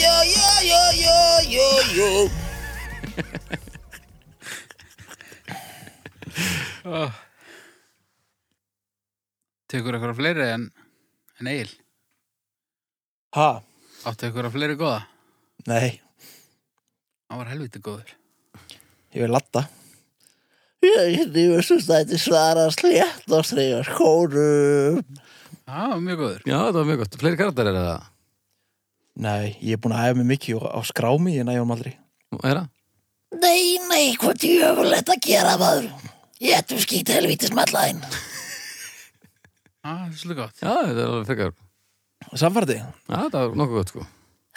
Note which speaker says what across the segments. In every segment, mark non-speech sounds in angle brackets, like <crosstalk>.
Speaker 1: jó, jó, jó, jó
Speaker 2: Tekur eitthvað fleiri en, en Egil?
Speaker 3: Ha?
Speaker 2: Áttu eitthvað fleiri góða?
Speaker 3: Nei,
Speaker 2: Hann var helviti góður.
Speaker 3: ég vil latta.
Speaker 1: Ég nýfum svo stætti svara slétt og stregar skórum
Speaker 2: Það var mjög góður.
Speaker 4: Já, þetta var mjög gott. Fleiri karakter er það.
Speaker 3: Nei, ég er búin að æfa mig mikið og á skrámi, ég nægjum aldrei.
Speaker 4: Er það?
Speaker 1: Nei, nei, hvað djöfulegt að gera maður Ég ættum skýt helvítis mallaðinn
Speaker 2: Já, það er svolítið gott.
Speaker 4: Já, þetta er alveg frekar.
Speaker 3: Samfærdi?
Speaker 4: Já, þetta var nokkuð gott, sko.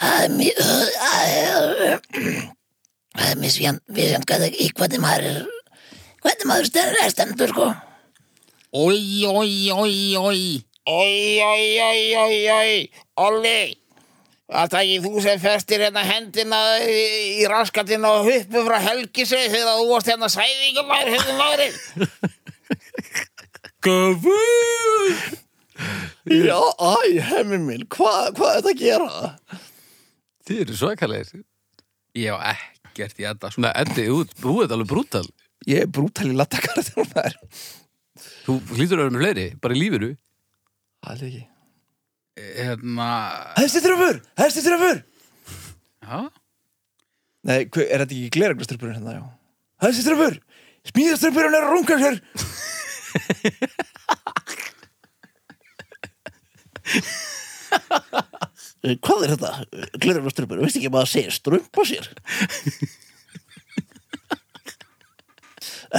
Speaker 1: Það er mjög Það er mjög svíðan Viðsjönd hvað í hvernig maður er Hvernig maður stendur er stendur sko
Speaker 2: Oi, oi, oi, oi.
Speaker 1: Oi, oi, oi, oi, oi Olli Það er ekki þú sem festir hérna hendina í, í raskatinn og huppu frá helgisi þegar þú varst hérna sæðingum maður hefðum maðurinn
Speaker 2: Gafu!
Speaker 3: Já, æ, hemmi minn, hvað hva er þetta að gera?
Speaker 4: Þið eru svakalegir.
Speaker 2: Ég á ekkert í þetta. sko.
Speaker 4: Svona, Eddi, þú, þú ert alveg brútal.
Speaker 3: Ég er brútal í lattakarðum þar.
Speaker 4: Þú hlýtur að vera með fleiri, bara í lífinu.
Speaker 3: Það er ekki.
Speaker 2: Hérna,
Speaker 3: Hesti tröfur! Hesti tröfur!
Speaker 2: já,
Speaker 3: Nei, hver, er þetta ekki gleraglaströfurinn hérna, já? Hesti tröfur! Smíðaströfurinn er að runga sér! Eh,
Speaker 1: Hvað er þetta? Glerum við strumpur, veist ekki maður segir strumpa sér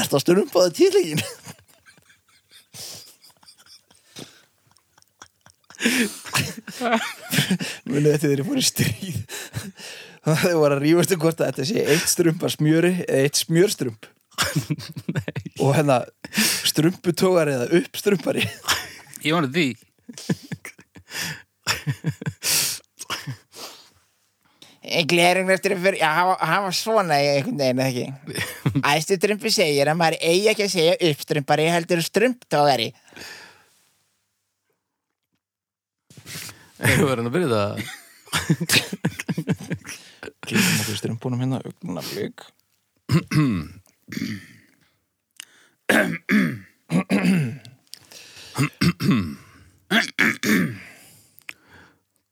Speaker 1: Ertu að strumpaði tíðlegin?
Speaker 3: Munið þetta þegar ég fór í stríð <laughs> Þau voru að rífast um hvort að þetta sé eitt strump að smjöri eða eitt smjörstrump Og hérna strumputógar eða uppstrumpari
Speaker 2: ég var því.
Speaker 1: Glerum við strumpur, já, hann var- hann var svona í einhvern veginn, <laughs> eða ekki? Æstu strumpi segir að maður eigi ekki að segja uppstrumpari heldur strumptógari
Speaker 4: Þú verður hann að byrja það.
Speaker 3: Klíkum okkur strumpunum hérna augnablik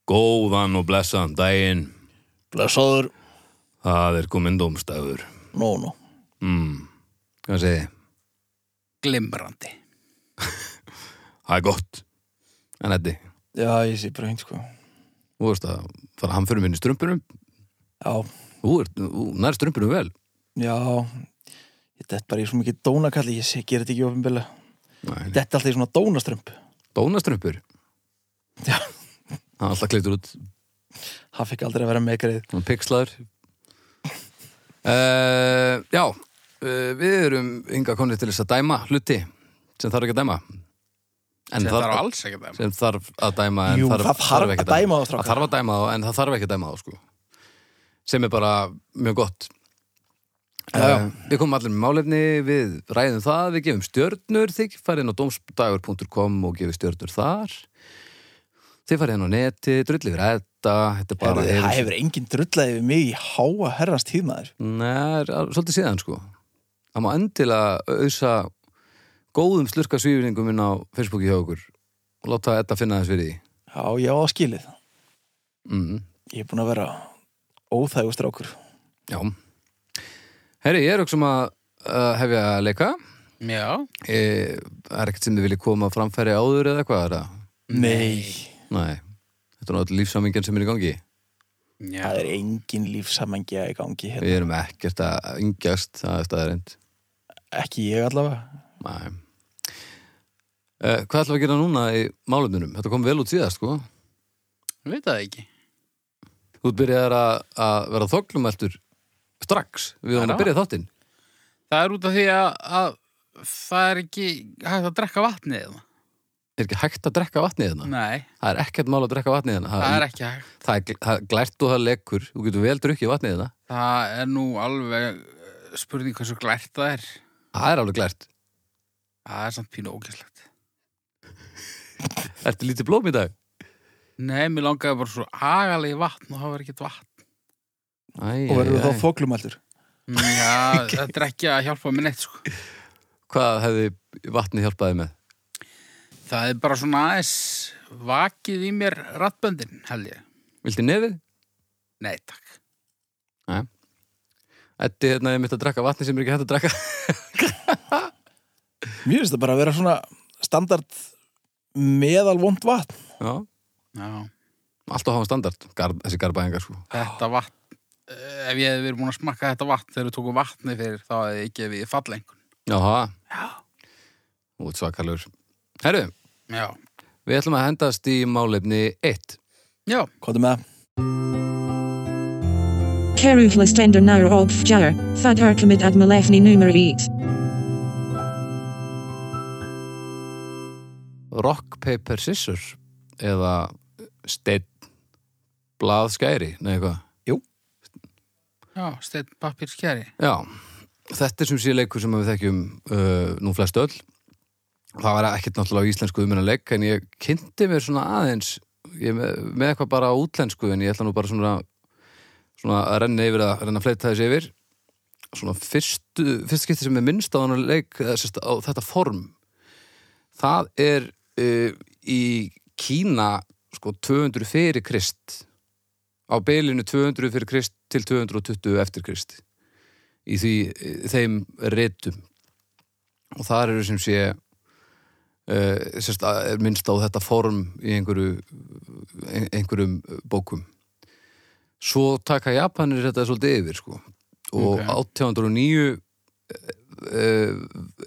Speaker 4: Góðan og blessan daginn.
Speaker 3: Blessaður
Speaker 4: Það er komin domstafur.
Speaker 3: Nó, nó
Speaker 4: Mm. Hvað segið þið?
Speaker 2: Glimrandi.
Speaker 4: <laughs> Það er gott. En Eddi,
Speaker 3: Já, ég sé bara hinn sko
Speaker 4: þú veist að fara hamförum inn í strumpunum.
Speaker 3: Já,
Speaker 4: Þú, ert, þú nær strumpunum vel.
Speaker 3: já Ég dett bara í svo mikið dónakalli Ég sé, ger þetta ekki ofinbilla
Speaker 4: Nei.
Speaker 3: Dett alltaf í svona dónastrump
Speaker 4: Dónastrumpur.
Speaker 3: Já,
Speaker 4: Það er alltaf klittur út.
Speaker 3: það fekk aldrei að vera með greið
Speaker 4: Svona pixlaður. Uh, já, uh, við erum ynga konið til þess að dæma hluti sem þarf ekki að dæma. En
Speaker 2: Þetta er alls ekki það.
Speaker 4: sem þarf að dæma en
Speaker 3: Jú,
Speaker 4: þarf,
Speaker 3: það þarf
Speaker 4: ekki
Speaker 3: að dæma þá, strákar.
Speaker 4: það þarf að dæma þá en það þarf ekki að dæma þá sko. sem er bara mjög gott
Speaker 3: Já, já.
Speaker 4: Eh, við komum allir með málefni við ræðum það, við gefum stjörnur þig farið inn á domsdagur.com og gefið stjörnur þar þið farið inn á neti, drullið við rætta þetta er bara
Speaker 3: Það hefur engin drullaði við mig í háa herrans tímaður
Speaker 4: Nei, er- er svolítið síðan sko það má endilega auðsa góðum slurka svífningum inn á Facebooki hjá okkur og láta þetta finna þess fyrir því
Speaker 3: Já, já, það skilið
Speaker 4: mm.
Speaker 3: Ég er búin að vera óþægur strákur
Speaker 4: Já. Herri, ég er okkur sem að uh, hefja að leika.
Speaker 2: Já,
Speaker 4: Eh, Það er ekkert sem þið viljið koma að framfæri áður eða eitthvað er það?
Speaker 3: Nei,
Speaker 4: Nei. Þetta er náttúrulega lífsamingin sem er í gangi.
Speaker 2: já.
Speaker 3: það er engin lífsamengja í gangi hérna.
Speaker 4: Við erum ekkert að yngjast, það er staðarind.
Speaker 3: Ekki ég allavega
Speaker 4: Nei. Uh, hvað ætlum við að gera núna í málefnunum? Þetta kom vel út síðast, sko.
Speaker 2: Ég veit það ekki.
Speaker 4: Þú byrjar að, að vera þoklumæltur strax við hann
Speaker 2: Já.
Speaker 4: að byrja þáttinn.
Speaker 2: Það er út af því að, að það er ekki hægt að drekka vatnið eða.
Speaker 4: Er ekki hægt að drekka vatnið hérna?
Speaker 2: Nei,
Speaker 4: Það er ekkert mál að drekka vatnið hérna.
Speaker 2: það er ekki hægt.
Speaker 4: það er gl- það er glært og það lekur. Þú getur vel drukkið vatnið hérna.
Speaker 2: Það er nú alveg eh, spurning hversu glært það er.
Speaker 4: Það er alveg glært.
Speaker 2: Það er samt pínu ógæslegt.
Speaker 4: Ertu lítið blóm í dag?
Speaker 2: Nei, mér langaði bara svo agalegi vatn og það var ekkert vatn.
Speaker 4: Æ,
Speaker 3: og verður
Speaker 4: æ, æ.
Speaker 3: þá þoklumæltur
Speaker 2: Mm, Já, þetta er ekki að hjálpa mér neitt sko.
Speaker 4: Hvað hefði vatnið hjálpaði með?
Speaker 2: Það er bara svona aðeins vakið í mér rattböndin, held ég.
Speaker 4: Vildi nefið?
Speaker 2: Nei, takk.
Speaker 4: Nei. Þetta er hérna ég mitt að drakka vatni sem er ekki hægt að drakka.
Speaker 3: Mér finnst það bara að vera svona standard meðalvond vatn
Speaker 4: <laughs> Já,
Speaker 2: Já,
Speaker 4: allt á hafa standard, garð, þessi garbaðingar sko.
Speaker 2: þetta vatn, eh, ef ég hefði verið búin að smakka þetta vatn þegar við tókum vatni fyrir, þá hefði ég gefið falla einhvern.
Speaker 4: Jáha,
Speaker 2: Já.
Speaker 4: út svakalur. Herru,
Speaker 2: Já.
Speaker 4: við ætlum að hendast í málefni 1.
Speaker 2: Já,
Speaker 3: Hvað er með það?
Speaker 5: Keruflas tender nair olf jar, thud harkamid ad malefni numer eat.
Speaker 4: Rock, paper, scissors eða steinn, blað, skæri, nei eitthvað.
Speaker 2: já, steinn pappir skeri.
Speaker 4: Já, þetta er sem sé leikur sem við þekkjum uh, nú flest öll. Það var ekkert náttúrulega á íslensku um hennar leik, en ég kynnti mér svona aðeins, ég er með, með eitthvað bara á útlensku, en ég ætla nú bara svona, svona að renna yfir að renna að fleita þessi yfir. Svona fyrstu, fyrst skipti sem er minnst á hennar leik, eða sérst á þetta form, það er uh, í Kína sko 200 fyrir krist, á bylinu 200 fyrir krist til 220 eftir krist í því, þeim reytum og þar eru sem sé uh, sérst, að- er minnst á þetta form í einhverju ein, einhverjum bókum svo taka Japanir þetta svolítið yfir sko og
Speaker 2: Ok.
Speaker 4: 1809 uh,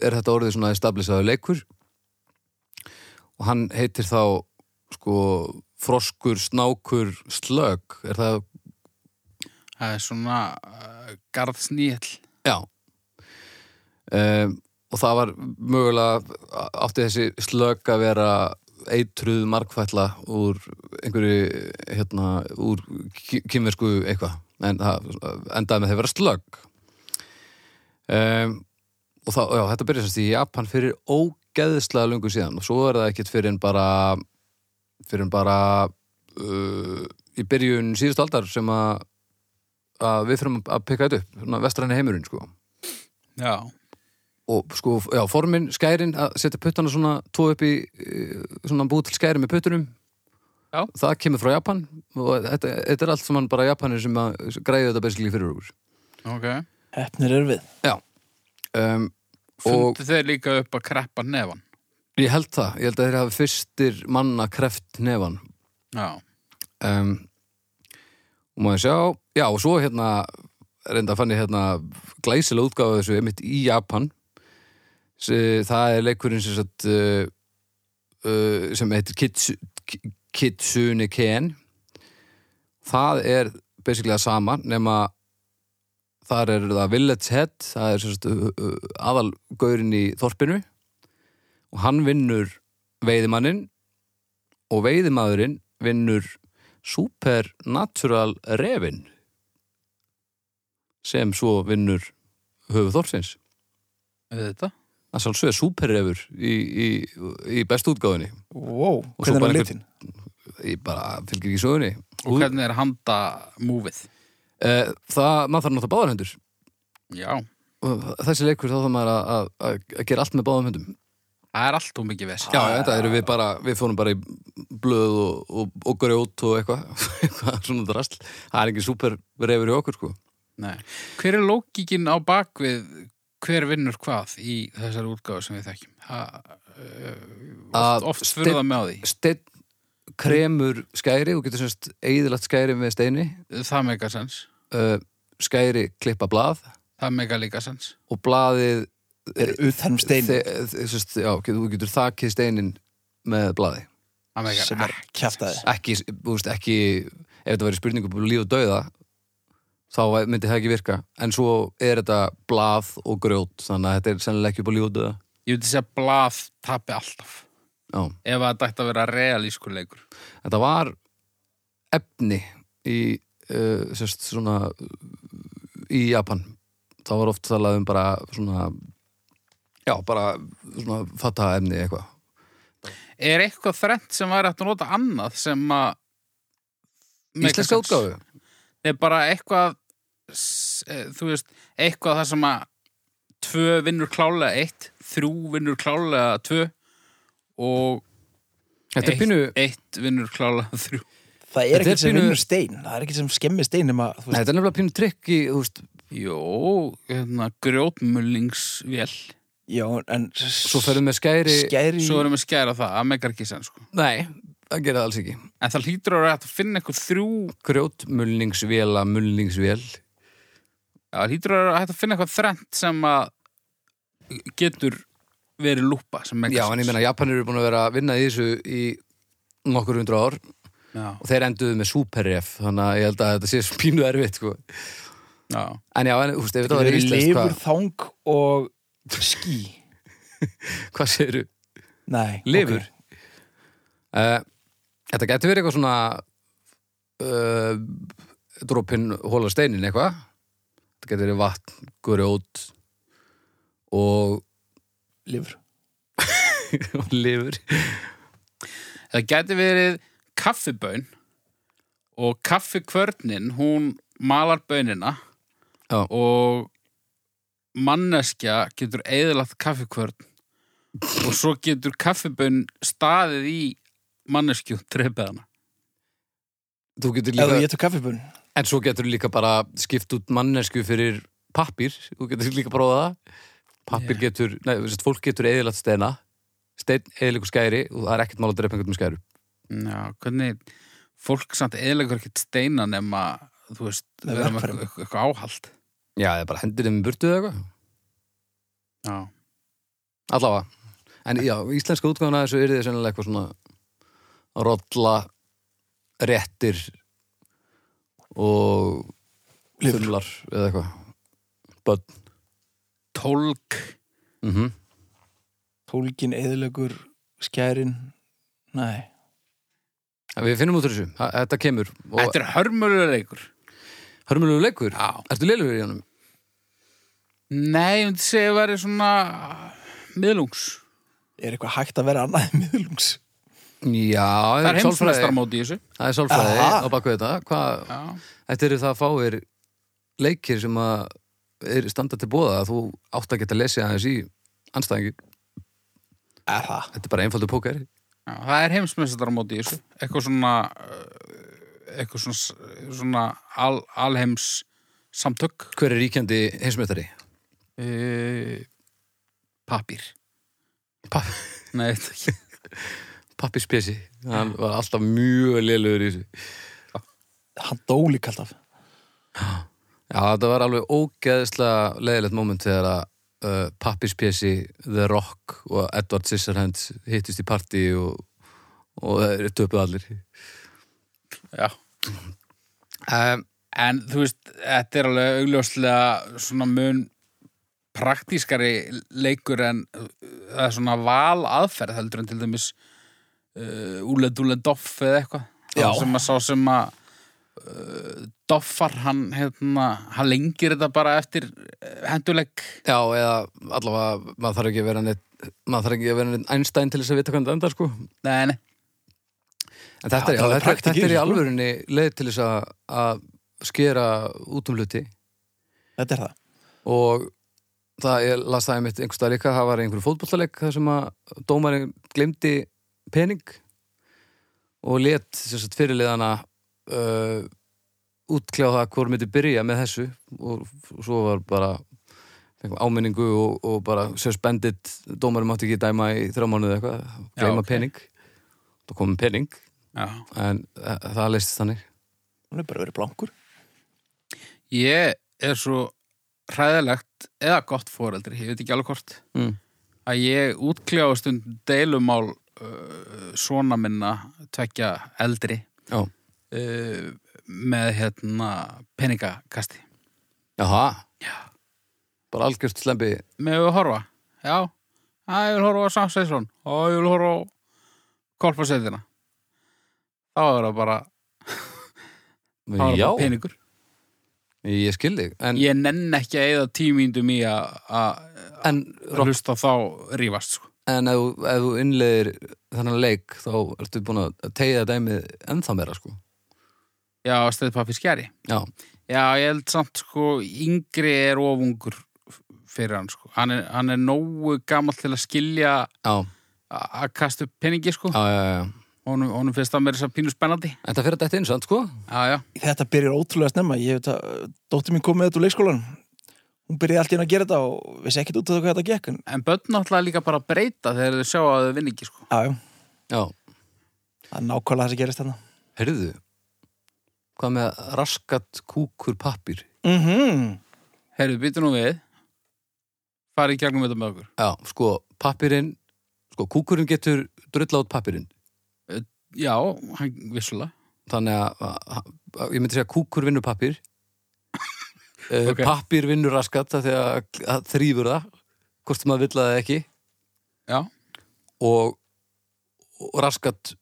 Speaker 4: er þetta orðið svona establishaðu leikur og hann heitir þá sko froskur, snákur, slög er það
Speaker 2: Það er svona uh, garðsnýll.
Speaker 4: Já um, Og það var mögulega átti þessi slögg að vera eitruð markfætla úr einhverju hérna, úr ki- kínversku eitthvað en það endaði með þeir vera slögg um, og þá, já, þetta byrjaði sérst í Japan fyrir ógeðslega lungu síðan og svo er það ekkert fyrir en bara fyrir en bara uh, í byrjun síðust aldar sem að, að við fyrir að pikka þetta upp, svona vestræni heimurinn sko
Speaker 2: Já.
Speaker 4: og sko, já, formin, skærin að setja puttana svona, tvo upp í eh, svona búið til skærin með puttunum
Speaker 2: Já.
Speaker 4: það kemur frá Japan og þetta, þetta er allt sem hann bara Japanir sem að græði þetta basically fyrir okkur
Speaker 2: Ok.
Speaker 3: Hefnir er við
Speaker 4: já um, og
Speaker 2: Fundu þeir líka upp að kreppa nefan.
Speaker 4: ég held það, ég held að þeir hafi fyrstir manna kreft nefan
Speaker 2: Já.
Speaker 4: um, og maður sjá já og svo hérna reynda fann ég hérna glæsilega útgáfa af þessu einmitt í Japan Se, það er leikurinn sem, sagt, uh, uh, sem heitir Kitsu, Ki- Kitsune Ken það er basically það sama nema þar er það Village Head það er sem sagt, uh, uh, aðalgaurinn í þorpinu og hann vinnur veiðimanninn og veiðimaðurinn vinnur Supernatural Revin sem svo vinnur höfuð Þorsins
Speaker 2: Við þetta?
Speaker 4: að sjálfsögja Superrevur í, í, í bestu útgáðinni
Speaker 3: wow.
Speaker 4: Og
Speaker 3: Hvernig
Speaker 4: svo
Speaker 3: er
Speaker 4: bara
Speaker 3: hann
Speaker 4: einhver-
Speaker 3: litin?
Speaker 4: ég bara fylgir ekki sögunni
Speaker 2: Og hvernig er handa múfið?
Speaker 4: Eh, það, maður þarf náttúrulega báðar hendur
Speaker 2: Já.
Speaker 4: Og þessi leikur þá þarf maður að, að, að, að gera allt með báðum höndum
Speaker 2: Það er allt og mikið vesið.
Speaker 4: já, þetta eru við bara, við fórum bara í blöð og, og, og grjót og eitthvað <laughs> eitthvað svona drasl það er ekki Superrevur í okkur sko
Speaker 2: Nei. Hver er lókikinn á bakvið hver vinnur hvað í þessari útgáfu sem við þekkjum? Það,
Speaker 4: Að
Speaker 2: uh, oft
Speaker 4: steinn-
Speaker 2: spurða með á því.
Speaker 4: steinn kremur skæri og getur semst eigðilegt skæri með steini
Speaker 2: Það meika sens.
Speaker 4: uh, skæri klippa blað
Speaker 2: Það meika líka sens.
Speaker 4: og blaðið
Speaker 3: Er utan um stein
Speaker 4: þe- þe- semst, já, getur, þú getur þakið steinin með blaði
Speaker 2: Það meika
Speaker 3: sem er kjaftaði
Speaker 4: ekki, þú veist, ekki ef þetta væri spurning um líf og dauða þá myndi það ekki virka en svo er þetta blað og grjót þannig að þetta er sennilega ekki upp á líf og dauða
Speaker 2: Ég veit að segja blað tapi alltaf.
Speaker 4: já,
Speaker 2: Ef að þetta ætti að vera realískur leikur.
Speaker 4: þetta var efni í uh, sérst svona uh, í Japan þá var oft talað um bara svona já, bara svona fatta efni eitthvað
Speaker 2: Er eitthvað þrennt sem væri hægt að nota annað sem að... meika
Speaker 4: Íslenska
Speaker 2: sens?
Speaker 4: útgáfu?
Speaker 2: Nei, bara eitthvað s- eh, þú veist, eitthvað það sem að tvö vinnur klálega eitt, þrjú vinnur klálega tvö og
Speaker 4: Þetta er
Speaker 2: eitt,
Speaker 4: pínu,
Speaker 2: eitt vinnur klálega þrjú.
Speaker 3: Það er
Speaker 4: Þetta er
Speaker 3: ekkert sem
Speaker 4: pínu-
Speaker 3: vinnur stein Það er ekkert sem skemmir stein nema, þú
Speaker 4: Nei,
Speaker 3: veist,
Speaker 4: þetta er nefnilega pínu trikk í, þú veist,
Speaker 2: Jó, hérna, grjótmullingsvél.
Speaker 3: Já, en
Speaker 4: svo ferðum með skæri
Speaker 3: Skæri
Speaker 2: Svo erum við skæra það, að megar ekki sen, sko.
Speaker 4: Nei, það gera það alls ekki
Speaker 2: En það hlýtur að vera hægt að finna eitthvað þrjú,
Speaker 4: Grjót, mulningsvéla, mulningsvél
Speaker 2: já, það hlýtur að vera hægt að finna eitthvað þrennt sem að getur verið lúpa sem megar
Speaker 4: Já, en ég meina, Japanir eru búin að vera að vinna í þessu í nokkur hundra ár og
Speaker 2: Já,
Speaker 4: þeir enduðu með superref þannig að ég held að þetta sé svo pínu erfitt sko.
Speaker 2: já.
Speaker 4: En já, en, þú veist, ef þetta
Speaker 3: Það
Speaker 4: var
Speaker 3: er
Speaker 4: íslenskt,
Speaker 3: lifur,
Speaker 4: hvað,
Speaker 3: þang og ský
Speaker 4: hvað segirðu?
Speaker 3: Nei,
Speaker 4: Lifur?
Speaker 3: ok.
Speaker 4: Uh, þetta getur verið eitthvað svona uh, dropin hóla steinin eitthvað Þetta getur verið vatn, grjót og,
Speaker 3: Lifur
Speaker 4: og lifur
Speaker 2: Það gæti verið kaffibön og kaffikvörnin, hún malar bönina
Speaker 4: Já.
Speaker 2: og manneskja getur eðalagt kaffikvörn og svo getur kaffibön staðið í manneskju trefið hana.
Speaker 4: Þú getur
Speaker 3: Eða
Speaker 4: líka,
Speaker 3: ég tók kaffibun
Speaker 4: En svo getur líka bara skipt út mannesku fyrir pappir Þú getur líka prófað það Pappir getur, nei, þú veist, fólk getur eðilagt steina Steinn eðilegu skæri og það er ekkert mál að drepa einhvern með skæru
Speaker 2: Já, hvernig fólk samt eðalegur ekkert steina nema, þú veist,
Speaker 3: Með
Speaker 2: vera með
Speaker 3: verkfærum.
Speaker 2: eitthvað- eitthvað áhald.
Speaker 4: Já, það er bara hendur þeim í burtu eða eitthvað
Speaker 2: Já.
Speaker 4: Allavega. En já, íslenska útgáfuna af þessu er þið sennilega eitthvað svona rolla réttir og
Speaker 3: Lifur.
Speaker 4: þumlar eða eitthvað Bönn
Speaker 2: Tólk,
Speaker 4: mm
Speaker 2: Mhm.
Speaker 3: Tólkin, eðilegur, skærin Nei
Speaker 4: Við finnum út úr þessu, Þa- þetta kemur og
Speaker 2: þetta er hörmurleikur.
Speaker 4: hörmulegu leikur
Speaker 2: Já.
Speaker 4: Ertu leilugur í honum?
Speaker 2: Nei, ég myndi segja að vera svona miðlungs.
Speaker 3: Er eitthvað hægt að vera annað en miðlungs?
Speaker 4: Já,
Speaker 2: Það er
Speaker 4: sálfræði.
Speaker 2: heimsmeistarmóti í þessu.
Speaker 4: Það er sálfræði
Speaker 3: Aha.
Speaker 4: á baku þetta Hvað,
Speaker 2: Já.
Speaker 4: Þetta eru það fáir leikir sem að er standa til bóða að þú átt að geta lesið aðeins í anstæðingi
Speaker 3: Er það?
Speaker 4: Þetta er bara einfaldur póker
Speaker 2: Já, það er heimsmeistarmóti í þessu. Eitthvað svona, uh, eitthvað svona, svona al, alheims samtök.
Speaker 4: Hver er ríkjandi heimsmeistari?
Speaker 2: Uh, papír.
Speaker 4: Papp,
Speaker 2: <laughs> Nei, þetta ekki.
Speaker 4: pappi Spesi Hann var alltaf mjög lélugur í þessu
Speaker 3: Hann dó líka alltaf
Speaker 4: Já, þetta var alveg ógeðslega leiðilegt moment þegar að uh, pappi Spesi, The Rock og Edward Scissorhands hittust í partí og, og þeir töpuð allir
Speaker 2: Já.
Speaker 4: um,
Speaker 2: En þú veist, þetta er alveg augljóslega svona mun praktískari leikur en uh, það er svona val aðferð heldur en til dæmis uh, Úle Dúle Doff eða eitthvað
Speaker 3: Já.
Speaker 2: Sá sem að sá sem að uh, Doffar hann hérna, hann lengir þetta bara eftir uh, henduleik
Speaker 4: Já, eða allavega maður þarf ekki að vera neitt maður þarf ekki að vera neitt Einstein til þess að vita hvernig það endar sko
Speaker 2: Nei, nei,
Speaker 4: En
Speaker 3: Já,
Speaker 4: þetta, er, já,
Speaker 3: það er
Speaker 4: þetta,
Speaker 3: praktíkin,
Speaker 4: þetta er í
Speaker 3: sko.
Speaker 4: alvörunni leið til þess að, að skera út um hluti
Speaker 3: Þetta er það
Speaker 4: og það, ég las það einmitt einhvers stað líka, það var í einhverju fótbollaleik þar sem að dómarinn glemdi pening og let sagt, fyrirliðana uh, útkljá það hvort myndi byrja með þessu og f- svo var bara fengum áminningu og, og bara suspended, dómarinn mátti ekki dæma í þrjá mánuði eitthvað,
Speaker 2: Já,
Speaker 4: gleyma
Speaker 2: ok.
Speaker 4: pening þá komum pening
Speaker 2: já
Speaker 4: en eh, það leistist þannig
Speaker 3: Hún er bara verið blankur
Speaker 2: Ég er svo hræðilegt eða gott foreldri, ég veit ekki alveg hvort
Speaker 4: Mm.
Speaker 2: að ég útkljáði stundum deilumál uh, svona minna tvekja eldri
Speaker 4: Já.
Speaker 2: uh, með hérna peningakasti
Speaker 4: Jaha,
Speaker 2: Já.
Speaker 4: bara algjört slembi
Speaker 2: með við horfa, já að ég vil horfa á samsæðslón og ég vil horfa á kolpaseitina þá er það bara, þá er það
Speaker 4: Já,
Speaker 2: bara peningur
Speaker 4: ég skil þig en,
Speaker 2: ég nenn ekki að eða tímyndum í að- að
Speaker 4: en,
Speaker 2: að hlusta á þá rífast sko.
Speaker 4: en ef, þú- ef þú innleiðir þennan leik þá ertu búin að tegja dæmið ennþá meira sko
Speaker 2: Já, stöðpappi skjari.
Speaker 4: Já,
Speaker 2: Já, ég held samt sko, yngri er ofungur fyrir hann sko. Hann er, hann er nógu gamall til að skilja
Speaker 4: já,
Speaker 2: a- að kasta upp peningi sko.
Speaker 4: já, já, já.
Speaker 2: Honum, honum finnst það meira þess að pínu spennandi.
Speaker 4: En það fyrir þetta inn, sant, sko?
Speaker 2: Já, já.
Speaker 3: þetta byrjar ótrúlega snemma ég veit að uh, dóttir mín kom með þetta úr leikskólanum hún byrjaði allt í henni að gera þetta og vissi ekkit út af það hvað þetta gekk en,
Speaker 2: En börn náttúrulega líka bara breyta þegar þau sjá að þau vinni ekki sko.
Speaker 3: já, já,
Speaker 4: Já.
Speaker 3: það er nákvæmlega það sem gerist þarna
Speaker 4: Herðu, hvað með raskat kúkur pappir?
Speaker 3: mhm
Speaker 2: Herðu, býtu nú við. Farið í gegnum þetta með okkur.
Speaker 4: Já, sko, pappirinn, sko, kúkurinn getur drulla út pappirinn.
Speaker 2: Já, hann vissulega.
Speaker 4: þannig að, að, að ég myndi segja að kúkur vinnur <laughs> pappir uh,
Speaker 2: Ok.
Speaker 4: pappir vinnur raskat af því að, að þrýfur það hvort sem maður vill að það ekki
Speaker 2: Já.
Speaker 4: og, og raskat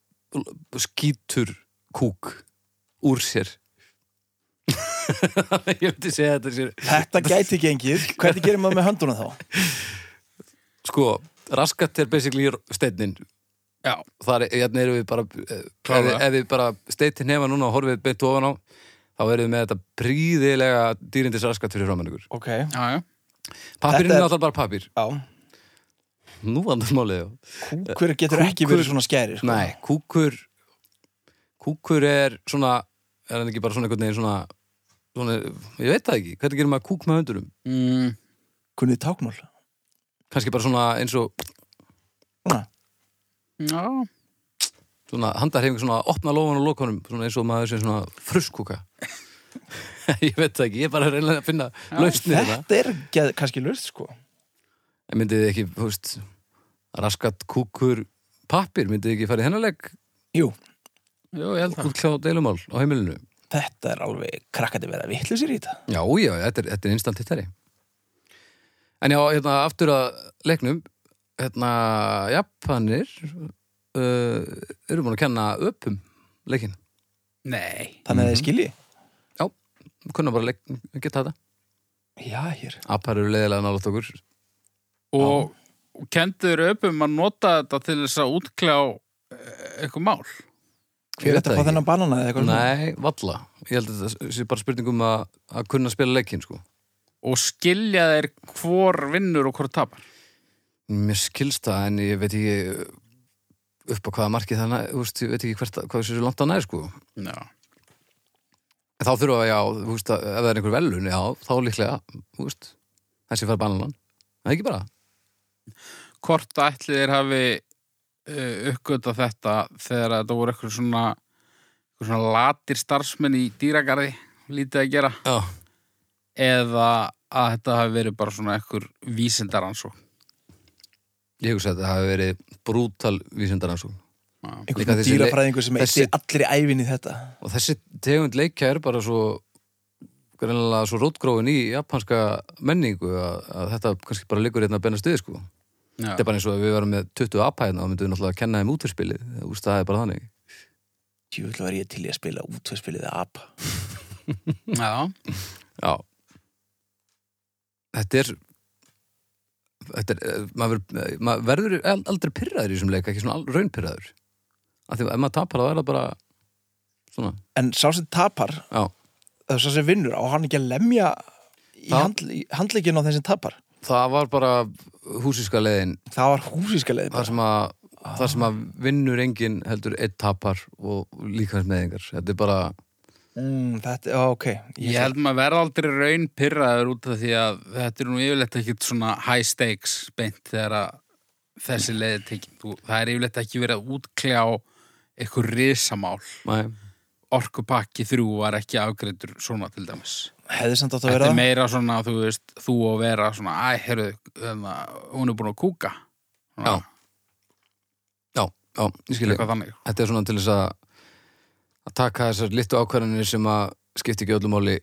Speaker 4: skýtur kúk úr sér <laughs> ég myndi segja þetta sér
Speaker 3: Þetta gæti gengið, hvernig gerir maður með höndunum þá?
Speaker 4: sko, raskat er basically steinin
Speaker 2: Já.
Speaker 4: þar er- hérna erum við bara eh, ef,
Speaker 2: Klárlega.
Speaker 4: ef við bara steitin hefa núna og horfið beint ofan á þá erum við með þetta príðilega dýrindis raskat fyrir framann ykkur
Speaker 3: Ok,
Speaker 2: Já, já.
Speaker 4: Pappirinn
Speaker 3: Þetta
Speaker 4: er
Speaker 3: er-
Speaker 4: náttúrulega bara pappir.
Speaker 3: já
Speaker 4: Nú vandarmálið, já.
Speaker 3: Kúkur getur ekki
Speaker 4: Kúkur-
Speaker 3: verið svona skæri sko.
Speaker 4: Nei, kúkur, kúkur er svona, er hann ekki bara svona einhvern veginn svona, svona, ég veit það ekki, hvernig gerir maður kúk með höndurum?
Speaker 2: Mm,
Speaker 3: Kunnið táknál
Speaker 4: Kannski bara svona eins og,
Speaker 3: Svona.
Speaker 2: já.
Speaker 4: svona handarhefingu svona að opna lófan og lókanum, svona eins og maður sem svona fruskúka. <laughs> ég veit það ekki, ég er bara að reyna að finna lausnið þetta.
Speaker 3: Þetta er geð, kannski löst sko
Speaker 4: En myndið þið ekki, þú veist, raskat kúkur pappir, myndið þið ekki farið hennarleg
Speaker 3: Jú,
Speaker 2: Jú, ég held það.
Speaker 4: út klá deilumál á heimilinu?
Speaker 3: þetta er alveg krakkandi verið að vitlu sér í þetta
Speaker 4: Já, já, þetta er, þetta er instant hittari En já, hérna, aftur að leiknum hérna, Japanir uh, eru búin að kenna öpum leikin,
Speaker 2: Nei.
Speaker 3: Þannig að
Speaker 4: Mhm.
Speaker 3: þið skilji
Speaker 4: kunna bara leik, geta þetta
Speaker 3: Já, hér
Speaker 4: Apar eru leiðilega nálaft okkur
Speaker 2: Og, og kendur upp um að nota þetta til þess að útkljá eh, eitthvað mál.
Speaker 3: Ég veit að fá
Speaker 4: það
Speaker 3: þennan banana eða eitthvað svona.
Speaker 4: Nei, valla, ég held að þetta sé bara spurning um að, að kunna spila leikin sko.
Speaker 2: og skilja þeir hvor vinnur og hvor tapar
Speaker 4: Mér skilst það en ég veit ekki upp á hvaða marki þannig, þú veist, ég veit ekki hvert, að- hvað þessu langt að næ sko.
Speaker 2: Já.
Speaker 4: En þá þurfa að, já, þú veist, að, ef það er einhver velun, já, þá líklega, þú veist, þessi fær bananan. Það er ekki bara.
Speaker 2: Hvort ætli þeir hafi uh, uppgöta þetta þegar þetta voru eitthvað svona, einhver svona latir starfsmenn í dýragarði lítið að gera
Speaker 4: Já.
Speaker 2: eða að þetta hafi verið bara svona eitthvað vísindaransó
Speaker 4: Ég hugsa að það hafi verið brútal vísindaransókn.
Speaker 3: Einhvern
Speaker 4: Líka
Speaker 3: svona
Speaker 4: þessi le-
Speaker 3: dýrafræðingur sem
Speaker 4: þessi-
Speaker 3: eitti allri ævinni þetta
Speaker 4: Og þessi tegund leikja er bara svo, greinlega svo rótgróin í japanska menningu að, að þetta kannski bara liggur hérna að benna stuði, sko. Þetta er bara eins og að við varum með 20 apa hérna, þá myndum við náttúrulega að kenna þeim útverspilið. Þú veist, það er bara þannig.
Speaker 3: Júlu var ég til í að spila útveðspilið að apa
Speaker 2: Já.
Speaker 4: Já Þetta er Þetta er, eh, maður, ver- maður verður al- aldrei pyrraður í þessum leik, ekki svona raunpyrraður af því að ef maður tapar þá er það bara svona,
Speaker 3: En sá sem tapar,
Speaker 4: já,
Speaker 3: eða sá sem vinnur á hann ekki að lemja í
Speaker 4: Það-
Speaker 3: handl, handleikin á þeim sem tapar
Speaker 4: það var bara húsíska leiðin,
Speaker 3: Það var húsískaleiði
Speaker 4: þar sem að þar sem að vinnur enginn heldur einn tapar og líkans meðingar þetta er bara,
Speaker 3: Mm, þetta, á, ok
Speaker 2: Ég held maður verða aldrei raun pyrraður út af því að þetta er nú yfirleitt ekkit svona high stakes beint þegar að þessi leiði tekin. Þú- Það er yfirleitt ekki verið að útkljá eitthvað risamál.
Speaker 4: næ,
Speaker 2: Orkupakki þrjú var ekki afgreyndur svona til dæmis.
Speaker 3: hefði samt átt að
Speaker 2: Þetta
Speaker 3: vera
Speaker 2: er
Speaker 3: það
Speaker 2: meira svona, þú veist, þú og vera svona, æ, heyrðu, hérna, hún er búin að kúka. Svona,
Speaker 4: Já, já, já, ég skil ég
Speaker 2: Eitthvað þannig.
Speaker 4: þetta er svona til þess að að taka þessar litlu ákvarðanir sem að skipti ekki öllum máli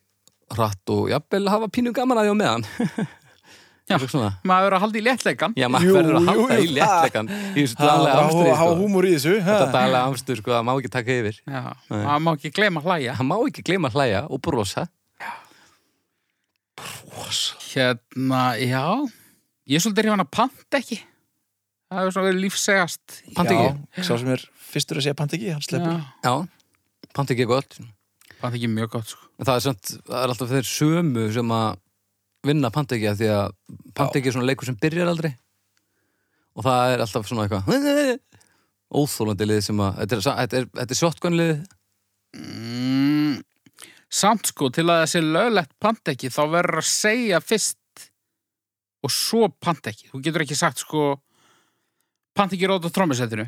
Speaker 4: hratt og jafnvel hafa pínu gaman að því á meðan
Speaker 2: Já.
Speaker 4: Eitthvað svona.
Speaker 2: Maður verður að halda í léttleikan.
Speaker 4: Já, maður
Speaker 3: Jú,
Speaker 4: verður að
Speaker 3: jú,
Speaker 4: halda í
Speaker 3: jú,
Speaker 4: léttleikan í þessu
Speaker 3: Það
Speaker 4: daglega
Speaker 3: var
Speaker 4: amstri
Speaker 3: að hafa
Speaker 4: sko.
Speaker 3: húmur í þessu ha?
Speaker 4: þetta daglega amstur, sko, það má ekki taka yfir
Speaker 2: Já, maður má ekki gleyma að hlæja.
Speaker 4: það má ekki gleyma að hlæja og brosa
Speaker 2: Hérna, já, ég er svolítið hrifan að panta ekki. Það hefur svona verið lífsegast.
Speaker 4: panta ekki,
Speaker 3: Já, sá sem er fyrstur að segja panta ekki, hann sleppur
Speaker 2: Já.
Speaker 4: já, panta ekki gott
Speaker 2: Fannst ekki mjög gott, sko.
Speaker 4: En það er, samt, það er alltaf þeir sömu sem að vinna Pantegja því að Pantegja er svona leikur sem byrjar aldrei og það er alltaf svona eitthvað <laughs> óþólandi lið sem að þetta er, þetta er, þetta er shotgun lið
Speaker 2: Mm, samt, sko, til að það sé löglegt pandekki, þá verður að segja fyrst og svo pandekki. Þú getur ekki sagt, sko, pandekki rót á trómmusettinu.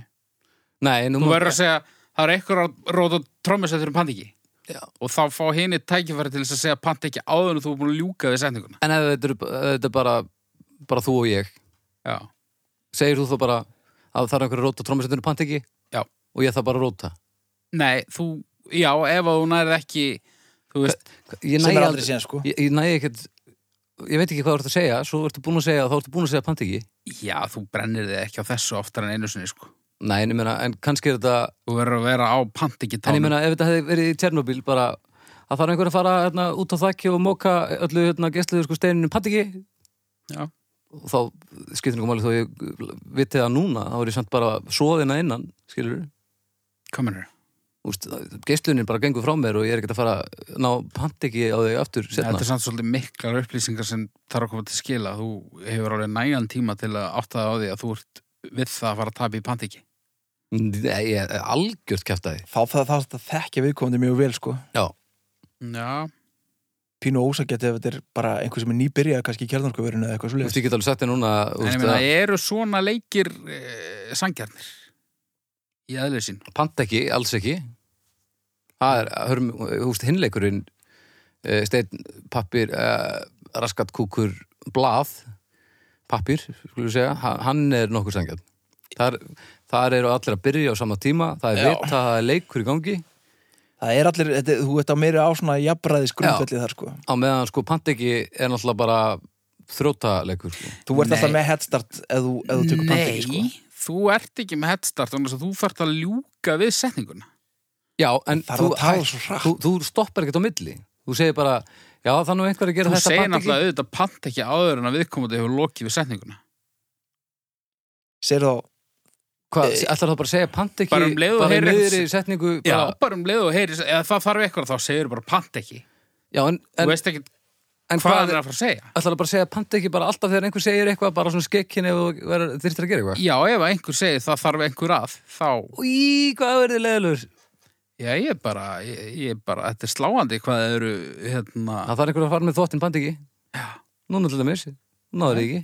Speaker 4: Nei, nú
Speaker 2: Þú
Speaker 4: má-
Speaker 2: verður að segja, það er eitthvað að rót á trómmusettinu pandekki.
Speaker 4: Já.
Speaker 2: Og þá fá henni tækifæri til þess að segja pandekki áður en þú er búin að ljúka við setninguna.
Speaker 4: En ef þetta er, þetta er bara, bara þú og ég
Speaker 2: Já.
Speaker 4: segir þú þá bara að það er einhverju róta trómasettinu Pantegja
Speaker 2: Já.
Speaker 4: og ég þarf bara að róta
Speaker 2: Nei, þú, já, ef að þú nærið ekki, þú veist,
Speaker 4: Ég
Speaker 3: sem
Speaker 4: næ
Speaker 3: er
Speaker 4: aldrei-
Speaker 3: aldrei síðan sko
Speaker 4: Ég, ég næ ekkert Ég veit ekki hvað þú ert að segja, svo ertu búin að segja þá ertu búin að segja Pantegja
Speaker 2: já, þú brennir þig ekki á þessu oftar en einu sinni, sko.
Speaker 4: Nei, en, ég meina, en kannski er þetta
Speaker 2: Þú verður að vera á pandekki
Speaker 4: En ég
Speaker 2: tánum.
Speaker 4: meina, ef þetta hefði verið í Tjernobyl bara að þarf einhver að fara hérna, út á þakki og móka öllu hérna, gæstluðu sko steininu pattiki
Speaker 2: Já.
Speaker 4: og þá skiptir einhver máli þó ég viti það núna, þá er ég samt bara soðina innan, skilur
Speaker 2: Hvað mennur?
Speaker 4: Úst, geislunin bara gengur frá mér og ég er ekkert að fara að ná pattiki á þau aftur
Speaker 2: Þetta
Speaker 4: setna.
Speaker 2: er samt svolítið miklar upplýsingar sem þarf að koma til skila. Þú hefur alveg nægan tíma til að átta það á því að þú ert við það að fara að tapa í pandiki.
Speaker 4: Nei, ég er algjört kæftæði
Speaker 3: þá það, það, það þekkja viðkomandi mjög vel sko
Speaker 4: Já,
Speaker 2: Já.
Speaker 3: pínu ósakett ef þetta er bara einhver sem er nýbyrjað kannski í kjarnarkuverinu eða eitthvað svo
Speaker 4: þú veist, ég get alveg sagt þér núna
Speaker 2: En ég
Speaker 4: úst,
Speaker 2: meina,
Speaker 4: að
Speaker 2: eru svona leikir eh, sangjarnir í aðlið sín?
Speaker 4: pattiki, alls ekki það er, hörum, úst, hinleikurinn eh, steinn, pappir eh, raskat kúkur, blað pappir, skulum við segja ha- hann er nokkur sangjarn þar, þar eru allir að byrja á sama tíma það er
Speaker 3: Já.
Speaker 4: vita, það er leikur í gangi
Speaker 3: það er allir, þetta, þú ert á meiri á svona jafnræðis grundvelli þar sko
Speaker 4: á meðan sko Pantegi er náttúrulega bara þrótaleikur sko.
Speaker 3: þú ert
Speaker 2: Nei.
Speaker 3: alltaf með headstart ef þú, ef þú tekur pandegi sko
Speaker 2: þú ert ekki með headstart þannig að þú fært að ljúka við setninguna.
Speaker 4: Já, en
Speaker 3: Þarf
Speaker 4: þú,
Speaker 3: að tala
Speaker 4: hæ-
Speaker 3: svo hratt.
Speaker 4: þú, þú stoppar ekkert á milli þú segir bara, já þannig er einhver að gera
Speaker 2: Þú
Speaker 4: þetta
Speaker 2: segir
Speaker 4: Pantegi
Speaker 2: náttúrulega auðvitað pandiki áður en að viðkomandi hefur lokið við setninguna.
Speaker 3: segir þá,
Speaker 4: Hvað, ætlar það bara að segja Pantegi
Speaker 2: Bara um leið og
Speaker 4: bara í
Speaker 2: heyrir-
Speaker 4: miðri setningu
Speaker 2: Já,
Speaker 4: bara,
Speaker 2: bara um leið og heyri, eða það þarf eitthvað þá segir bara pandiki.
Speaker 4: já, en,
Speaker 2: Þú
Speaker 4: en,
Speaker 2: veist ekki
Speaker 4: en
Speaker 2: hvað
Speaker 4: hvað
Speaker 2: hann er að fara að segja.
Speaker 4: ætlar það bara að segja Pantegi bara alltaf þegar einhver segir eitthvað bara svona skekkin ef þú verður- þyrftir að gera eitthvað
Speaker 2: Já, ef einhver segir það þarf einhver að, þá,
Speaker 4: Í, hvað verður þið leiðilegur
Speaker 2: já, ég er bara, ég, ég er bara, þetta er sláandi hvað það eru, hérna,
Speaker 4: Það þarf einhver að fara með þóttin Pantegi Núna til dæmis, náður ekki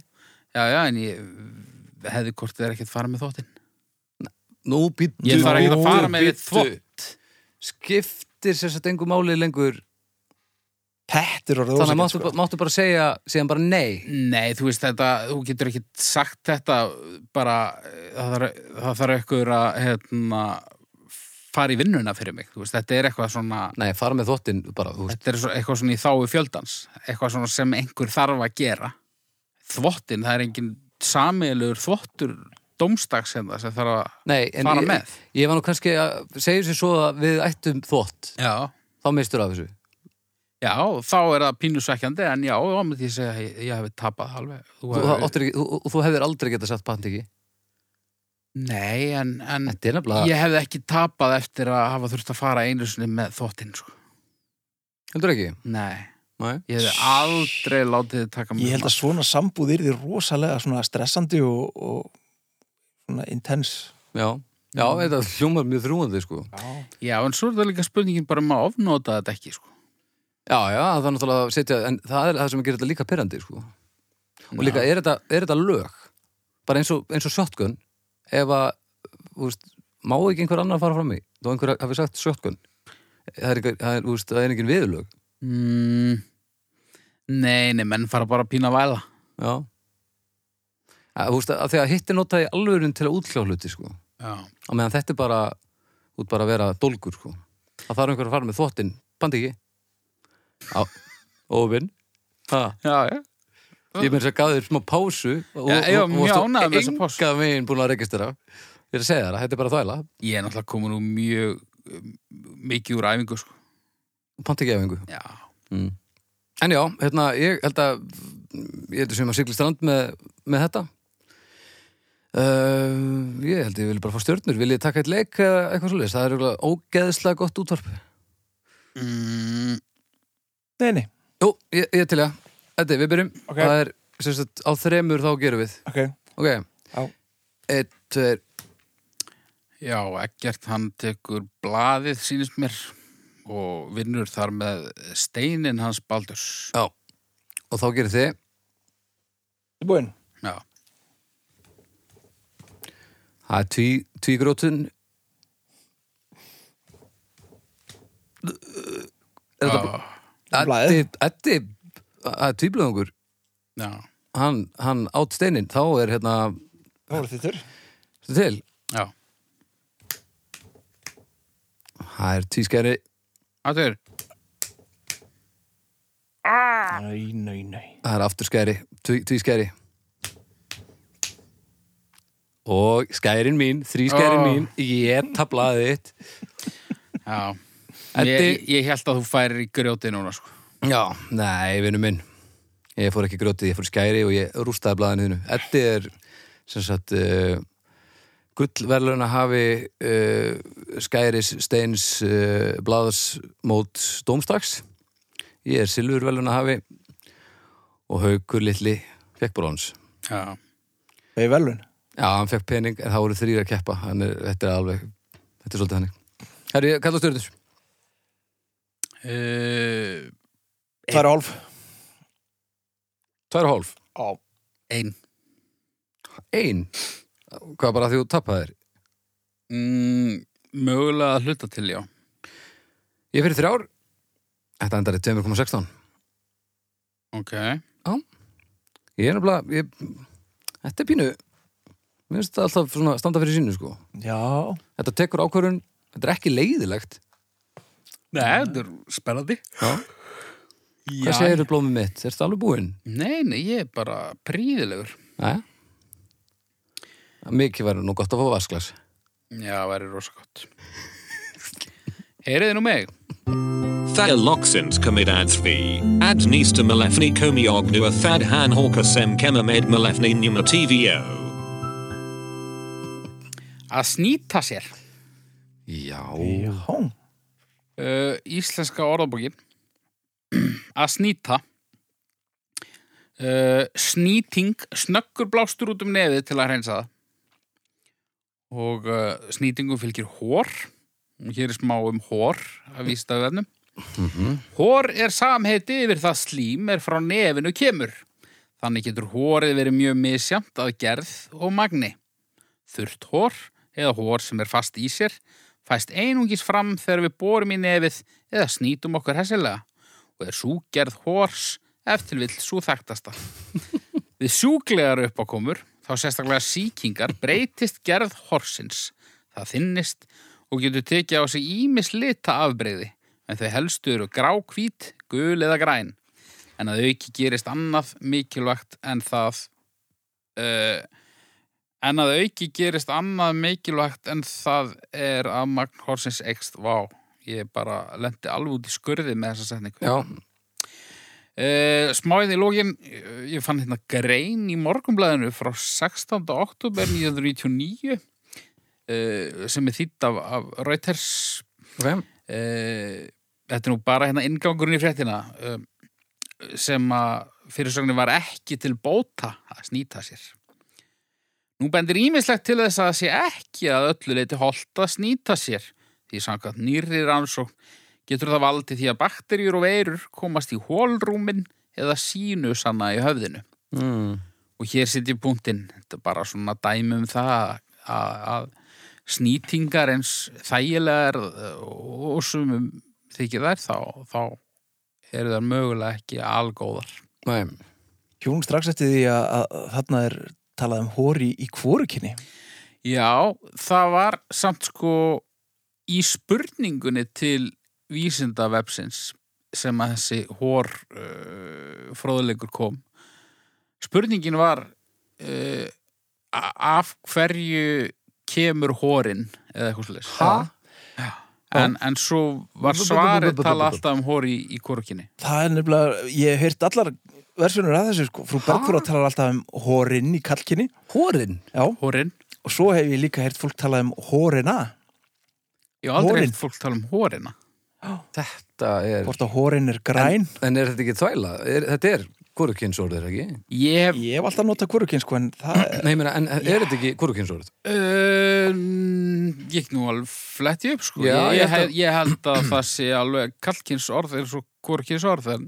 Speaker 2: já, já, en ég hefði hvort þeir ekkert fara með þóttinn.
Speaker 4: Nú, býttu
Speaker 2: Ég þarf ekkert að fara
Speaker 4: nú,
Speaker 2: með
Speaker 4: bíddu.
Speaker 2: þvott.
Speaker 4: skiptir sér satt engu máli lengur
Speaker 3: þetta er orðið ósakett
Speaker 4: þannig að máttu,
Speaker 3: sko.
Speaker 4: máttu bara segja síðan bara nei
Speaker 2: Nei, þú veist þetta, þú getur ekkert sagt þetta, bara, eh, það þarf, það þarf einhver að, hérna, fara í vinnuna fyrir mig, þú veist, þetta er eitthvað svona,
Speaker 4: nei, fara með þóttin bara, þú veist
Speaker 2: þetta er svo, eitthvað svona í þáu fjöldans, eitthvað svona sem einhver þarf að gera. Þvottin, það er engin samiðilegur þvottur dómstags hérna sem þarf að
Speaker 4: nei, en
Speaker 2: fara
Speaker 4: ég,
Speaker 2: með.
Speaker 4: ég var nú kannski að segja sér svo að við ættum þótt
Speaker 2: Já,
Speaker 4: þá mistur af þessu
Speaker 2: já, þá er það pínusvekkjandi en já, þá myndi ég segja að ég, ég hefði tapað alveg. Þú
Speaker 4: þú, það áttir ekki, þú, þú hefur aldrei getað satt pant ekki
Speaker 2: Nei, en, en
Speaker 4: þetta er nefnilega,
Speaker 2: ég hefði ekki tapað eftir að hafa þurft að fara einu sinni með þóttinn, sko.
Speaker 4: heldur ekki
Speaker 2: Nei,
Speaker 4: nei.
Speaker 2: ég hefði aldrei látið þið taka mig.
Speaker 3: sko.
Speaker 2: um
Speaker 3: ég held að svona sambúð er því rosalega svona stressandi og, og svona intense
Speaker 4: já, já, þetta hljómar mjög þrúandi sko.
Speaker 2: Já, en svo er það líka spurningin bara um að ofnota þetta ekki, sko.
Speaker 4: já, já, það er náttúrulega að setja en það er það sem gerir þetta líka perandi sko. og líka, er þetta, er þetta lög bara eins og, eins og shotgun ef að, þú veist má ekki einhver annar fara fram í þá einhver hafi sagt shotgun það er, einhver, það er, þú veist, það er engin viðurlög
Speaker 2: Mm, nei, nei, menn fara bara að pína að væla.
Speaker 4: já að, þú veist, að því að hitt er notað í alvörun til að útljá hluti sko.
Speaker 2: Já.
Speaker 4: á meðan þetta er bara út bara að vera dólgur sko. það þarf einhver að fara með þvottin bandi ekki á, óvinn ha
Speaker 2: Já, já.
Speaker 4: Ég meins að gaf þér smá pásu og,
Speaker 2: Já, ég var mjög ánægður með
Speaker 4: með
Speaker 2: þessa
Speaker 4: þessa
Speaker 2: pásu.
Speaker 4: pásu Enga megin búin að registrera Ég er að segja þér að þetta er bara þvæla
Speaker 2: Ég er náttúrulega komin úr mjög, um, mikið úr æfingu, sko.
Speaker 4: Pantegjafingu
Speaker 2: Já.
Speaker 4: En já, hérna, ég held að ég held að sem að sigla í strand með, með þetta uh, Ég held að ég vil bara fá stjörnur Vil ég taka eitt leik eða eitthvað svoleiðis Það er örugglega ógeðslega gott útvarp
Speaker 2: Mm,
Speaker 3: Nei, nei,
Speaker 4: Jú, ég, ég til ég. Þetta, við byrjum.
Speaker 3: Ok.
Speaker 4: Það er, sem sagt, á þremur þá gerum við.
Speaker 3: ok
Speaker 4: Ok.
Speaker 3: Já.
Speaker 4: Eitt, tveir,
Speaker 2: já, ekkert hann tekur blaðið sínist mér og vinnur þar með steinin hans Baldurs.
Speaker 4: já. Og þá gerir þið.
Speaker 3: Þið búinn?
Speaker 2: Já,
Speaker 4: Það er tví, tvígrótun. Er þetta
Speaker 2: já,
Speaker 4: Eddi,
Speaker 3: Blaðið.
Speaker 4: Eddi það er tvíblöðungur
Speaker 2: já,
Speaker 4: hann, hann átt steinin, þá er hérna
Speaker 3: Þá voru þittur
Speaker 4: stu til,
Speaker 2: já.
Speaker 4: það er tvískæri
Speaker 2: Atur,
Speaker 3: Nei, nei, nei
Speaker 4: það er afturskæri, tví, tvískæri og skærin mín þrískærin
Speaker 2: Ó.
Speaker 4: mín, ég tablaði þitt
Speaker 2: já.
Speaker 4: Eddi-
Speaker 2: Ég, ég held að þú færir í grjóti núna, sko.
Speaker 4: já, nei, vinnu minn ég fór ekki í grótið, ég fór í skæri og ég rústaði blaðinu þínu, Eddi er sem sagt uh, gullverlun að hafi uh, skæris, steins uh, blaðs mót dómstags ég er silfurverlun að hafi og haukur litli fekk bróns
Speaker 2: Já,
Speaker 3: Það er velun
Speaker 4: já, hann fekk pening en það voru þrýr að keppa hann er, þetta er alveg, þetta er svolítið hannig Herri, ég kalla stjórnir
Speaker 2: uh,
Speaker 4: Eh.
Speaker 3: Það er hálf
Speaker 4: tvær og hálf,
Speaker 3: Á
Speaker 2: ein.
Speaker 4: ein hvað bara því þú tappaðir
Speaker 2: Mm, mögulega að hluta til, já.
Speaker 4: Ég fyrir þrjár Þetta endar í 2,16
Speaker 2: Ok,
Speaker 4: Ég er nefnilega ég, Þetta er pínu Mér finnst þetta alltaf svona standa fyrir sínu sko
Speaker 3: Já
Speaker 4: Þetta tekur ákvörun, þetta er ekki leiðilegt
Speaker 2: Nei, þetta er spennandi.
Speaker 4: Já.
Speaker 2: Já.
Speaker 4: Hvað segirðu blómið mitt? Er þetta alveg búinn?
Speaker 2: Nei, nei, ég er bara príðilegur.
Speaker 4: Næja Mikið verður nú gott að fá vasklas
Speaker 2: Já, það væri rosa <laughs> gott. Heyriði nú mig.
Speaker 6: Thaloxins commit ads v. Ad nista malefni komi ognua thad han hawkasem kemamed malefni numa tvo.
Speaker 2: Að snýta sér.
Speaker 4: Já
Speaker 3: Já
Speaker 2: Uh, íslenska orðabókin. <clears throat> Að snýta. Uh, snýting, snöggur blástur út um nefið til að hreinsa það. Og uh, snýtingum fylgir hór. Og Hér er smá um hór að vísta þennum. Hór er samheiti yfir það slím er frá nefinu kemur. Þannig getur hórið verið mjög misjamt að gerð og magni. Þurrt hór eða hór sem er fast í sér fæst einungis fram þegar við borum í nefið eða snýtum okkur hessilega og er súgerð hórs ef til vill sú þekktasta. <laughs> Við sjúklegar uppákomur, þá sérstaklega sýkingar, breytist gerð horsins. Það þynnist og getur tekið á sig ímis lita afbreyði, en þau helstu eru grákvít, gul eða græn. En að auki gerist annað mikilvægt en það... Uh, en að auki gerist annað mikilvægt en það er að magn horsins ekst vá. Ég bara lendi alveg út í skurði með þessa setningu.
Speaker 4: Já,
Speaker 2: Uh, smáið í lógin, eh, ég fann hérna grein í morgunblæðinu frá 16. oktober 1999 uh, sem er þýtt af, af Reuters
Speaker 4: ok
Speaker 2: uh, Þetta er nú bara hérna ingangurinn í fréttina uh, sem að fyrirsögnin var ekki til bóta að snýta sér Nú bendir ímislegt til þess að það sé ekki að öllu leiti holta að snýta sér því samkvæmt nýrri rannsókn getur það valdið því að bakterjur og veirur komast í hólrúmin eða sínu sanna í höfðinu.
Speaker 4: mm.
Speaker 2: Og hér sitjum punktinn, þetta er bara svona dæmi um það að, að snýtingar eins þægilegar eh, og sumum þykir þær þá, þá eru þær mögulega ekki algóðar.
Speaker 4: Nei,
Speaker 3: Hjón strax eftir því að, að þarna er talað um hóri í kvorukinni
Speaker 2: Já, það var samt sko í spurningunni til vísinda vepsins sem að þessi hór uh, fróðleikur kom. Spurningin var uh, af hverju kemur hórin eða eitthvað slis.
Speaker 4: Ha?
Speaker 2: En, en svo var svarið tala alltaf um hóri í, í korkinni.
Speaker 3: Það er nefnilega, ég hef heyrt allar versjónur að þessu sko Frú Bergfóra talar alltaf um hórin í kalkinni
Speaker 4: hórin
Speaker 3: Já,
Speaker 2: Hórin.
Speaker 3: og svo hef ég líka heyrt fólk talað um hórina
Speaker 2: Ég hef aldrei
Speaker 3: Horin?
Speaker 2: heyrt fólk tala um hórina.
Speaker 4: Þetta þetta er
Speaker 3: Hvort að hórin er græn
Speaker 4: En er þetta ekki þvæla? Er, þetta er hvorukynsorðið, ekki?
Speaker 2: Ég hef
Speaker 3: Ég hef alltaf notað hvorukinn sko en það er
Speaker 4: Nei, ég meina, en er þetta ekki hvorukynsorðið?
Speaker 2: Um, Eh, ég ekki nú alveg fletti upp sko
Speaker 4: Já,
Speaker 2: ég,
Speaker 4: ég
Speaker 2: ég,
Speaker 4: held
Speaker 2: held, ég held að það sé alveg kallkins orð er svo hvorkins orð en,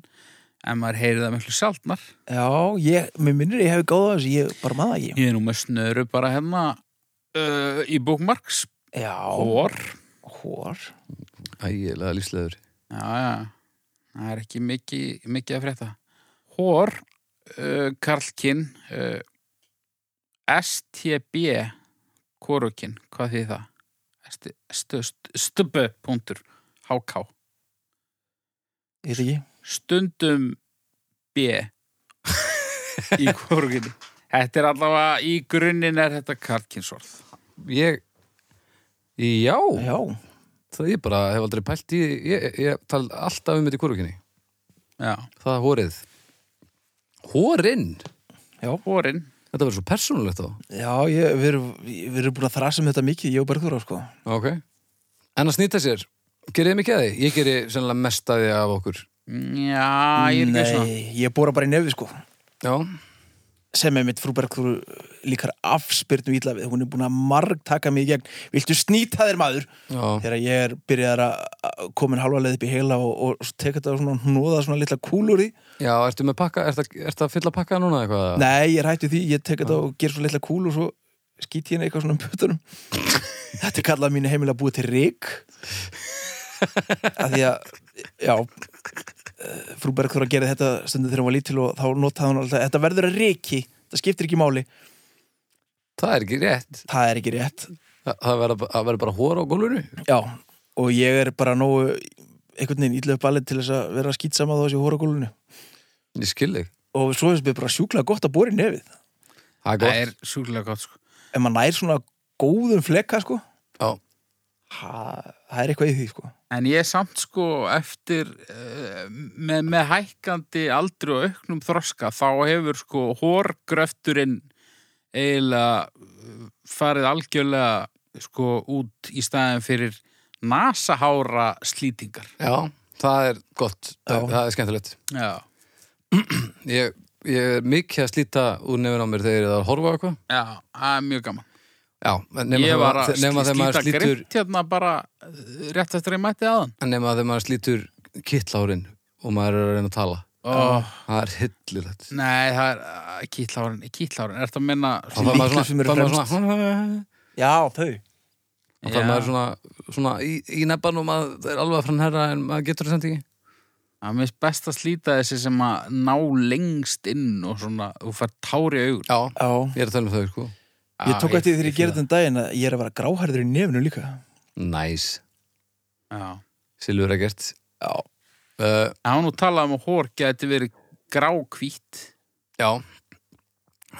Speaker 2: en maður heyri það miklu sjaldnar
Speaker 3: Já, ég, mér minnir ég hef góða þessu, ég bara maður það ekki
Speaker 2: ég er nú með snöru bara hérna uh, í bókmarks
Speaker 3: Já,
Speaker 2: hór
Speaker 3: hór
Speaker 4: Ægilega lífslegur
Speaker 2: já, já. það er ekki mikið, mikið að frétta hór uh, kallkin uh, STB hvorukin, hvað þýð það? St- stu- stu- Stubbu.hk
Speaker 3: Ég veit ekki
Speaker 2: stundum B í korginni Þetta er allavega, í grunninn er þetta karlkinsorð
Speaker 4: Ég, já,
Speaker 3: Já,
Speaker 4: það ég bara hef aldrei pælt í Ég, ég tal alltaf um þetta í hvorukynni
Speaker 2: Já,
Speaker 4: Það er hórið Hórinn?
Speaker 2: hórin
Speaker 4: Þetta verður svo persónulegt þá
Speaker 3: já, ég, við erum, við erum búin að þrasa um þetta mikið, ég og Bergþóra sko
Speaker 4: Ok En að snýta sér, gerið þið mikið að því? Ég geri sennilega mest að því af okkur
Speaker 2: Já, ég er ekki svona
Speaker 3: Nei, ég bóra bara í nefi sko
Speaker 4: Já,
Speaker 3: sem er mitt frú Bergþóru líkar afspyrnum ítla við, hún er búin að marg taka mig í gegn, viltu snýta þér maður
Speaker 4: já,
Speaker 3: þegar ég er byrjaðar að komin halva leið upp í heila og, og svo tek þetta og svona hnóða svona litla kúlur í
Speaker 4: já, ertu með pakka, ertu, ertu að fylla pakka núna eitthvað?
Speaker 3: nei, ég er hættu því, ég tek þetta og ger svona litla kúl og svo skýt ég henni eitthvað svona um
Speaker 4: <laughs>
Speaker 3: putunum þetta er kallað mínu heimilega búið til rík af því að já eh, frú Bergþóra gerði þetta stundum þegar hún var lítil og þá notaði hún alltaf þetta verður að ríki, þetta skiptir ekki máli
Speaker 4: Það er ekki rétt
Speaker 3: það er ekki rétt,
Speaker 4: Þa- Það verður það verður bara hóra á gólfinu
Speaker 3: já og ég er bara nógu einhvern veginn ítlaðu balið til þess að vera að skýt sama þá þessi hóragólunu
Speaker 4: Ég skil þig
Speaker 3: og svo finnst mér bara sjúklega gott að bóra í nefið
Speaker 4: Það er
Speaker 2: Það
Speaker 4: gott
Speaker 2: er sjúklega gott sko
Speaker 3: ef maður nær svona góðum flekka sko
Speaker 4: Já,
Speaker 3: ha, það er eitthvað í því sko
Speaker 2: En ég er samt sko eftir uh, með, með hækkandi aldri og auknum þroska þá hefur sko hórgröfturinn eiginlega eh, farið algjörlega sko út í staðin fyrir nasahára slítingar
Speaker 4: já, það er gott
Speaker 3: Já.
Speaker 4: Það, það er skemmtilegt
Speaker 2: Já,
Speaker 4: ég, ég er mikið að slíta úr nefn á mér þegar ég er að horfa á eitthvað
Speaker 2: já, það er mjög gaman
Speaker 4: Já, en nema
Speaker 2: Ég
Speaker 4: þegar
Speaker 2: var
Speaker 4: maður-
Speaker 2: að
Speaker 4: þe- nema
Speaker 2: slí-
Speaker 4: þegar maður
Speaker 2: slíta
Speaker 4: slítur
Speaker 2: grimt hérna bara eh, rétt eftir að ég mætti aðan
Speaker 4: en nema þegar maður slítur kittlárin og maður er að reyna að tala
Speaker 2: oh.
Speaker 4: Það er hyllilegt
Speaker 2: Nei, það er eh, kýtlárin, kýtlárin, er þetta að minna
Speaker 4: Þá þarf maður
Speaker 3: sem
Speaker 4: svona,
Speaker 3: eru
Speaker 4: þá maður svona
Speaker 3: já þau
Speaker 4: þá þarf maður svona, svona í, í nebban og maður það er alveg að framherra en maður getur það samt ekki
Speaker 2: Það mér finnst best að slíta þessi sem að ná lengst inn og svona, þú fær tári augur.
Speaker 4: Já,
Speaker 3: já
Speaker 4: ég er að tala um þau sko
Speaker 3: ég tók eftir því þegar ég gerði þann daginn að ég er að vera gráhærður í nefnu líka
Speaker 4: Næs,
Speaker 2: Já.
Speaker 4: Silvur er gert
Speaker 3: já
Speaker 4: uh,
Speaker 2: Það var nú talað um að hór geti verið grákvít.
Speaker 4: Já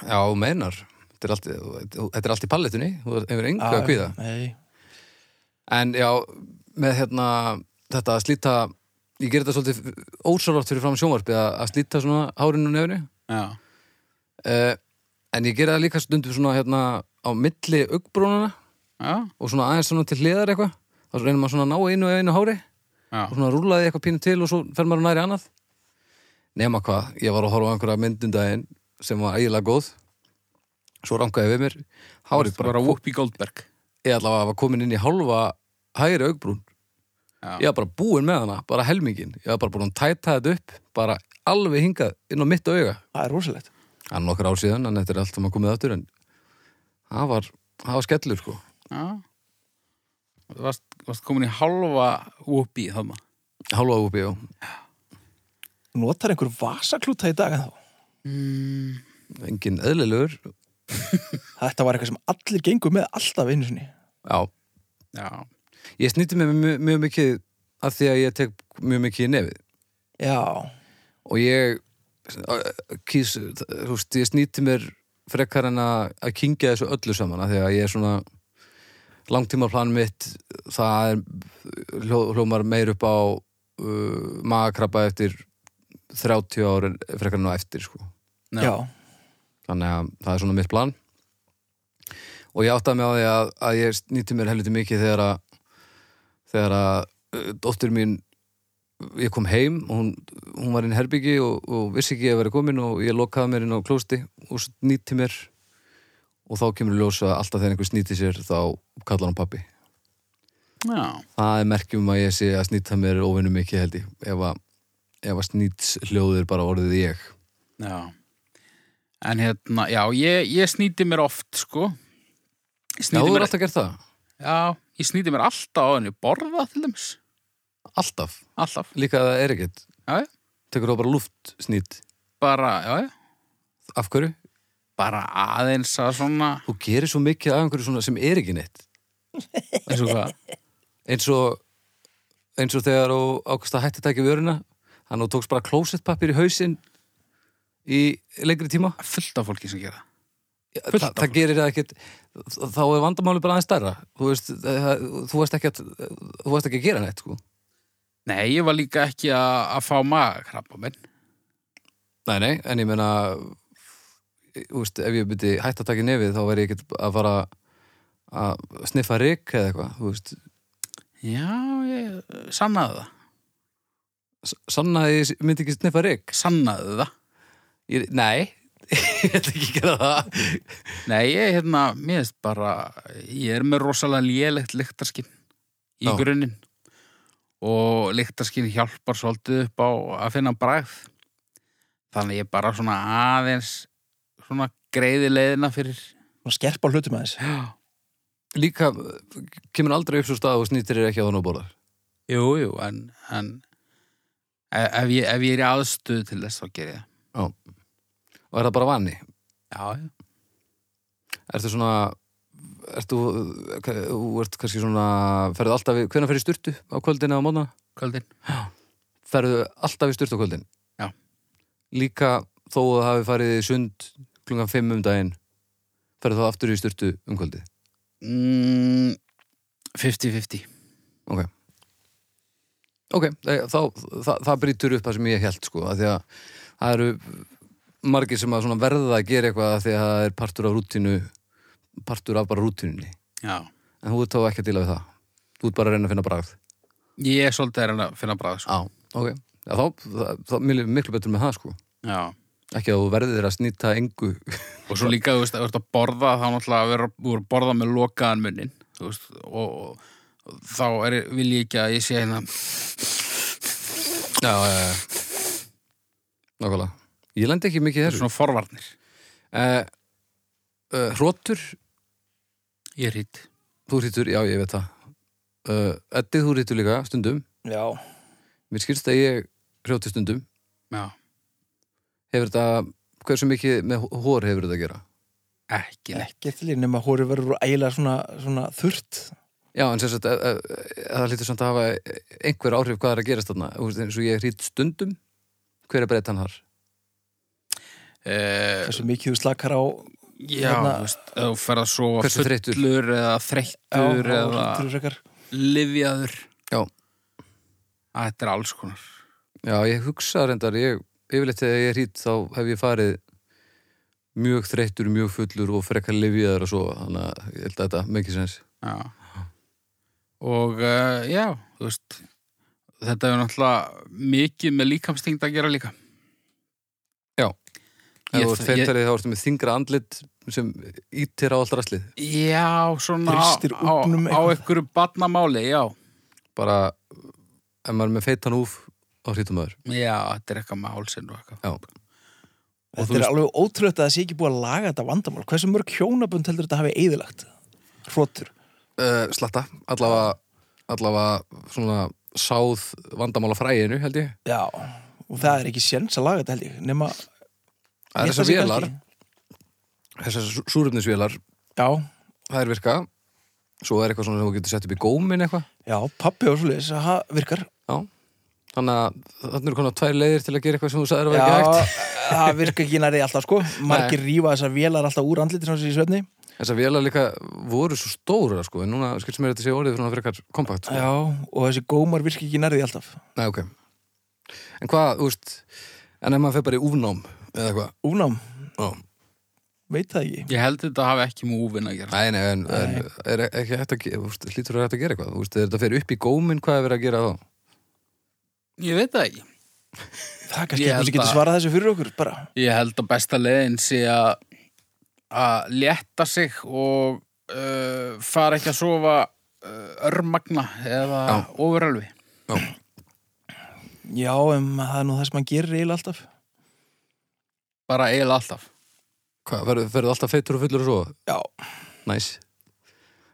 Speaker 4: Já, þú meinar Þetta er allt, þú- þetta er allt í palletunni Þú hefur engu
Speaker 3: Ah.
Speaker 4: að kvíða
Speaker 3: nei
Speaker 4: En já, með hérna þetta að slíta ég gerir þetta svolítið ósarlátt fyrir fram sjónvarpið að, að slíta svona hárinu og nefnu
Speaker 2: Já.
Speaker 4: uh, en ég gerir það líka stundum svona hérna á milli augbrónuna
Speaker 2: Já.
Speaker 4: og svona aðeins svona til hliðar eitthvað þá reynir maður svona að ná einu og einu hári
Speaker 2: Já.
Speaker 4: og svona rúlaði eitthvað pínu til og svo fer maður næri annað nema hvað, ég var að horfa á einhverja myndundaginn sem var eiginlega góð svo rangaði við mér hárið
Speaker 2: Bara, bara
Speaker 4: bara,
Speaker 2: Whoopi Goldberg.
Speaker 4: ég allavega var komin inn í hálfa hægri augbrún
Speaker 2: Já.
Speaker 4: ég var bara búin með hana, bara helmingin ég var bara búin að tæta þetta upp bara alveg hingað inn á mitt auga
Speaker 3: það er rosalegt
Speaker 4: hann nokkur ár síðan, en þetta er allt sem að komið aftur en það var, það var skellur sko
Speaker 2: Já. Þú varst, varst komin í halva Whoopi þannig.
Speaker 4: hálfa uppi og
Speaker 3: notar einhver vasaklúta í dag en þá
Speaker 4: engin eðlilegur
Speaker 3: þetta var eitthvað sem allir gengur með alltaf einu sinni
Speaker 4: já,
Speaker 2: Já.
Speaker 4: ég snýtti mig mjög, mjög mikið af því að ég tek mjög mikið í nefið
Speaker 3: já
Speaker 4: og ég eh, kýs, þú veist, ég snýtti mér frekar en að, að kingja þessu öllu saman af því að ég er svona langtímaplan mitt það er hljó, hljómar meir upp á uh, magakrabba eftir 30 ára frekar en á eftir sko.
Speaker 2: Já.
Speaker 3: já
Speaker 4: þannig að það er svona mitt plan og ég áttaði mig á því að, að ég snýtti mér helviti mikið þegar að þegar að uh, dóttir mín ég kom heim og hún, hún var inn í herbyggi og, og vissi ekki að vera komin og ég lokaði mér inn á klósti og svo nýtti mér og þá kemur í ljós að alltaf þegar einhver snýti sér þá kallar hún pappi
Speaker 2: Já,
Speaker 4: það er merkjum að ég sé að snýta mér óvinnum mikið held ég ef að, ef að snýts hljóður bara orðið ég
Speaker 2: já. En hérna, já, ég, ég snýti mér oft, sko. Ég
Speaker 4: Já,
Speaker 2: snýti
Speaker 4: þú
Speaker 2: mér,
Speaker 4: er alltaf gert það?
Speaker 2: já, ég snýti mér alltaf á henni. Borða, til dæmis.
Speaker 4: Alltaf?
Speaker 2: Alltaf.
Speaker 4: Líka að það er ekkert
Speaker 2: Já, já.
Speaker 4: Tekur þú bara luft snýtt
Speaker 2: Bara, já, já.
Speaker 4: Af hverju?
Speaker 2: Bara aðeins að svona,
Speaker 4: Þú gerir svo mikið af einhverju svona sem er ekki neitt
Speaker 2: eins og hvað.
Speaker 4: eins og eins og þegar þú ákast að hætti að taka vöruna þannig að þú tókst bara klósettpappir í hausinn í lengri tíma
Speaker 2: Fullt af fólki sem gera það.
Speaker 4: Þa,
Speaker 2: Fullt af
Speaker 4: það
Speaker 2: fólki.
Speaker 4: gerir það ekkert þá er vandamáli bara aðeins stærra þú veist, það, þú veist ekki að þú veist ekki að gera neitt sko
Speaker 2: Nei, ég var líka ekki að, að fá magakrabba minn.
Speaker 4: nei, nei, en ég meina þú veist, ef ég byrti hætt að taka í nefið þá væri ég ekkert að fara að sniffa rik eða eitthvað þú veist,
Speaker 2: Já, ég sannaði það.
Speaker 4: s- sanna að ég myndi ekki sniffa rik
Speaker 2: Sannaði það.
Speaker 4: ég, nei, <laughs> ég ætla ekki að gera það
Speaker 2: Nei, ég, hérna, mér veist bara, ég er með rosalega lélegt lyktarskinn í
Speaker 4: Já.
Speaker 2: grunninn og lyktarskinn hjálpar svolítið upp á að finna bragð. Þannig ég bara svona aðeins svona greiði leiðina fyrir.
Speaker 3: Svona skerpa á hlutum aðeins
Speaker 2: Já.
Speaker 4: líka uh, kemur aldrei upp svo stað og snýtir er ekki á þannig að borða
Speaker 2: Jú, jú, en, en e- ef ég, ef ég er í aðstöðu til þess þá ger ég það.
Speaker 4: og er það bara vanni
Speaker 2: Já, já.
Speaker 4: ertu svona ertu, uh, ka- þú ert kannski svona ferðu alltaf, í- hvenær ferðu í styrtu á kvöldin eða á mótna?
Speaker 2: Kvöldin.
Speaker 4: ferðu alltaf í styrtu á kvöldin
Speaker 2: Já.
Speaker 4: líka þó að það hafi farið í sund klungan 5 um daginn ferðu þá aftur í styrtu um kvöldið
Speaker 2: Mm, 50-50.
Speaker 4: ok ok, eh, þá, það, það brýtur upp það sem ég held sko, að því að það eru margir sem að svona verða að gera eitthvað af því að það er partur af rútínu partur af bara rútínunni
Speaker 2: Já.
Speaker 4: en þú ert þá ekki að díla við það þú ert bara að reyna að finna bragð
Speaker 2: Ég er svolítið að reyna að finna bragð, sko.
Speaker 4: á, ok, já, þá, það, þá mér líður miklu betur með það sko
Speaker 2: Já.
Speaker 4: ekki að þú verðir þér að snýta engu <laughs>
Speaker 2: Og svo líka, þú veist, að þú ert að borða, þá náttúrulega verður þú ert að borða með lokaðan munnin, þú veist, og, og þá er, vil ég ekki að ég sé hérna,
Speaker 4: já, já, já nákvæmlega, ég lendi ekki mikið í þessu
Speaker 2: svona forvarnir.
Speaker 4: uh, uh, hrótur
Speaker 2: Ég er hitt.
Speaker 4: Þú rýtur, já ég veit það uh, Eddi þú rýtur líka stundum
Speaker 3: Já,
Speaker 4: Mér skilst að ég hrjóti stundum
Speaker 2: Já.
Speaker 4: Hefur þetta, hversu mikið með hó- hór hefur þetta að gera?
Speaker 2: Ekki neitt.
Speaker 3: ekkert til í nema hóri verður ægilega svona, svona þurrt
Speaker 4: Já, en sem sagt, eh, eh, eh, það lítur samt að hafa eh, einhver áhrif hvað er að gerast þarna Þú veist, eins og ég hrýt stundum Hver er breytan þar?
Speaker 2: Uh,
Speaker 3: Hversu mikið þú slakar á
Speaker 2: já,
Speaker 3: hérna-
Speaker 2: þú veist, ef þú ferð að sofa
Speaker 4: Hversu þreyttur?
Speaker 2: eða þreyttur
Speaker 3: á- á-
Speaker 2: eða
Speaker 3: þurru frekar.
Speaker 2: livjaður.
Speaker 4: Já.
Speaker 2: Þetta er alls konar.
Speaker 4: Já, ég hugsa reyndar, ég yfirleitt þegar ég hrýt þá hef ég farið mjög þreyttur, mjög fullur og frekar lifiðar og svo þannig að ég held að þetta mikið sens
Speaker 2: Já. Og uh, já, þú veist, þetta er náttúrulega mikið með líkamstingd að gera líka.
Speaker 4: Já. Ef
Speaker 2: Ég,
Speaker 4: þú ert
Speaker 2: ég,
Speaker 4: feintarið þá ertu með þingra andlit sem ítir á allt rastlið
Speaker 2: já, svona á,
Speaker 3: Þrýstir
Speaker 2: á,
Speaker 3: úfnum
Speaker 2: á
Speaker 3: eitthvað.
Speaker 2: einhverju barnamáli, já.
Speaker 4: bara ef maður er með feitan úf á hrítum maður
Speaker 2: Já, þetta er eitthvað málsinn og eitthvað.
Speaker 4: Já.
Speaker 2: Og
Speaker 3: Þetta
Speaker 2: þú
Speaker 3: er
Speaker 2: veist-
Speaker 3: alveg ótrúlegt að það sé ekki búið að laga þetta vandamál Hversu mörg hjónabönd heldur þetta hafi eðilagt? Hrótur
Speaker 4: uh, Slatta, allavega, allavega svona sáð vandamála fræinu held ég
Speaker 3: Já, og það er ekki séns að laga þetta held ég Nema
Speaker 4: Það er
Speaker 3: Hitta
Speaker 4: þessar
Speaker 3: sig
Speaker 4: vélar,
Speaker 3: kannski.
Speaker 4: þessar sú- súrefnisvélar
Speaker 3: Já,
Speaker 4: það er virka svo er eitthvað svona sem þú getur sett upp í gómin eitthvað
Speaker 3: já, pappi og svoleiðis, það virkar
Speaker 4: Já Þannig að þannig eru konar tvær leiðir til að gera eitthvað sem þú sagðir að vera
Speaker 3: Já,
Speaker 4: ekki hægt
Speaker 3: <laughs> það virkar ekki nærið alltaf sko Margir rífa þessar vélar alltaf úr andliti sem þessi í svefni
Speaker 4: Þessar vélar líka voru svo stóra sko en núna skilst mér að þetta sé orðið fyrir hún að frekar kompakt sko.
Speaker 3: Já, og þessi gómar virkar ekki nærið alltaf
Speaker 4: Nei, ok En hvað, þú veist En ef maður fer bara í úfnám eða eitthvað
Speaker 3: Únám,
Speaker 4: Já.
Speaker 3: veit það ekki
Speaker 2: Ég held þetta hafi ekki múfin að gera.
Speaker 4: Nei, nei, en, en er ekki hægt að ge- þú veist, hlýtur að vera hægt að gera eitthvað Þú veist, er þetta fyrir upp í góminn hvað er verið að gera þá
Speaker 2: Ég veit það ekki.
Speaker 3: Það er kannski
Speaker 2: Ég
Speaker 3: eitthvað sem
Speaker 2: held
Speaker 3: getur
Speaker 2: að-
Speaker 3: svarað þessu fyrir okkur bara.
Speaker 2: Ég held að besta leiðin sé að að létta sig og uh, fara ekki að sofa uh, örmagna eða
Speaker 4: Já.
Speaker 2: ofurölvi.
Speaker 3: Já, um, það er nú það sem hann gerir eiginlega alltaf.
Speaker 2: Bara eiginlega alltaf.
Speaker 4: Hvað, verður verður alltaf feitur og fullur og svo?
Speaker 3: Já,
Speaker 4: Næs.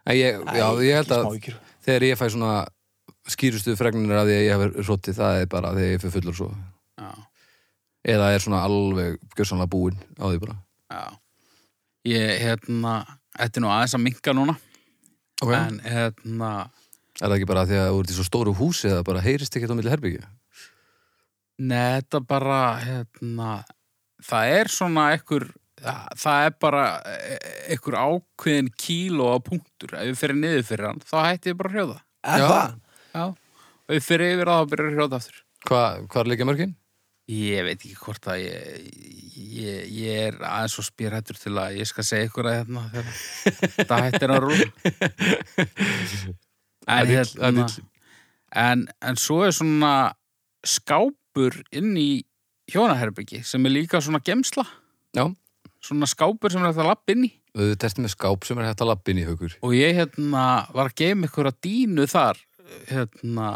Speaker 4: En ég, já, ég held að
Speaker 3: smávíkjur.
Speaker 4: þegar ég fæ svona skýrustu fregnir af því að ég hef rotið, það er bara þegar ég fyrir fullur og svo.
Speaker 2: Já,
Speaker 4: Eða er svona alveg gjössanlega búinn á því bara.
Speaker 2: já. Ég, hérna, þetta er nú aðeins að minka núna,
Speaker 4: Okay.
Speaker 2: en hérna,
Speaker 4: Er það ekki bara því að þú ert í svo stóru húsi eða bara heyrist ekkert á milli herbyggju?
Speaker 2: neða, þetta bara, hérna, það er svona ekkur, það, það er bara e- ekkur ákveðin kíló á punktur. Ef við fyrir niður fyrir hann, þá hætti ég bara að hrjóða.
Speaker 3: Er það?
Speaker 2: Já, og við fyrir yfir að það byrjar að hrjóta aftur.
Speaker 4: Hva, hvað er líka mörgin?
Speaker 2: Ég veit ekki hvort að ég, ég, ég er aðeins og spýrættur til að ég skal segja ykkur að hérna þegar þetta hættir að
Speaker 4: <laughs>
Speaker 2: rúla. En,
Speaker 4: Ævill,
Speaker 2: hérna,
Speaker 4: ævill.
Speaker 2: en, en svo er svona skápur inn í hjónaherbyggi sem er líka svona gemsla,
Speaker 4: Já,
Speaker 2: svona skápur sem er hægt að lappa inn í.
Speaker 4: við testum með skáp sem er hægt að lappin í haukur.
Speaker 2: Og ég hérna var að geima ykkur að dínu þar, hérna,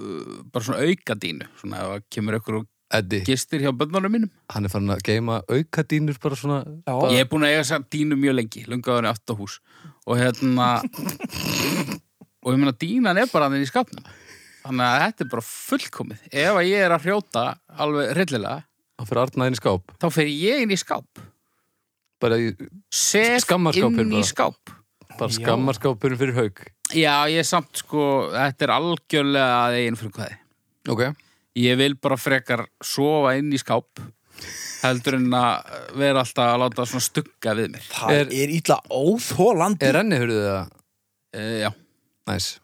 Speaker 2: uh, bara svona auka dínu, svona ef að kemur ykkur og
Speaker 4: Eddi,
Speaker 2: gistir hjá bönnunum mínum
Speaker 4: hann er farin að geima aukadínur bara svona.
Speaker 3: Já,
Speaker 2: Ég hef búin að eiga samt dínu mjög lengi lungaður í aftahús og hérna og ég meina dínan er bara þannig í skapnum þannig að þetta er bara fullkomið ef að ég er að hrjóta alveg rillilega
Speaker 4: Hann fyrir Arnaðin í skáp.
Speaker 2: þá fer ég inn í skáp
Speaker 4: Bara, í-
Speaker 2: sef
Speaker 4: Skammarskápinn
Speaker 2: inn í
Speaker 4: bara.
Speaker 2: skáp
Speaker 4: bara
Speaker 3: Já.
Speaker 4: skammarskápurinn fyrir haug.
Speaker 2: Já, ég er samt sko þetta er algjörlega að eigin fyrir hvaði
Speaker 4: Ok.
Speaker 2: ég vil bara frekar sofa inn í skáp heldur en að vera alltaf að láta svona stugga við mér
Speaker 3: það
Speaker 4: Er-
Speaker 3: er, ítla óþólandi.
Speaker 4: Er renni, hörðu það?
Speaker 2: e, Já,
Speaker 4: Næs.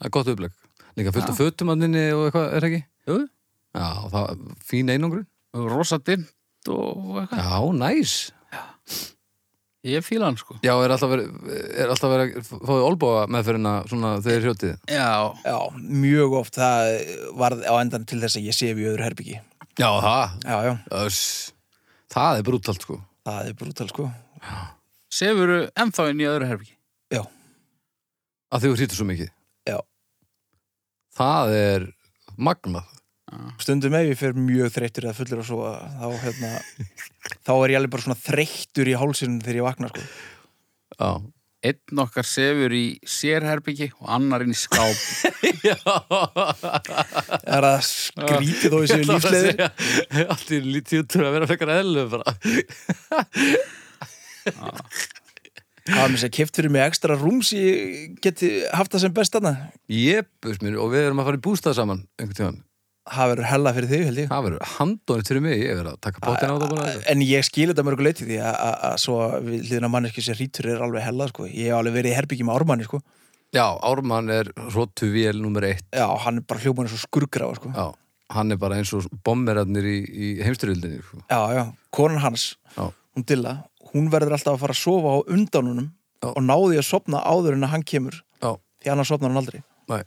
Speaker 4: Það er gott uppleg. Líka fullt af fötum að nynni og eitthvað, er það ekki?
Speaker 2: jú,
Speaker 4: Já, það fín einangrun.
Speaker 2: rosa dimmt og eitthvað
Speaker 4: Já, næs.
Speaker 2: Ég fíla hann sko
Speaker 4: Já, er alltaf verið, er alltaf verið að fáið olbóa meðferðina svona þegar þið hrjótið?
Speaker 2: Já,
Speaker 3: Já, mjög oft það varð á endan til þess að ég sef í öðru herbyggi.
Speaker 4: Já, það.
Speaker 3: Já, já,
Speaker 4: Öss. Það er brútalt, sko.
Speaker 3: það er brútal sko.
Speaker 2: sefuru ennþá inn í öðru herfingi
Speaker 3: Já,
Speaker 4: að þau hrýtur svo mikið
Speaker 3: Já.
Speaker 4: það er magnað
Speaker 3: stundum ef ég fer mjög þreyttur eða fullur og svo þá, hérna, þá er ég alveg bara svona þreyttur í hálsinn þegar ég vakna sko.
Speaker 4: já,
Speaker 2: Einn okkar sefur í sérherbyggi og annar inn í <laughs> skáp
Speaker 3: Er það skrítið þó þessu lífsleðir?
Speaker 4: <laughs> allt í lítið út að vera frekar eðlu bara.
Speaker 3: Það var mér sér keft fyrir mig ekstra rúm sem ég geti haft það sem best aðna.
Speaker 4: <laughs> jepus mér og við erum að fara í bústað saman einhvern tíðan,
Speaker 3: Það verður hella fyrir þig held ég.
Speaker 4: það verður handónið til mig, ég verður að taka bóttina á það bara
Speaker 3: En ég skil þetta mörgu leyti því að- að að svo við hliðina manneski sem rítur er alveg hella sko. Ég hef alveg verið í herbyggi með ármanni sko.
Speaker 4: já, Ármann er rótu vél nummer eitt
Speaker 3: Já, hann er bara hljómann svo skurgrafa sko.
Speaker 4: já, hann er bara eins og bomberarnir í, í heimstyrjöldinni sko.
Speaker 3: Já, já, konan hans,
Speaker 4: Já.
Speaker 3: hún Dilla, hún verður alltaf að fara að sofa á undanunum
Speaker 4: Já.
Speaker 3: og náði að sopna áður en að hann kemur
Speaker 4: já,
Speaker 3: því annars sopnar hann aldrei.
Speaker 4: nei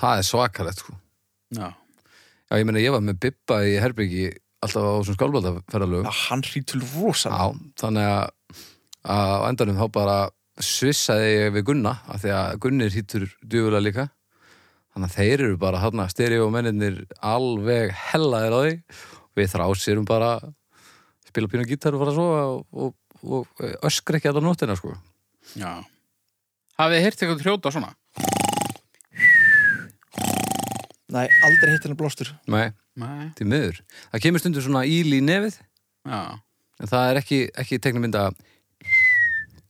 Speaker 4: það er svakalegt sko
Speaker 2: Já,
Speaker 4: já, ég meina ég var með Bibba í Herbyggi alltaf á þessum skálbaldaferðalög
Speaker 3: Já, hann hrýtul rosa.
Speaker 4: Já, þannig að, að á endanum þá bara svissaði ég við Gunna af því að Gunnir hýttur djúfulega líka þannig að þeir eru bara þarna stereo mennirnir alveg hellaðir á því við þrásirum bara spila pínu gítar og fara að sofa og, og, og öskra ekki allar nóttina sko
Speaker 2: já Hafið þið heyrt eitthvað hrjóta svona?
Speaker 3: Nei, aldrei hitt hennar blástur.
Speaker 4: Nei,
Speaker 2: Nei
Speaker 4: því miður Það kemur stundum svona íl í nefið
Speaker 2: Já,
Speaker 4: en það er ekki, ekki teknumynda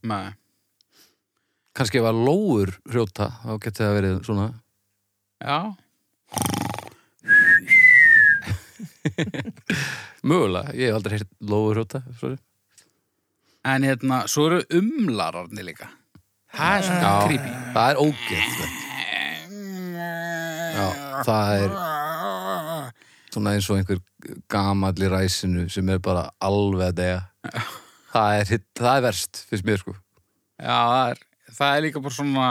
Speaker 2: nei
Speaker 4: kannski ef að lóur hrjóta þá geti það verið svona
Speaker 2: Já,
Speaker 4: mögulega, ég hef aldrei heyrt lóur hrjóta sorry.
Speaker 2: en hérna, svo eru umlararni líka Það er svona
Speaker 4: Já,
Speaker 2: creepy
Speaker 4: það er ógeðslegt Já, það er svona eins og einhver gamall í ræsinu sem er bara alveg að deyja það er, hitt- það er verst finnst mér sko
Speaker 2: Já, það er, það er líka bara svona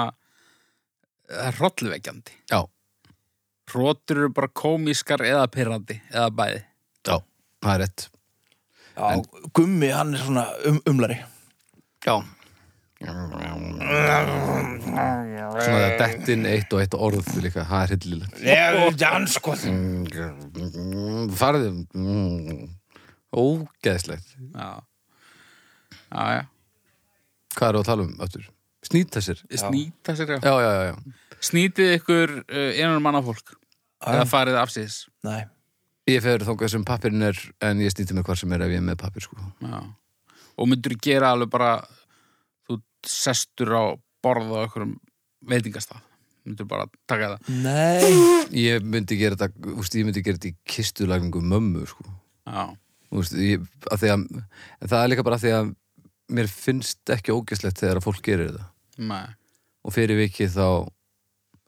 Speaker 2: Það er eh, hrollvekjandi
Speaker 4: Já.
Speaker 2: Rótur eru bara komískar eða pyrrandi eða bæði
Speaker 4: Já, það er rétt
Speaker 3: Já, gummi, hann er svona um, umlari
Speaker 4: Já Svona það dett inn eitt og eitt orð líka, það er hillilegt
Speaker 1: Nefnir
Speaker 4: sko.
Speaker 1: danskot
Speaker 4: Farðið Ógeðslegt
Speaker 2: Já, já, já.
Speaker 4: Hvað er það að tala um öttur? Snýta sér
Speaker 2: Snýta sér, já.
Speaker 4: Já, já, já, já
Speaker 2: Snýtið ykkur uh, einan manna fólk
Speaker 4: Ah,
Speaker 2: eða farið afsýðis
Speaker 3: Nei,
Speaker 4: Ég fer þangað sem pappirinn er en ég snýti mig hvar sem er ef ég er með pappir sko
Speaker 2: já. og myndur gera alveg bara þú sestur á borð á einhverjum veitingastað myndur bara taka það
Speaker 3: nei
Speaker 4: Ég myndi gera þetta, úst, ég myndi gera þetta í kistulagningu mömmu sko
Speaker 2: já,
Speaker 4: úst, ég, að að, en Það er líka bara af því að mér finnst ekki ógeðslegt þegar að fólk gerir það
Speaker 2: nei,
Speaker 4: og fyrir vikið þá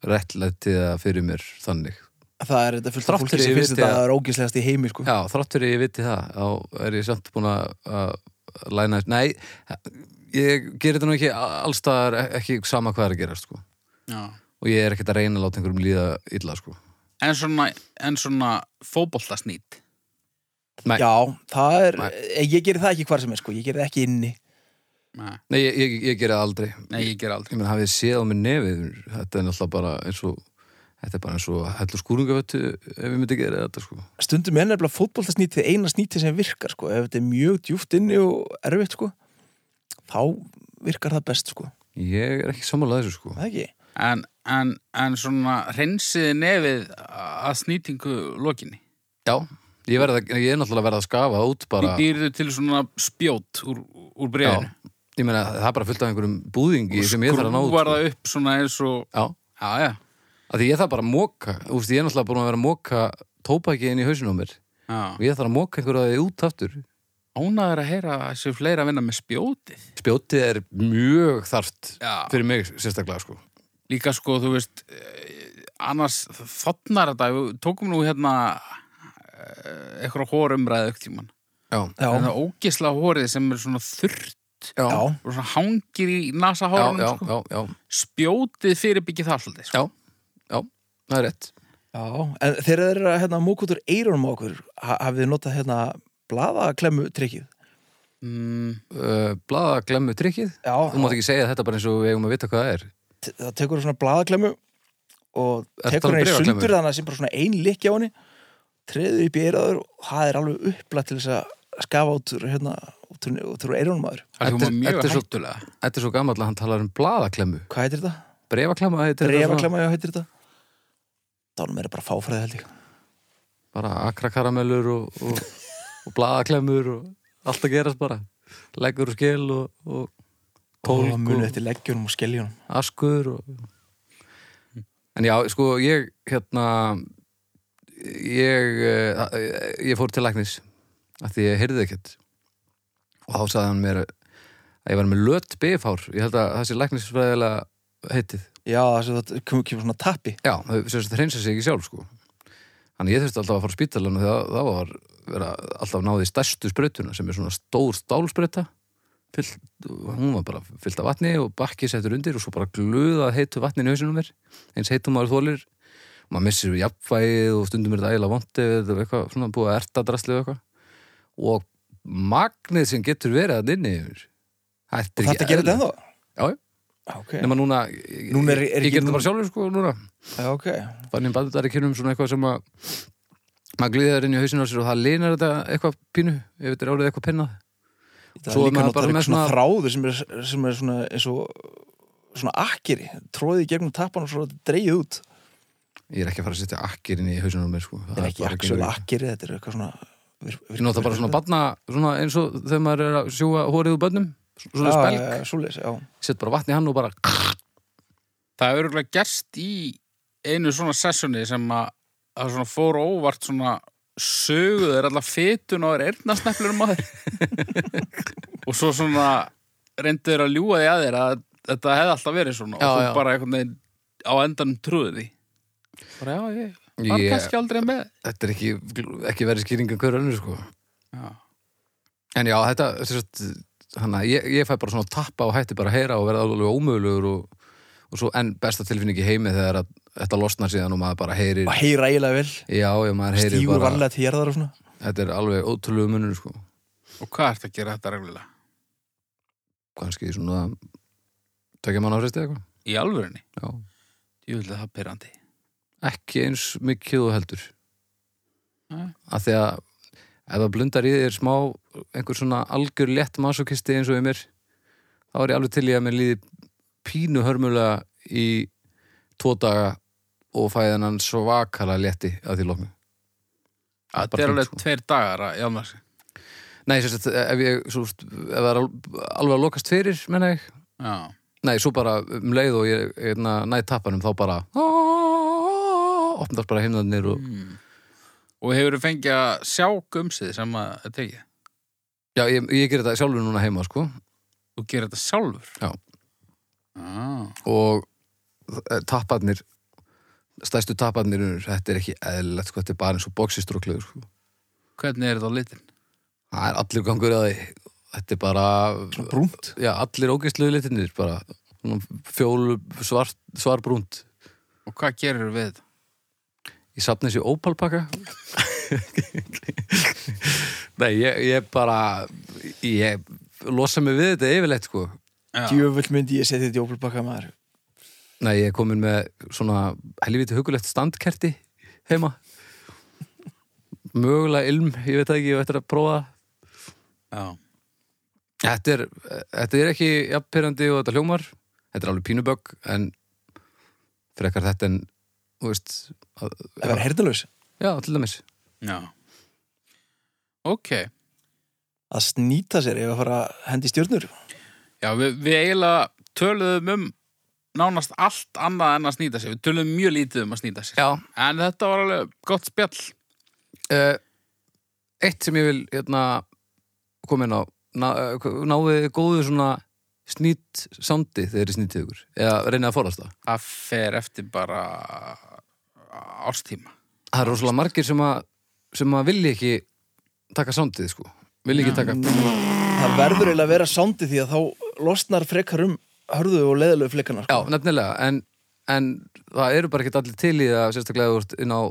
Speaker 4: réttlætti það fyrir mér þannig
Speaker 3: Það er þetta fullt af
Speaker 4: Þrátt
Speaker 3: fólki
Speaker 4: fyrir
Speaker 3: sem
Speaker 4: ég
Speaker 3: finnst
Speaker 4: viti
Speaker 3: þetta að
Speaker 4: að-
Speaker 3: það er ógislegast í heimi sko.
Speaker 4: Já, þrátt fyrir ég viti það þá er ég samt búin að að læna þess Nei, ég gerir þetta nú ekki allstaðar ekki sama hvað er að gera sko.
Speaker 2: já
Speaker 4: og ég er ekkert að reyna að láta einhverjum líða illa sko.
Speaker 2: en svona, en svona fótboltasnýt
Speaker 4: Nei,
Speaker 3: Já, það er, Eh,
Speaker 4: Nei.
Speaker 3: ég gerir það ekki hvar sem er sko, ég gerir það ekki inni
Speaker 2: nei,
Speaker 4: nei ég, ég, ég gerir það aldrei
Speaker 2: nei, ég ger aldrei
Speaker 4: Ég menn, hafið þið séð á mér nefið þetta er náttúrulega bara eins og þetta er bara eins og heldur skúringavötu ef ég myndi gera þetta sko.
Speaker 3: Stundum er nefnilega fótboltasnítið eina snítið sem virkar sko, ef þetta er mjög djúft inni og erfitt sko, þá virkar það best sko,
Speaker 4: Ég er ekki samanlega þessu sko.
Speaker 3: það ekki?
Speaker 2: en, en, en svona hreinsiði nefið að snýtingu lokinni
Speaker 4: Já, ég, verð, að- ég er náttúrulega að verða að skafa út bara
Speaker 2: býrðu til svona spjót úr, úr
Speaker 4: Já,
Speaker 2: breyðinu
Speaker 4: ég meina það er bara fullt af einhverjum búðingi sem ég þarf að ná út,
Speaker 2: skrúvar
Speaker 4: sko.
Speaker 2: það upp svona eins og
Speaker 4: Já,
Speaker 2: já, já,
Speaker 4: af því ég þarf bara að móka Úst, ég er náttúrulega búin að vera að móka tópaki inn í hausinu á mér
Speaker 2: já.
Speaker 4: og ég þarf að móka einhverju að þið út aftur
Speaker 2: ánæður að heyra að séu fleira að vinna með spjótið
Speaker 4: Spjótið er mjög þarft
Speaker 2: Já.
Speaker 4: fyrir mig sérstaklega sko.
Speaker 2: líka sko, þú veist eh, annars þotnar þetta við tókum nú hérna eh, eitthvað hórumræði aukt tíman
Speaker 4: Já,
Speaker 3: Já,
Speaker 2: en það ógisla hórið sem er svona þurrt
Speaker 4: já,
Speaker 3: já,
Speaker 4: já,
Speaker 2: og svona hangir í nasa
Speaker 4: já,
Speaker 2: hórunum
Speaker 4: já,
Speaker 2: sko.
Speaker 4: já, já.
Speaker 2: spjótið fyrirbyggir það svolítið sko.
Speaker 4: Já, já, það er rétt
Speaker 3: já, en þegar þeir eru að hérna, múk út úr eyrunum á okkur, ha- hafið þið notað hérna blaðaklemmu trykkið?
Speaker 2: mm,
Speaker 4: uh, Blaða glemmu trykkið
Speaker 3: Já,
Speaker 4: Þú mátt ekki segja þetta bara eins og við eigum að vita hvað það er
Speaker 3: te- það tekur svona blaðaklemmu og
Speaker 4: Ertu
Speaker 3: tekur
Speaker 4: að tala um
Speaker 3: henni í
Speaker 4: bréfaklemmu?
Speaker 3: sundur þannig að sem bara svona ein likki á henni treður upp í eiraður og það er alveg upplætt til þess að skafa út úr hérna, út úr, út úr eirunum aður
Speaker 2: það
Speaker 4: Þetta
Speaker 2: hljóma
Speaker 4: er-
Speaker 2: mjög
Speaker 4: þetta er svo-
Speaker 2: hættulega
Speaker 4: Þetta er svo gamall að hann talar um blaða glemmu
Speaker 3: hvað heitir þetta?
Speaker 4: Brefa glemma
Speaker 3: Refaklemma, já, heitir þetta Dánum er bara fáfræði held ég
Speaker 4: Bara akrakaramellur og, og, og blaða glemmur og allt að gerast bara Leggur og skil og, og
Speaker 3: og
Speaker 4: tólk
Speaker 3: munið
Speaker 4: og
Speaker 3: eftir leggjunum og skelljunum
Speaker 4: askur og... En já, sko, ég hérna ég eh, ég fór til læknis af því ég heyrði ekkert og þá sagði hann mér að ég var með lött bifár, ég held að það sé læknisfræðilega heitið
Speaker 3: já, þess að það kemur, kemur svona tappi
Speaker 4: Já, þau sem sagt hreinsa sig ekki sjálf sko Þannig ég þurfti alltaf að fara á spítalana þegar það var vera alltaf náði stærstu sprautuna sem er svona stór stálsprauta fyllt, hún var bara fyllt af vatni og bakki settur undir og svo bara glöðað heitu vatni í hausinu mér eins heitum maður þólir og maður missir við jafnvægið og stundum er þetta ægilega vondi eða eitthvað svona búið að erta drastlið og eitthvað og magnið sem getur verið að nynni yfir
Speaker 3: og þetta gerir þetta ennþá
Speaker 4: Já,
Speaker 3: Já, ok,
Speaker 4: nema núna, ég,
Speaker 3: Núna er- er ekki
Speaker 4: ég, ég gerir
Speaker 3: nú-
Speaker 4: þetta bara sjálfur sko núna
Speaker 3: já, ok
Speaker 4: þannig bandar í kynum svona eitthvað sem að maður glýðar inn í hausinu á sér og það linar þetta eitthvað pínu ef þetta er árið eitthvað pennað
Speaker 3: það
Speaker 4: Svo
Speaker 3: er
Speaker 4: er
Speaker 3: líka
Speaker 4: maður bara
Speaker 3: notar
Speaker 4: með
Speaker 3: eitthvað svona
Speaker 4: svona-
Speaker 3: þráður sem er, sem er svona eins og svona akkeri, tróðið í gegnum tappan og svo er þetta dreigið út
Speaker 4: ég er ekki að fara að setja akkir inn í hausinu á mér sko.
Speaker 3: Þetta er ekki
Speaker 4: bara
Speaker 3: axel
Speaker 4: gengur ekki.
Speaker 3: akkeri, þetta er eitthvað svona vir, vir,
Speaker 4: ég nota bara svona badna svona eins og þegar maður er að sjúa hórið úr bönnum svona spelg,
Speaker 3: Já, svoleiðis, já
Speaker 4: set bara vatn í hann og bara
Speaker 2: það er örgulega gerst í einu svona sessjoni sem að það svona fór óvart svona söguður allar fetun og er erðnarsneflur um
Speaker 4: <laughs>
Speaker 2: aður og svo svona reynduður að ljúga því að þér að þetta hefði alltaf verið svona
Speaker 4: Já,
Speaker 2: og þú
Speaker 4: já.
Speaker 2: bara einhvern veginn á endanum trúður því bara já, ég var
Speaker 4: Ég-
Speaker 2: kannski aldrei með
Speaker 4: þetta er ekki, ekki verið skýringa hver önnur sko.
Speaker 2: já,
Speaker 4: en já, þetta hana, ég, ég fæ bara svona tappa og hætti bara að heyra og verða alveg ómögulegur og, og svo enn besta tilfinning í heimi þegar að þetta losnar síðan og maður bara heyrir
Speaker 3: og heyra eiginlega vel
Speaker 4: já, já, maður heyrir
Speaker 3: stígur
Speaker 4: bara
Speaker 3: varlega til hérðar og svona
Speaker 4: þetta er alveg ótrúlegu munur sko.
Speaker 2: Og hvað ertu að gera þetta reglulega?
Speaker 4: kannski svona tökja mann áhrist eða eitthvað
Speaker 2: Í alvörinni?
Speaker 4: Já.
Speaker 2: Ég vil það pyrrandi.
Speaker 4: ekki eins mikið og heldur
Speaker 2: Nei.
Speaker 4: að því að ef það blundar í þér smá einhver svona algjör létt masokisti eins og í mér þá er ég alveg til í að mér líði pínu hörmulega í tvo daga og fæði hennan svakala létti að því loknu
Speaker 2: Þetta
Speaker 4: bara
Speaker 2: er
Speaker 4: fínt,
Speaker 2: alveg
Speaker 4: sko.
Speaker 2: tveir dagar að jána sig.
Speaker 4: Nei, sérst, ef ég svo, ef það er al- alveg að lokast fyrir, menna ég
Speaker 2: Já.
Speaker 4: Nei, svo bara um leið og ég hérna, næ tappanum þá bara opnast bara himnarnir og
Speaker 2: Og hefur þú fengið að sjá gumsið sem að þetta ekki?
Speaker 4: Já, ég, ég gerir þetta sjálfur núna heima, sko
Speaker 2: Þú gerir þetta sjálfur?
Speaker 4: Já.
Speaker 2: Ah.
Speaker 4: og eh, tapparnir stærstu tapparnir eru, þetta er ekki eðlilegt sko, þetta er bara eins og boxistróklegur sko.
Speaker 2: Hvernig er þetta á litin?
Speaker 4: það er allir gangur að því þetta er bara,
Speaker 3: brúnt
Speaker 4: já, allir ógeistlegu litinir bara, svona fjól svart, svarbrúnt
Speaker 2: Og hvað gerir við þetta?
Speaker 4: ég safna þessi ópalpaka nei, ég, ég bara ég losa mig við þetta yfirleitt sko
Speaker 2: Já.
Speaker 3: djöfull myndi ég setja þetta í ópulbakka maður
Speaker 4: nei, ég er komin með svona helviti hugulegt standkerti heima mögulega ilm, ég veit það ekki, ég veit að prófa það
Speaker 2: Já.
Speaker 4: Þetta er, þetta er ekki jafnpyrrandi og þetta hljómar Þetta er alveg pínubögg en frekar þetta en þú veist, að,
Speaker 3: að vera herðalaus
Speaker 4: já, til dæmis
Speaker 2: Já. Ok.
Speaker 3: að snýta sér ef að fara að hendi í stjörnur
Speaker 2: Já, við, við eiginlega töluðum um nánast allt annað en að snýta sér. Við töluðum mjög lítið um að snýta sér.
Speaker 4: Já,
Speaker 2: En þetta var alveg gott spjall.
Speaker 4: uh, eitt sem ég vil hérna, koma inn á ná, eh, náðið þið góðu svona snýtt sándi þegar þið snýttið ykkur eða reynið að forðast það
Speaker 2: Það fer eftir bara ástíma.
Speaker 4: Það er rosalega margir sem að sem að vilja ekki taka sándið sko vilja ekki taka
Speaker 3: það verður eiginlega að vera sándi því að þá losnar frekar um hörðu og sko. leðalögu flekarnar
Speaker 4: Já, nefnilega, en, en það eru bara ekki allir til í það, sérstaklega ef þú ert inn á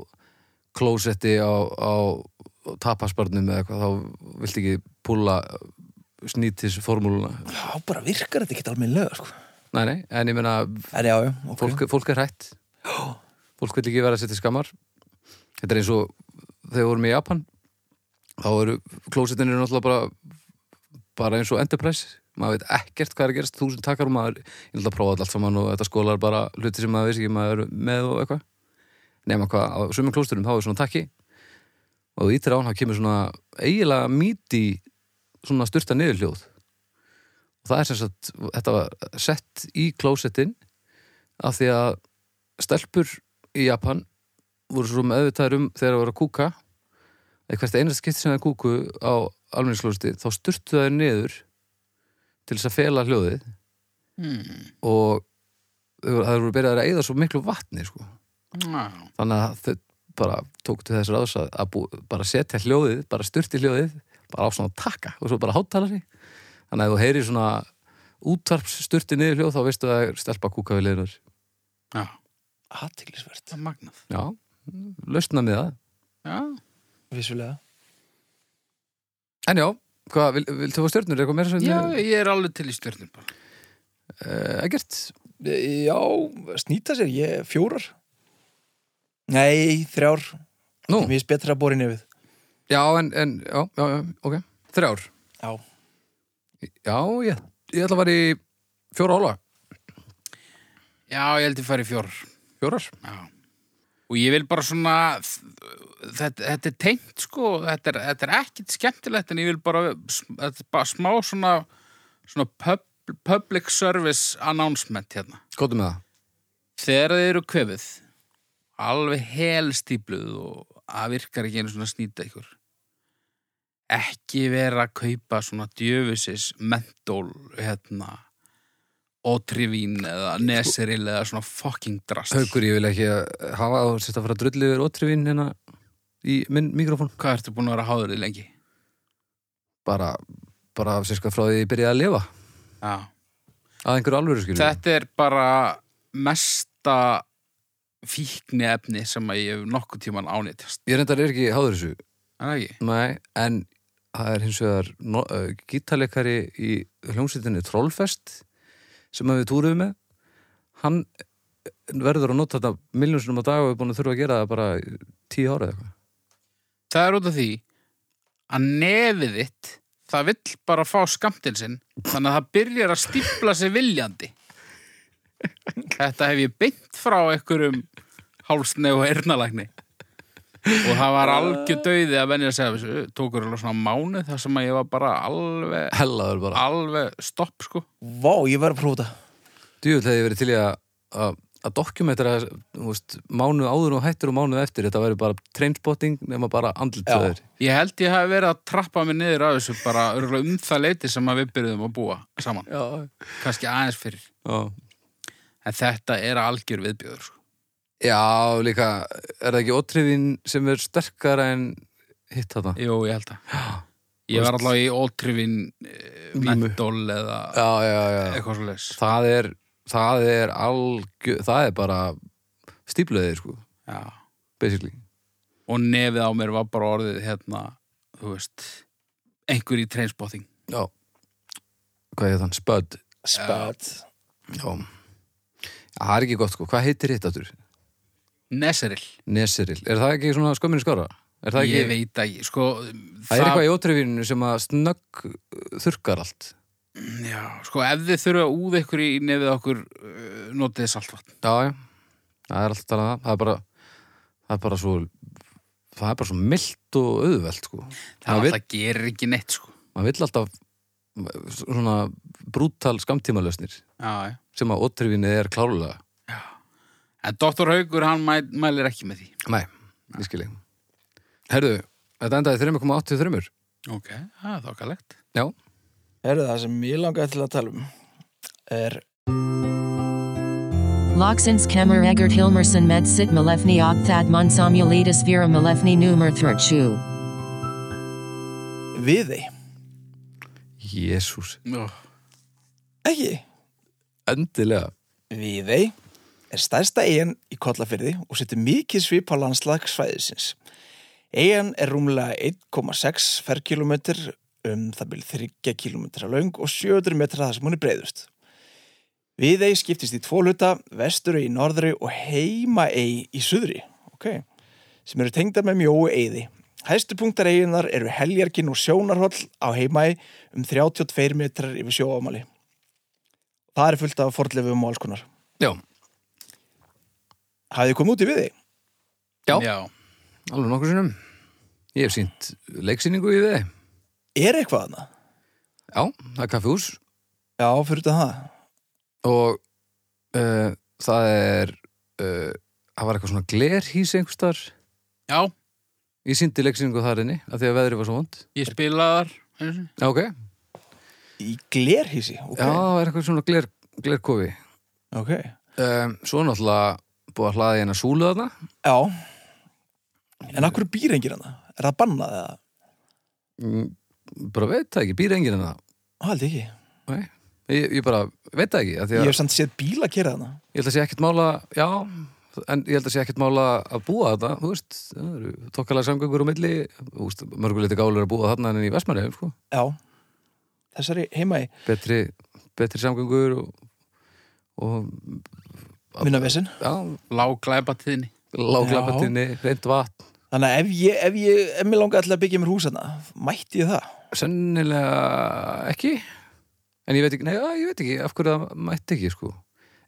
Speaker 4: klósetti á, á tapasbarnum eða eitthvað, þá vilt ekki púla snýtis formúluna.
Speaker 3: þá bara virkar þetta ekki almennilega sko.
Speaker 4: Nei, nei, en ég meina,
Speaker 3: en já, já, ok
Speaker 4: fólk, fólk er hætt. Fólk vil ekki vera að setja skammar. Þetta er eins og þegar við vorum í Japan, þá eru klósettin eru náttúrulega bara, bara eins og enterprise. Maður veit ekkert hvað er að gerast, þúsund takkar og maður, ég ætla að prófa þetta allt saman og þetta skólar bara hluti sem maður veist ekki maður er með og eitthvað. Nefna hvað, á sumum klósturum þá er svona takki og þú ítir á hann, þá kemur svona eiginlega mýti svona styrta niður hljóð. Og það er sem sagt, þetta var sett í klósettin af því að stelpur í Japan voru svo meðvitaður um þegar það voru að kúka eða hvert einast skipti sem það kúku á almenningslósti þá sturtu það niður til þess að fela hljóðið
Speaker 2: Hmm.
Speaker 4: og þau voru- það voru byrjaðar að eyða svo miklu vatni sko.
Speaker 2: Já.
Speaker 4: þannig að þau bara tók til þess ráðs að, að bú, bara setja hljóðið bara sturti hljóðið, bara á svona taka og svo bara hátalari þannig að ef þú heyrir svona útvarps sturti niður hljóð þá veistu að það er stelpa að kúka við leirar
Speaker 2: Já.
Speaker 3: aðtiklisvert,
Speaker 2: Það er magnað.
Speaker 4: já, lausna með það
Speaker 2: Já.
Speaker 3: vissulega
Speaker 4: En já, hvað, vil, viltu fá stjörnur eitthvað meira sem
Speaker 2: Já, ég er alveg til í stjörnum bara.
Speaker 4: Eh, ekkert?
Speaker 3: E, já, snýta sér, ég fjórar nei, þrjár
Speaker 4: Nú,
Speaker 3: mér finnst betra að bóri nefið
Speaker 4: já, en, en já, já, já, ok, þrjár
Speaker 3: já,
Speaker 4: Já, ég, ég ætla að fara í fjóra ála,
Speaker 2: Já, ég held ég fari fjórar.
Speaker 4: fjórar
Speaker 2: Já. Og ég vil bara svona, þetta, þetta er tengt sko, þetta er, þetta er ekkit skemmtilegt en ég vil bara, þetta er bara smá svona, svona pub, public service announcement hérna.
Speaker 4: Kóttu með það
Speaker 2: Þegar þið eru kvefið, alveg helstýpluð og það virkar ekki einu svona að snýta ykkur. Ekki vera að kaupa svona djöfusis mentól, hérna, ótrivín eða neseril eða svona fucking drast.
Speaker 4: Haukur, ég vil ekki að hafa á sérst að fara að drullu yfir ótrifin hérna í minn mikrofón
Speaker 2: Hvað ertu búin að vera háður í lengi?
Speaker 4: bara, bara sérst frá því ég byrjaði að lifa
Speaker 2: Já.
Speaker 4: að einhverju alvöru skilur
Speaker 2: Þetta er bara mesta fíkni efni sem að ég hef nokkuð tíman ánýtjast
Speaker 4: Ég reyndar er ekki háður þessu
Speaker 2: Er það ekki?
Speaker 4: Nei, en það er hins vegar no, uh, gítarleikari í hljómsveitinni Trollfest sem að við túruðum með hann eh, verður að nota þetta miljónsunum á dag og er búin að þurfa að gera það bara í tíu ára eða eitthvað
Speaker 2: Það er út af því að nefið þitt það vill bara fá skamtinn sinn þannig að það byrjar að stífla sig viljandi Þetta hef ég beint frá einhverjum hálsnei og ernalækni og það var algjör dauði að venja að segja þessu tókur alveg svona mánuð þar sem að ég var bara alveg
Speaker 4: hellaður bara
Speaker 2: alveg stopp sko
Speaker 3: Vá, ég var að prófa þetta
Speaker 4: Djúvill hefði verið til í að- að að dokumentera þú veist, mánuð áður og hættur og mánuð eftir þetta verður bara trainspotting nema bara andlutöður
Speaker 2: Ég held ég hafi verið að trappa mig niður að þessu bara örugglega um það leiti sem að við byrjuðum að búa saman
Speaker 4: já,
Speaker 2: kannski aðeins fyrir
Speaker 4: já.
Speaker 2: en þetta er algjör viðbjöður sko.
Speaker 4: já, líka er það ekki ótrifin sem er sterkara en hitt þarna
Speaker 2: Jú, ég held að Ég var allavega í ótrifin mentól eða
Speaker 4: já, já, já, já.
Speaker 2: eitthvað svo leis
Speaker 4: það er það er algjö, það er bara stíflöðið sko, basically
Speaker 2: og nefið á mér var bara orðið hérna, þú veist einhver í trainspotting
Speaker 4: já hvað er þann, spödd
Speaker 3: Spad
Speaker 4: já, já það er ekki gott sko, hvað heitir hitt áttur?
Speaker 2: Neseril,
Speaker 4: Neseril, er það ekki svona skömmin skora? Er það, ekki,
Speaker 2: ég veit að ég sko,
Speaker 4: það er eitthvað í ótrefinu sem að snögg uh, þurrkar allt
Speaker 2: já, sko, ef þið þurfa að úða ykkur í nefið á okkur uh, notiði saltvatn
Speaker 4: já, já, það er alltaf talað um það það er bara, það er bara svo það er bara svo mildt og auðvelt sko.
Speaker 2: það,
Speaker 4: vill-
Speaker 2: það gerir ekki neitt sko.
Speaker 4: maður vill alltaf svona brútal skamtímalösnir
Speaker 2: já, já.
Speaker 4: sem að ótrifinu er klárulega
Speaker 2: en Dr. Haugur hann mæ, mælir ekki með því
Speaker 4: Nei, ég skil ég Herðu, þetta endaði 3,83
Speaker 2: ok, það er þokkalegt
Speaker 4: Já,
Speaker 3: Herðu það sem ég langaði til að tala um er
Speaker 5: Loxens Kemmer Egert Hilmerson Med Sit Malefni Ogthad Monsamulatus Vera Malefni Numer Thurchu.
Speaker 3: við þei
Speaker 4: jésús
Speaker 2: oh.
Speaker 3: Ekki
Speaker 4: Endilega
Speaker 3: Viðey er stærsta eigin í Kollafyrði og setur mikið svip á landslagsfæðisins. Eigin er rúmlega 1,6 ferkilometr um það byrju 3 kilometra löng og 700 metra það sem hún er breyðust. Viðey skiptist í tvo hluta, vesturau í norðri og heimaey í suðri, ok, sem eru tengda með mjóu eyði. Hæstu punktar eiginar eru heljarkin og sjónarhóll á heimaey um 32 metrar yfir sjóafmali. Það er fullt af fornleifum og alls konar.
Speaker 4: Já,
Speaker 3: Hafið þið komið út í við þig?
Speaker 4: Já.
Speaker 2: já,
Speaker 4: alveg nokkur sinnum Ég hef sýnt leiksýningu í við
Speaker 3: Er eitthvað hana?
Speaker 4: Já, það er kaffihús
Speaker 3: Já, fyrir þetta það.
Speaker 4: og uh, það er uh, það var eitthvað svona glerhís einhvers þar
Speaker 2: já.
Speaker 4: Ég sýndi leiksýningu þar inni af því að veðrið var svo vond
Speaker 2: Ég spilaði þar einu sinni.
Speaker 4: Já, ok,
Speaker 3: Í glerhísi? ok.
Speaker 4: já, það er eitthvað svona gler, glerkofi
Speaker 3: Ok.
Speaker 4: um, Svo er náttúrulega búið að hlaða í hennar súlu þarna
Speaker 3: Já. En akkur býr engir hana? Er það bannað eða?
Speaker 4: Mm, Bara veit það ekki, býr enginn hérna. en það
Speaker 3: Haldi ekki.
Speaker 4: Nei, ég, ég bara veit það ekki af því
Speaker 3: Ég
Speaker 4: að
Speaker 3: hef samt séð bíla að gera hana.
Speaker 4: Ég held að sé ekkert mála, já en ég held að sé ekkert mála að búa þetta þú veist, það eru tokkalega samgöngur á milli þú veist, mörguleiti gálur að búa þarna en í Vestmannaeyjum, sko,
Speaker 3: Já. Þessari heima í
Speaker 4: betri betri samgöngur og, og
Speaker 3: munavessin.
Speaker 4: já,
Speaker 2: Lág glæpatíðni
Speaker 4: láglapatinni, reynd vatn
Speaker 3: Þannig að ef ég, ef ég, ef mér langaði alltaf að byggja mér hús hana, mætti ég það?
Speaker 4: sennilega ekki en ég veit ekki, nei, já, ég veit ekki af hverju það mætti ekki, sko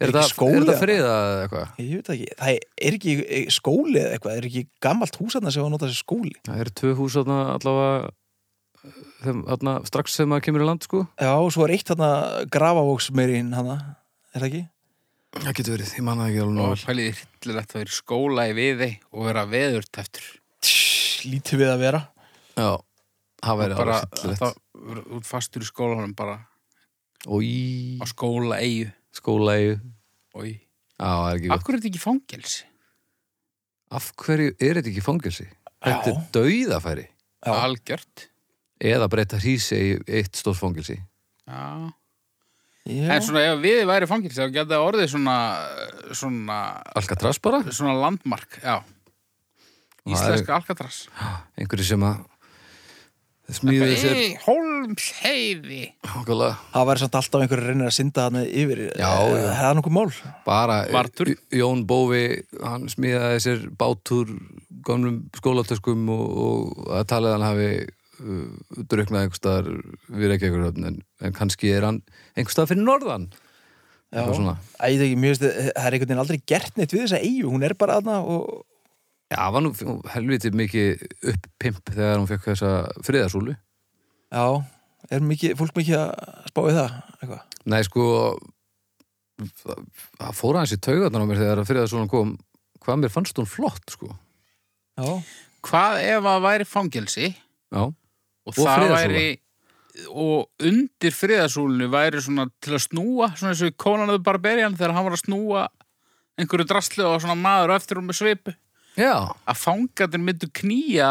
Speaker 3: Er
Speaker 4: er
Speaker 3: ekki
Speaker 4: þetta
Speaker 3: skóli
Speaker 4: er þetta
Speaker 3: þarna?
Speaker 4: friða eða eitthvað?
Speaker 3: Ég veit það ekki. Það er ekki eh, skóli eða eitthvað. Er ekki gammalt hús hana sem var notað sem skóli?
Speaker 4: Það eru tvö hús þarna allavega eh, þeim, þarna, strax sem maður kemur í land, sko
Speaker 3: Já, og svo er eitt hana grafavóksmeirin hana. Er það ekki?
Speaker 4: Það getur verið, ég manna ekki alveg nóg
Speaker 2: og
Speaker 4: vel.
Speaker 2: pæliði hryllilegt að vera í skóla í viði og vera veður teftur
Speaker 3: Tss, lítið við að vera.
Speaker 4: Já, það væri
Speaker 2: bara
Speaker 4: alveg
Speaker 2: þetta
Speaker 4: sýttilegt
Speaker 2: út fastur í skólanum bara
Speaker 4: Og í
Speaker 2: á skóla eigu
Speaker 4: skólaegu
Speaker 2: og í
Speaker 4: Já, það er ekki gott
Speaker 2: Akkur er þetta ekki fangelsi?
Speaker 4: Af hverju er þetta ekki fangelsi? Þetta er
Speaker 3: Já.
Speaker 4: dauðafæri
Speaker 3: Já.
Speaker 2: Algjört
Speaker 4: Eða breyta hrísi í eitt stórt fangelsi
Speaker 2: Já
Speaker 3: Já.
Speaker 2: En svona ef við væri fangils þá geta orðið svona svona,
Speaker 4: Alcatraz bara,
Speaker 2: svona landmark já. Íslenska Alcatraz
Speaker 4: einhverju sem að smíðið sér
Speaker 2: Í Hólmsheiði
Speaker 4: okkarlega
Speaker 3: Það væri samt alltaf einhverju reynir að synda hann yfir
Speaker 4: Já,
Speaker 3: Eh,
Speaker 4: já.
Speaker 3: Það er nokkuð mál
Speaker 4: bara
Speaker 2: Vartur.
Speaker 4: J- Jón Bófi hann smíðaði sér bátur gamlum skólatöskum og, og að talaði hann hafi uh, druknað einhverstaðar við ekki einhverjum en, en kannski er hann einhverstaðar fyrir norðan
Speaker 3: Já.
Speaker 4: Eitthvað svona.
Speaker 3: Æ, ég veit ekki, mjög veist, það er einhvern veginn aldrei gert neitt við þessa eigu, hún er bara aðna og
Speaker 4: Já, hann var nú f- helviti mikið upppimp þegar hún fekk þessa friðarsúlu
Speaker 3: já, er mikið, fólk mikið að spá í það, eitthvað.
Speaker 4: Nei, sko það- það fór hans í taugarnar á mér þegar friðarsúlan kom hvað mér fannst hún flott, sko
Speaker 3: Já,
Speaker 2: Hvað ef að væri fangelsi
Speaker 4: Já,
Speaker 2: og,
Speaker 4: Og
Speaker 2: það
Speaker 4: friðarsúla.
Speaker 2: væri og undir friðasúlinu væri svona til að snúa svona eins og konanuðu barberian þegar hann var að snúa einhverju drastlu og svona maður á eftir hún með svipu
Speaker 4: já
Speaker 2: að fangarnir myndu knýja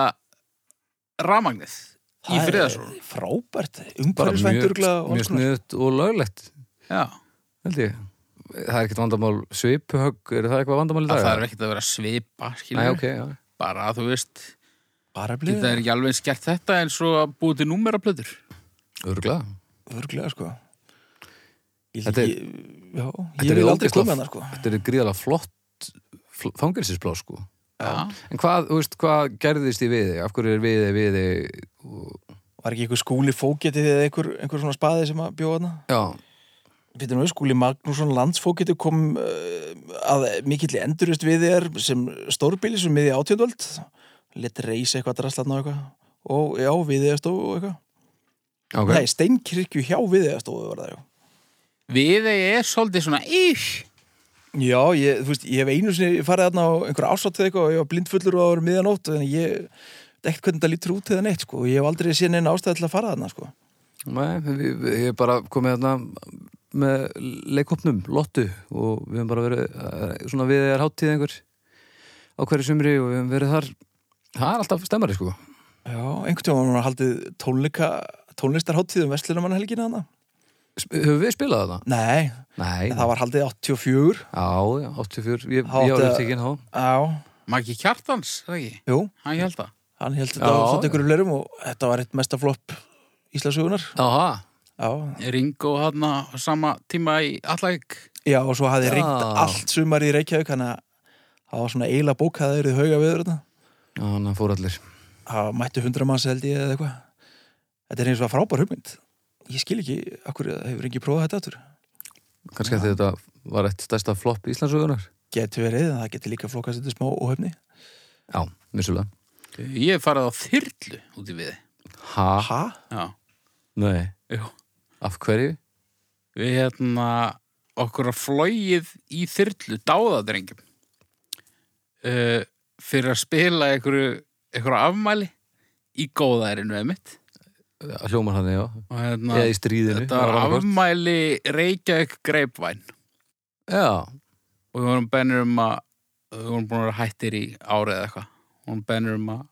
Speaker 2: ramagnið í
Speaker 3: Það er
Speaker 2: friðasúlinu
Speaker 3: Frábært,
Speaker 4: bara
Speaker 3: umhverfisvænt
Speaker 4: mjög,
Speaker 3: örgla og
Speaker 4: mjög
Speaker 3: alls konar.
Speaker 4: sniðut og löglegt
Speaker 2: Já,
Speaker 4: held ég það er ekkert vandamál svipuhögg er það eitthvað vandamál í
Speaker 2: að
Speaker 4: dag?
Speaker 2: það er ekkert að vera að svipa skilur,
Speaker 4: Nei, ok, já.
Speaker 2: bara að þú veist
Speaker 3: Bara
Speaker 2: það
Speaker 3: blíða,
Speaker 2: er ekki alveg skert þetta eins og að búið til númeraplötur
Speaker 4: Örgulega.
Speaker 3: örglega, sko. Ég,
Speaker 4: Þetta er-
Speaker 3: ég, já,
Speaker 4: Þetta
Speaker 3: ég
Speaker 4: er
Speaker 3: vil aldrei
Speaker 4: ógeðslega-
Speaker 3: koma hana, sko.
Speaker 4: Þetta er gríðalega flott fl- fangelsisblá, sko. En hvað, þú veist, hvað gerðist í viði? Af hverju er viði, viði?
Speaker 3: Var ekki einhver skúli fógetið eða einhver, einhver svona spaði sem að bjóða hana?
Speaker 4: Já,
Speaker 3: Býtum við, skúli Magnússon landsfógetið kom uh, að mikill endurist við þér sem stórbíli sem miði átjöndvöld. Lett reysa eitthvað drastlarn og eitthvað. Og já, við þér stóð og eitthvað.
Speaker 4: ok.
Speaker 3: Nei, steinkirkju hjá við þér stóð var það, já.
Speaker 2: Við er svolítið svona íh
Speaker 3: Já, ég, þú veist, ég hef einu sinni farið þarna á einhverja ásáttu eitthvað og ég var blindfullur og það var miðanótt en ég veit ekkert hvernig það lítur út eða neitt sko og ég hef aldrei séð neina ástæði til að fara þarna sko
Speaker 4: Nei, við, við, ég er bara komið þarna með leikopnum, lottu og við hefum bara verið eh, svona viði er hátíð einhver á hverju sumri og við hefum verið þar það er alltaf stemmari, sko.
Speaker 3: Já, einhvern tíma var hann haldið tónleika tónlistarháttíð um Vestlunumann helgina þarna
Speaker 4: Sp- Höfum við spilað þarna?
Speaker 3: Nei,
Speaker 4: Nei.
Speaker 3: en það var haldið 84
Speaker 4: Já, já, 84, ég, ég
Speaker 3: Þá átti
Speaker 4: árið
Speaker 3: að-
Speaker 4: tekinn þá
Speaker 3: Já,
Speaker 2: Maggi Kjartans, er það ekki?
Speaker 3: jú,
Speaker 2: Hann held það
Speaker 3: hann held
Speaker 4: Já,
Speaker 3: þetta á
Speaker 4: já.
Speaker 3: svona einhverju lörum og þetta var eitt mesta flopp Íslandsugunar
Speaker 4: Aha,
Speaker 3: Já,
Speaker 2: Ringo hann á sama tíma í allæk
Speaker 3: já og svo hafði
Speaker 4: Já.
Speaker 3: ringt allt sumar í Reykjavík þannig að það var svona eila bókaður í hauga viður þetta
Speaker 4: já, hann fór allir
Speaker 3: það mættu hundra manns held ég eða eitthvað þetta er eins og að frábær hugmynd ég skil ekki, akkur hefur ekki prófað þetta aftur
Speaker 4: Kannski að þetta var eitt stærsta flopp Íslandsugunar
Speaker 3: getur verið, en það getur líka flokast þetta smá óhefni
Speaker 4: Já, vissulega
Speaker 2: Ég hef farið á þyrlu út í við
Speaker 4: Ha?
Speaker 3: ha?
Speaker 2: Já,
Speaker 4: Nei,
Speaker 2: jú
Speaker 4: af hverju?
Speaker 2: Við hérna okkur að flóið í þyrlu dáðadrengjum uh, fyrir að spila einhverju, einhverju afmæli í góðærinu eða mitt
Speaker 4: Hljómar hann, já
Speaker 2: og hérna
Speaker 4: Eða í stríðinu
Speaker 2: þetta var
Speaker 4: annað hvort.
Speaker 2: afmæli Reykjavík Greipvæn
Speaker 4: Já,
Speaker 2: og við vorum bennir um að við vorum búin að vera hættir í árið eða eitthvað við vorum bennir um að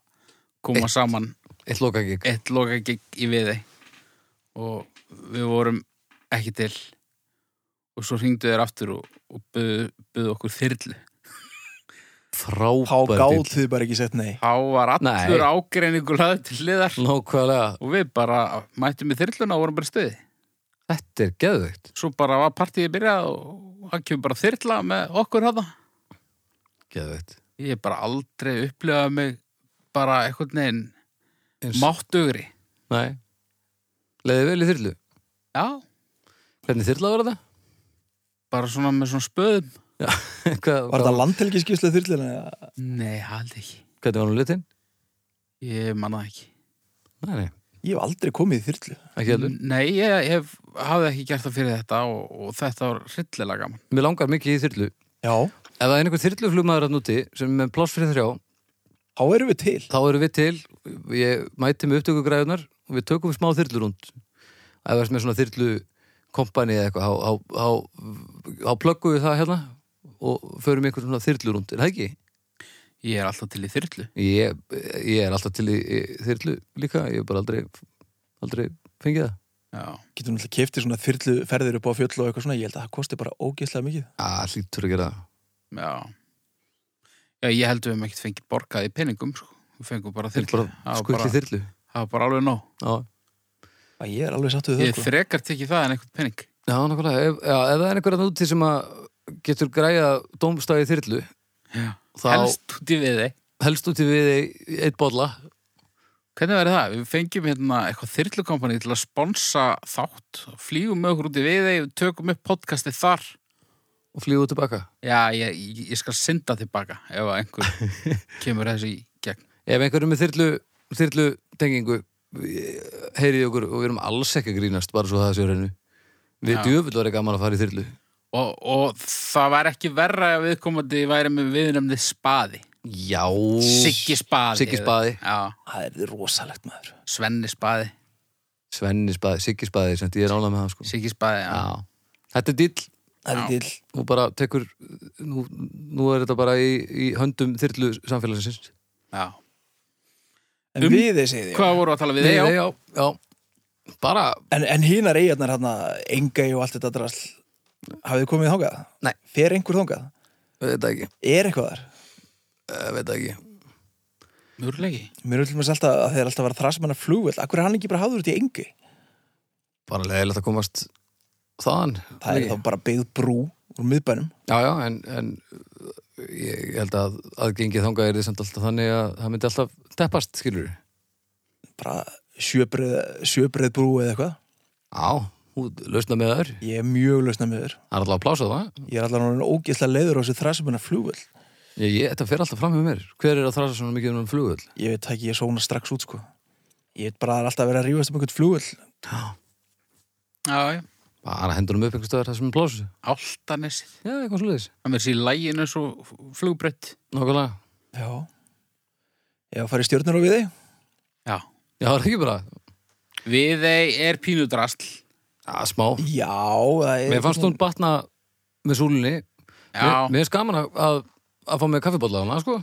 Speaker 2: koma saman
Speaker 4: eitt loka gig
Speaker 2: eitt loka í viði og við vorum ekki til og svo hringdu þeir aftur og, og buðu, buðu okkur þyrlu
Speaker 3: þá
Speaker 4: Frábær
Speaker 3: gátt þið bara ekki sett nei
Speaker 2: þá var
Speaker 4: Nei.
Speaker 2: allur ágreiningur laðið til hliðar
Speaker 4: bíll. Nákvæmlega,
Speaker 2: og við bara mættum í þyrluna og vorum bara í stuði
Speaker 4: þetta er geðveikt
Speaker 2: svo bara var partíið byrjað og hann kemur bara þyrla með okkur hana
Speaker 4: Geðveikt
Speaker 2: ég hef bara aldrei upplifað mig bara einhvern veginn
Speaker 4: Eins-
Speaker 2: máttugri
Speaker 4: Nei Leðið vel í þyrlu
Speaker 2: já,
Speaker 4: Hvernig þyrla var þetta? <laughs>
Speaker 2: bara svona með svona spöðum
Speaker 4: Hvað,
Speaker 3: var þetta landhelgiskysla þyrlina? eða?
Speaker 2: nei, hald ekki,
Speaker 4: Hvernig var hún litinn?
Speaker 2: ég manna ekki
Speaker 4: Nei, nei,
Speaker 3: ég hef aldrei komið í þyrlu
Speaker 4: ekki heldur
Speaker 2: Nei, ég hef, hafði ekki gert það fyrir þetta og, og þetta var hryllilega gaman.
Speaker 4: Mér langar mikið í þyrlu
Speaker 3: já,
Speaker 4: Ef það er einhver þyrluflugmaður að núti sem er með pláss fyrir þrjá,
Speaker 3: þá erum við til
Speaker 4: þá erum við til, ég mæti með upptökugræðunar og við tökum smá þyrlurund. Ef það er með svona þyrlukompani eða eitthvað, þá- þá- þá- þá plöggum við það hérna og förum í einhver svona þyrlurund, er það ekki?
Speaker 2: Ég er alltaf til í þyrlu.
Speaker 4: Ég, ég er alltaf til í, í þyrlu líka, ég hef bara aldrei, aldrei fengið það.
Speaker 2: já.
Speaker 3: getur náttúrulega kefti svona þyrlu ferðir upp á fjöll og eitthvað svona, ég held að það kosti bara ógeðslega mikið
Speaker 4: að hlýtur að gera það.
Speaker 2: Já. Já, ég held við hefum ekkert fengið borgað í peningum, sko. Við fengum bara
Speaker 4: Þeir
Speaker 2: þyrlu.
Speaker 4: bara
Speaker 2: Það var
Speaker 4: skulli
Speaker 2: bara,
Speaker 4: þyrlu
Speaker 2: það var bara alveg nóg.
Speaker 4: Já,
Speaker 3: að ég er alveg satt við það
Speaker 2: Ég
Speaker 3: sko.
Speaker 2: frekar tekið það en eitthvað pening.
Speaker 4: já nákvæmlega ef, já, ef það er einhverja úti sem að getur græja dómstæði þyrlu
Speaker 2: Já.
Speaker 4: þá
Speaker 2: Helst
Speaker 4: helst,
Speaker 2: út í við þig.
Speaker 4: úti við í eitt bolla
Speaker 2: Hvernig verður það? Við fengjum hérna eitthvað þyrlukompani til að sponsa þátt, flýgum með okkur út í við þig, tökum upp podcastið þar.
Speaker 4: og flýgu út tilbaka
Speaker 2: Já, ég, ég- ég skal synda tilbaka ef að einhver
Speaker 4: <laughs>
Speaker 2: kemur þessi í gegn.
Speaker 4: Ef einhverjum með þyrlu, þyrlu tengingu heyriði okkur og við erum alls ekki að grínast bara svo það sé á hreinu Við
Speaker 2: Já.
Speaker 4: djöfull var gaman að fara í þyrlu
Speaker 2: Og, og það var ekki verra að viðkomandi væri með viðnefnið spaði.
Speaker 4: Já
Speaker 2: Siggi spaði.
Speaker 4: Siggi spaði.
Speaker 2: Já,
Speaker 3: það er því rosalegt maður
Speaker 2: Svenni spaði.
Speaker 4: Svenni spaði, Siggi spaði, sem ég er ánlega með það sko.
Speaker 2: Siggi spaði, já.
Speaker 4: Já, þetta er dill
Speaker 3: það er til,
Speaker 4: og bara tekur nú, nú er þetta bara í, í höndum þyrlu samfélagsins
Speaker 2: já.
Speaker 3: en
Speaker 2: Um-
Speaker 3: við þeir segið
Speaker 2: Hvað voru að tala við þig?
Speaker 4: já, já bara,
Speaker 3: en, en hínar eigarnar hann enga og allt þetta drasl hafið þið komið þangað?
Speaker 4: Nei.
Speaker 3: fer einhver þangað?
Speaker 4: veit það ekki
Speaker 3: er eitthvað þar?
Speaker 4: eh, veit það ekki,
Speaker 2: Mjörlegi.
Speaker 3: mér er alltaf alltaf að þeir alltaf að vera þrasmanna flugvöld akkur er hann ekki bara hafður út í engu?
Speaker 4: bara leiðilegt að komast þaðan
Speaker 3: það er þá bara byggð brú úr miðbænum
Speaker 4: já, já, en, en eh, ég held að aðgengið þangað er þið samt alltaf þannig að það myndi alltaf teppast, skilur við
Speaker 3: bara sjöbreið, sjöbreið brú eða eitthvað
Speaker 4: já, hún lausna með þær
Speaker 3: ég er mjög lausna með þér
Speaker 4: það er alltaf að plása það
Speaker 3: ég er alltaf orðinn ógeðslega leiður á þessu þrasmanna flugvöld
Speaker 4: ég, ég, þetta fer alltaf fram með mér, hver er að þrasa svona mikið um flugvöld
Speaker 3: ég veit það ekki, ég sóna strax út sko ég veit bara að það er alltaf að vera að rífast um einhvern flugvöld
Speaker 2: Já, já.
Speaker 4: bara hendur um upp einhvers stöðar þar sem er plásu já,
Speaker 2: Áltanesið.
Speaker 4: eitthvað svo leiðis,
Speaker 2: Það með sér í læginu svo flugbrött.
Speaker 4: nákvæmlega
Speaker 3: já ég var farið stjórnur á við þig
Speaker 2: Já.
Speaker 4: já, það er ekki bara,
Speaker 2: Við þig er pínudrasl.
Speaker 4: að smá
Speaker 3: já, það er
Speaker 4: Mér fannst hún batna með súlunni
Speaker 2: Já.
Speaker 4: Mér mér finnst gaman að, að, að fá með kaffibólla á hana, sko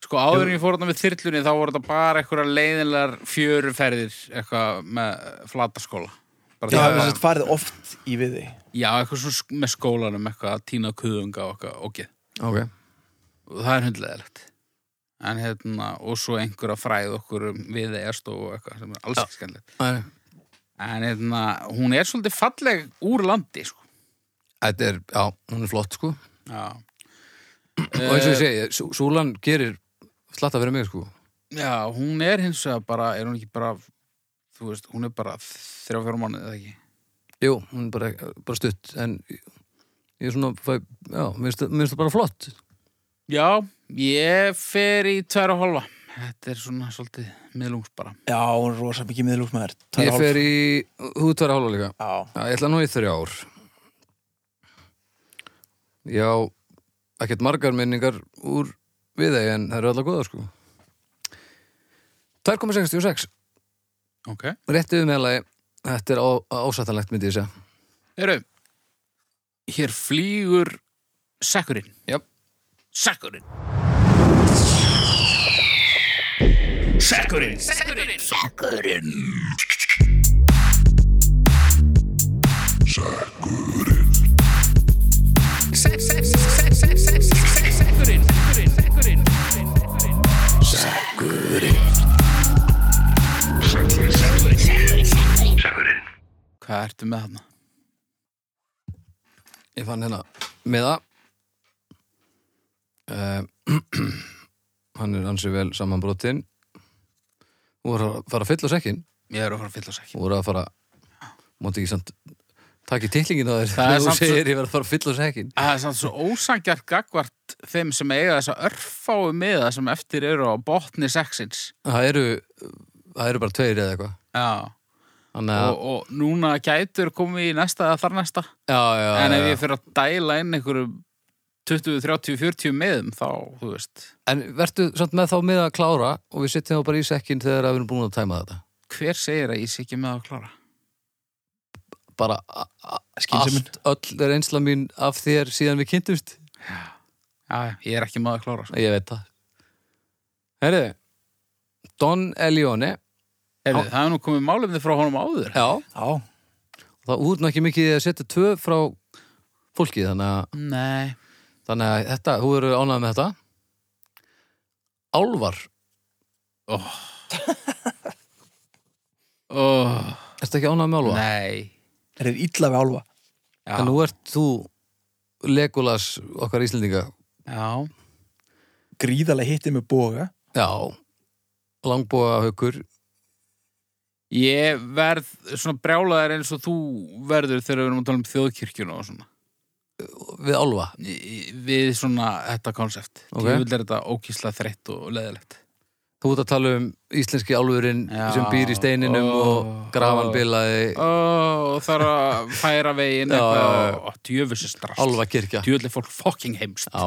Speaker 2: Sko áður en ég fór þarna við þyrlunni þá voru þetta bara eitthvað leiðinlegar fjöruferðir eitthvað með flataskóla. Bara
Speaker 3: það
Speaker 2: það-
Speaker 3: er þess að farið oft í við þig
Speaker 2: Já, eitthvað svo sk- með skólanum eitthvað að tína kuðunga og eitthvað ógeð.
Speaker 4: Ok
Speaker 2: og það er hundlegaðilegt en hérna, og svo einhver að fræða okkur um við eðast og eitthvað sem er alls ekki skemmtilegt
Speaker 4: Þetta
Speaker 2: en hérna, hún er svolítið falleg úr landi sko.
Speaker 4: er, já, hún er flott, sko
Speaker 2: já,
Speaker 4: Og eins og ég segi, sú- súlan gerir slatta fyrir mig, sko
Speaker 2: já, hún er hins vegar bara er hún ekki bara, þú veist, hún er bara þrjá fjóra mánuð eða ekki
Speaker 4: Jú, hún er bara, bara stutt En ég er svona, fæ, já, mér finnst- mér finnst það bara flott
Speaker 2: já, ég fer í tverja hálfa þetta er svona svolítið miðlungs bara
Speaker 3: já, hún er rosa mikið miðlúfmaður
Speaker 4: Ég fer í hútværa hálfa líka
Speaker 3: já,
Speaker 4: Já, ég ætla nú í þrjár Já, ekkert margar minningar úr viðegi en það eru allar góðar sko 2,66
Speaker 2: ok,
Speaker 4: Rétt yfir meðlagi Þetta er á- ásættanlegt myndi ég segja
Speaker 2: eru hér flýgur sekkurinn
Speaker 4: Já,
Speaker 2: sekkurinn hvað ertu með þarna?
Speaker 4: ég fann hérna meða uh, <clears throat> Hann er ansi vel samanbrotinn Þú voru að fara að fylla sekkin
Speaker 2: ég er að fara að fylla sekkin
Speaker 4: Þú voru að fara Mátti ekki samt Takk í titlingin á
Speaker 2: Það er
Speaker 4: þér Þegar þú
Speaker 2: samt svo-
Speaker 4: segir ég verð að fara að fylla sekkin
Speaker 2: Það er samt svo ósangjart gagvart þeim sem eiga þessa örfáu miða sem eftir eru á botni sexins.
Speaker 4: Það eru, það eru bara tveir eða eitthvað
Speaker 2: Já.
Speaker 4: Þannig að,
Speaker 2: Og, og núna gætur komið í næsta eða þar næsta.
Speaker 4: já, já,
Speaker 2: en ef
Speaker 4: já,
Speaker 2: ég fyrir að dæla inn einhverju 20, 30, 40 miðum þá, þú veist,
Speaker 4: en vertu samt með þá með að klára og við sittum þá bara í sekkin þegar að við erum búin að tæma þetta.
Speaker 2: hver segir að ég sé ekki með að klára?
Speaker 4: Bara a- a-
Speaker 3: Skynsemin.
Speaker 4: allt, öll er einsla mín af þér síðan við kynntumst.
Speaker 2: Já, ég er ekki með að klára. Sko.
Speaker 4: Ég veit það. Herðu, Don Elione,
Speaker 2: Heyrðu, það er nú komið málefni frá honum áður.
Speaker 4: já,
Speaker 3: já
Speaker 4: það út ekki mikið í að setja tvö frá fólki þannig að,
Speaker 2: Nei
Speaker 4: þannig að þetta, þú eru ánægð með þetta Álvar
Speaker 2: oh,
Speaker 4: Ertu ekki ánægð með álvar?
Speaker 2: Nei
Speaker 3: Það er illa við álfa
Speaker 2: Já,
Speaker 4: En nú ert þú Legolas okkar Íslendinga
Speaker 2: já.
Speaker 3: Gríðalega hittið með boga
Speaker 4: Já Langbóa haukur
Speaker 2: Ég verð svona brjálaðar eins og þú verður þegar við erum að tala um þjóðkirkjuna og svona
Speaker 4: við álfa
Speaker 2: Í- Við svona þetta konsept
Speaker 4: Ok.
Speaker 2: okay. Ég vil er þetta ókísla þreytt og leðilegt
Speaker 4: Þú ert að tala um íslenski álfurinn
Speaker 2: Já.
Speaker 4: sem býr í steininum
Speaker 2: Ó,
Speaker 4: og grafan
Speaker 2: ó.
Speaker 4: bilaði
Speaker 2: Ó, þarf að færa veginn
Speaker 4: Já, já, já.
Speaker 2: eitthvað Djöfusis drast
Speaker 4: álfa kirkja
Speaker 2: Djöfull er fólk fucking heimst
Speaker 4: Já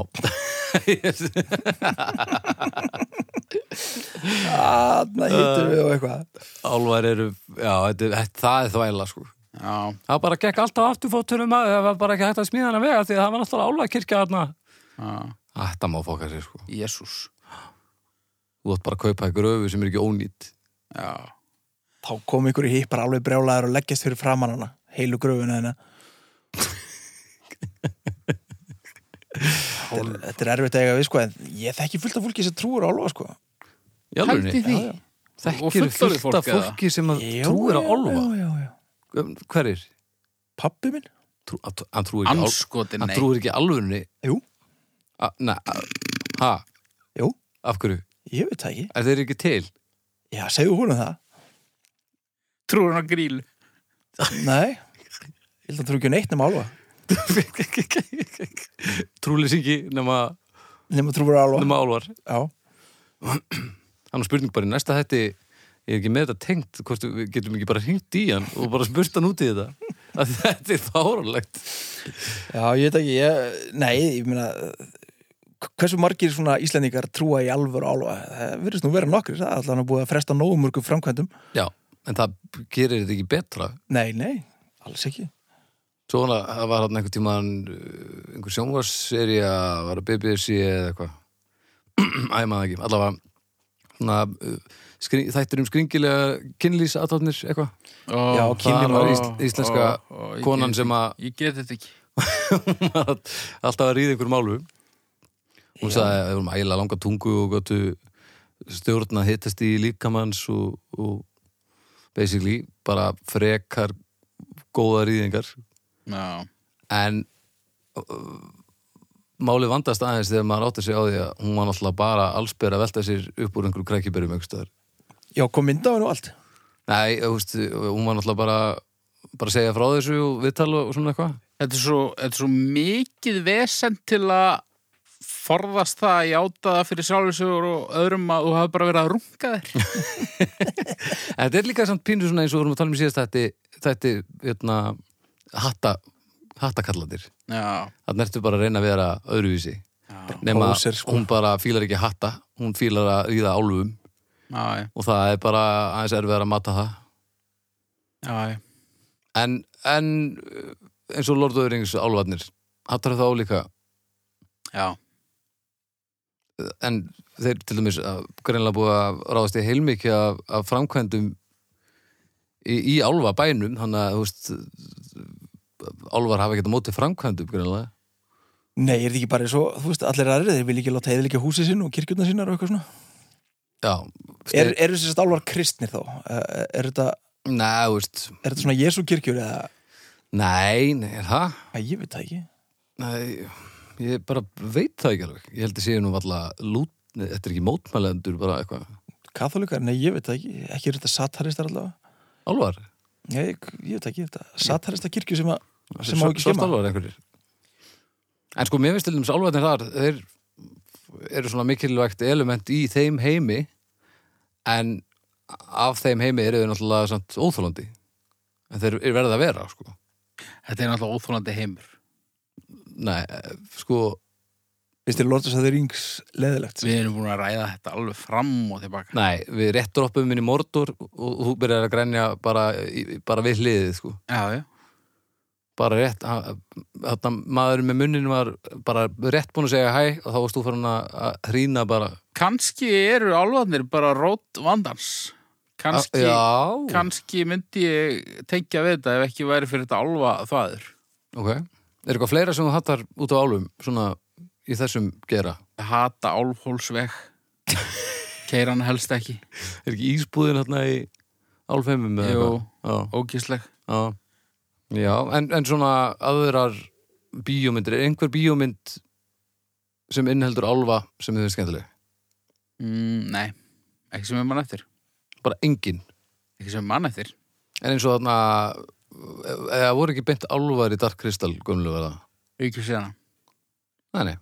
Speaker 3: Þarna hittum við og eitthvað
Speaker 4: <laughs> Álfar eru, já, þetta, þetta, það er þvæla sko
Speaker 2: Já,
Speaker 4: Það bara gekk alltaf afturfótturum að það var bara ekki hægt að smíða hana vega því að það var alltaf álfa kirkja þarna
Speaker 2: já,
Speaker 4: Þetta má fóka sér sko
Speaker 2: jésús
Speaker 4: Þú átt bara að kaupa ykkur öfu sem er ekki ónýtt
Speaker 2: Já,
Speaker 3: Þá kom ykkur í hippar alveg brjálæður og leggjast fyrir framann hana heilu gröfuna hérna. hennar þetta, er, þetta er erfitt að eiga við sko en ég þekki fullt af fólki sem trúur á álfa sko
Speaker 4: Í alvörunni?
Speaker 2: Pældu í því.
Speaker 4: Já, já.
Speaker 2: Og
Speaker 4: Þekkir
Speaker 2: fullorðið
Speaker 4: fullt
Speaker 2: fólk
Speaker 4: af
Speaker 2: eða?
Speaker 4: fólki sem að
Speaker 3: Já,
Speaker 4: trúir á
Speaker 3: já,
Speaker 4: álfa
Speaker 3: já, já, já.
Speaker 4: Hverir?
Speaker 3: Pabbi minn?
Speaker 4: Trú, að- hann trúir ekki á-
Speaker 2: anskotin
Speaker 4: Hann
Speaker 2: nei
Speaker 4: trúir ekki alvörunni
Speaker 3: Jú,
Speaker 4: A- Nei, a- ha,
Speaker 3: jú,
Speaker 4: af hverju?
Speaker 3: ég veit það ekki
Speaker 4: Er þeir ekki til? <laughs>
Speaker 3: Já, segðu húnum það
Speaker 2: Trúir hann á gríl
Speaker 3: Nei, ég held að trú ekki á neitt nema álfa
Speaker 4: Trúlýsingi nema,
Speaker 3: nema trúur á álfa
Speaker 4: nema álvar
Speaker 3: Já,
Speaker 4: Þannig spurning bara í næsta þetta Ég er ekki með þetta tengt Hvort við getum ekki bara hringt í hann Og bara spurt hann út í þetta <laughs> að Þetta er fáránlegt
Speaker 3: já, ég veit ekki ég, Nei, ég meina hversu margir svona Íslendingar trúa í alvöru álfa það virðist nú vera nokkrir, það er allan að búið að fresta nógu mörgum framkvæmdum
Speaker 4: Já, en það gerir þetta ekki betra
Speaker 3: Nei, nei, alls ekki
Speaker 4: Svona, það var hann einhver tíma eh, einhver sjónvarssería var að BBC eða eitthvað <clears throat> Æ, maður ekki, allavega svona, uh, skri, þættir um skringilega kynlýsatáknir eitthvað
Speaker 2: oh,
Speaker 3: Já,
Speaker 4: það
Speaker 3: kynlíf
Speaker 4: var
Speaker 3: var
Speaker 4: ísl, íslenska konan sem að <laughs>
Speaker 2: Ég get þetta ekki
Speaker 4: alltaf að ríða einhverjum álfum hún sagði að við vorum ægilega langa tungu og gotu stjórna hittast í líkamanns og, og basically bara frekar góða rýðingar
Speaker 2: Já,
Speaker 4: en uh, málið vandast aðeins þegar maður átti sig á því að hún var náttúrulega bara allsber að velta sér upp úr einhverju krækiberum einhverstaðar.
Speaker 3: Já, kom mynd á hennu allt
Speaker 4: Nei, þú veist, hún var náttúrulega bara bara að segja frá þessu og viðtal og svona eitthvað
Speaker 2: þetta er svo, þetta er svo mikið vesend til að forðast það að játa það fyrir sjálfisögur og öðrum að þú hafi bara verið að runga þér <laughs>
Speaker 4: En þetta er líka samt pínu svona eins og við vorum að tala um síðast þetta, þetta hérna, hatta, hattakallandir.
Speaker 2: Já,
Speaker 4: Þannig ertu bara að reyna að vera öðruvísi. Nema
Speaker 3: Poser, sko.
Speaker 4: hún bara fílar ekki hatta, hún fílar að ríða álfum
Speaker 2: já, já,
Speaker 4: og það er bara aðeins erfiðar að matta það.
Speaker 2: já, já.
Speaker 4: En, en uh, eins og Lord of the Rings álfarnir, hattar það álíka.
Speaker 2: já.
Speaker 4: En þeir til dæmis að greinlega búið að ráðast í heilmikið af, af framkvæmdum í, í álfa bænum, þannig að þú veist, álfar hafa ekkert á móti framkvæmdum greinlega.
Speaker 3: Nei, er þetta ekki bara svo, þú veist, allir aðrið þeir vil ekki láta heiðilega húsið sinn og kirkjurnar sínar og eitthvað svona
Speaker 4: Já,
Speaker 3: Er,
Speaker 4: er,
Speaker 3: eru þessi álfar kristnir þá? Eh, Er þetta,
Speaker 4: nei, þú veist
Speaker 3: er þetta svona Jésu kirkjur eða,
Speaker 4: Nei, nei, er það?
Speaker 3: að ég veit það ekki
Speaker 4: Nei, ég bara veit það ekki alveg Ég held að séu nú valla lút nei, Þetta er ekki mótmælendur bara eitthvað
Speaker 3: Katholikar? Nei, ég veit það ekki, ekki eru þetta sataristar allavega
Speaker 4: Álvar?
Speaker 3: Nei, ég, ég veit ekki þetta Satarista kirkju sem, að, sem má
Speaker 4: Svart-
Speaker 3: ekki skemma
Speaker 4: svartálfar einhverjir En sko, mér finnst til þess álfarnir þar Þeir eru svona mikilvægt element í þeim heimi En af þeim heimi eru þau náttúrulega samt óþólandi En þeir eru verið að vera, sko
Speaker 2: Þetta er náttúrulega óþólandi heimur.
Speaker 4: Nei, eh, sko
Speaker 3: Vist þér Lords of the Rings leðilegt?
Speaker 2: Við erum búin að ræða þetta alveg fram og tilbaka.
Speaker 4: Nei, við rétt droppum inn í Mordor og þú byrjar að grænja bara, í- bara við hliðið, sko.
Speaker 2: Já, já.
Speaker 4: Bara rétt, þarna maðurinn með munnin var bara rétt búin að segja hæ og þá varst þú farin að- að hrína bara.
Speaker 2: Kanski eru álfarnir bara rót vandans. kannski,
Speaker 4: Já.
Speaker 2: kannski myndi ég tengja við þetta ef ekki væri fyrir þetta álfa þaður
Speaker 4: Ok. Er eitthvað fleira sem þú hattar út á álum, svona í þessum gera?
Speaker 2: hata <laughs> álfhólsveg keira hann helst ekki
Speaker 4: Er ekki ísbúðin hérna í álfheimum eða
Speaker 2: Jú.
Speaker 4: eitthvað?
Speaker 2: ógisleg
Speaker 4: Já. Já. Já, en, en svona aðrar bíómyndir, er einhver bíómynd sem innheldur álfa sem þið er skemmtileg?
Speaker 2: mm, nei, ekki sem er mann eftir
Speaker 4: Bara engin.
Speaker 2: ekki sem er mann eftir
Speaker 4: En eins og þarna, eða voru ekki beint álfar í Dark Crystal gömlu verða?
Speaker 2: aukjur síðan
Speaker 4: Nei, nei.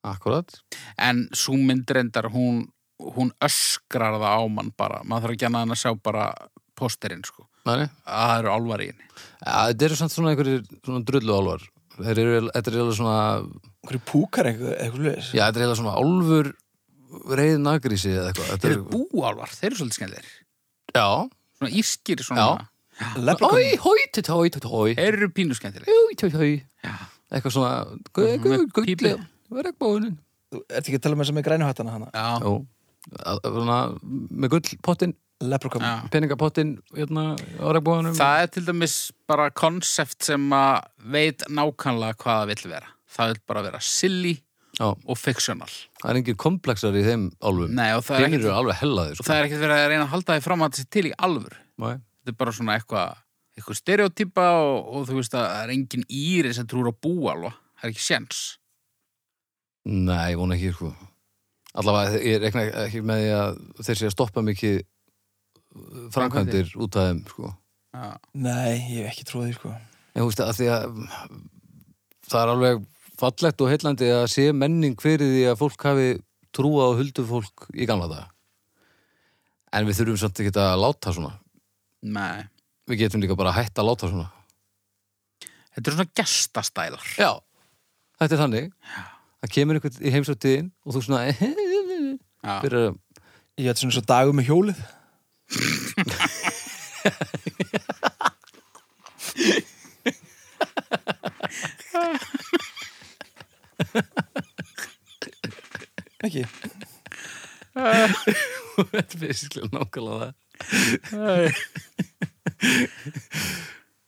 Speaker 4: Akkurat.
Speaker 2: en svo myndrendar hún, hún öskrar það á mann bara maður þarf ekki annað en að sjá bara pósterinn sko
Speaker 4: Nei, nei.
Speaker 2: að það eru álfar í henni
Speaker 4: Ja, þetta eru samt svona einhverjir svona drullu álvar. Þetta eru eiginlega svona,
Speaker 3: Hverju púkar eitthvað, eitthvað leis?
Speaker 4: já, þetta eru eiginlega svona álfur reið nagrísi eða eitthvað. Þetta
Speaker 2: þeir eru
Speaker 4: eru-
Speaker 2: búálfar, þeir eru svolítið skemmtilegir
Speaker 4: Já.
Speaker 2: svona ískir svona
Speaker 4: Já.
Speaker 3: Leprechaun.
Speaker 4: Hói, hói, tói, tói, tói, tói.
Speaker 2: þeir eru pínu skemmtilegir
Speaker 4: Hói, tói, tói.
Speaker 2: Já.
Speaker 4: Eitthvað svona,
Speaker 2: Mhm, með pípu.
Speaker 4: gullið. Regnbóðunin.
Speaker 3: Þú ert ekki að tala með þess að með grænuhattana hana?
Speaker 2: já,
Speaker 4: Jó. Að- að- Svona, með gullpottin,
Speaker 3: Leprechaun.
Speaker 2: já.
Speaker 4: peningapottin, hérna, á regnbóðunum.
Speaker 2: það er til dæmis bara konsept sem að veit nákvæmlega hvað það vill vera það vill bara vera silly
Speaker 4: Já,
Speaker 2: og fictional
Speaker 4: það er engin komplexar í þeim álfum.
Speaker 2: Nei, og það er
Speaker 4: Þeir
Speaker 2: ekkert
Speaker 4: eru alveg hellaðir,
Speaker 2: og
Speaker 4: sko.
Speaker 2: það er ekkert verið að reyna að halda því fram að þetta sé til í alvör
Speaker 4: Nei.
Speaker 2: þetta er bara svona eitthvað eitthvað stereotypa og, og þú veist að það er engin íri sem trúur að búa alveg það er ekki sjens
Speaker 4: Nei, ég vona ekki, sko. Allavega, ég rekna ekki með því að þeir sé að stoppa mikið framkvæmdir út af þeim, sko.
Speaker 3: Nei, ég hef ekki trúið því, sko.
Speaker 4: En þú veist að því að mm, það er alveg fallegt og heillandi að sé menning fyrir því að fólk hafi trúa og huldu fólk í gamla daga. En við þurfum samt ekki að láta svona.
Speaker 2: Nei.
Speaker 4: Við getum líka bara að hætta að láta svona.
Speaker 2: þetta eru svona gestastælar
Speaker 4: Já, þetta er þannig. Það kemur einhvern í heimsóttiðin og þú svona... <laughs>
Speaker 2: já.
Speaker 4: Fyrir að
Speaker 3: Ég hef svona svo dagum
Speaker 2: <laughs>
Speaker 3: með hjólið. ekki.
Speaker 4: Þetta er fysisklega nákvæmlega það.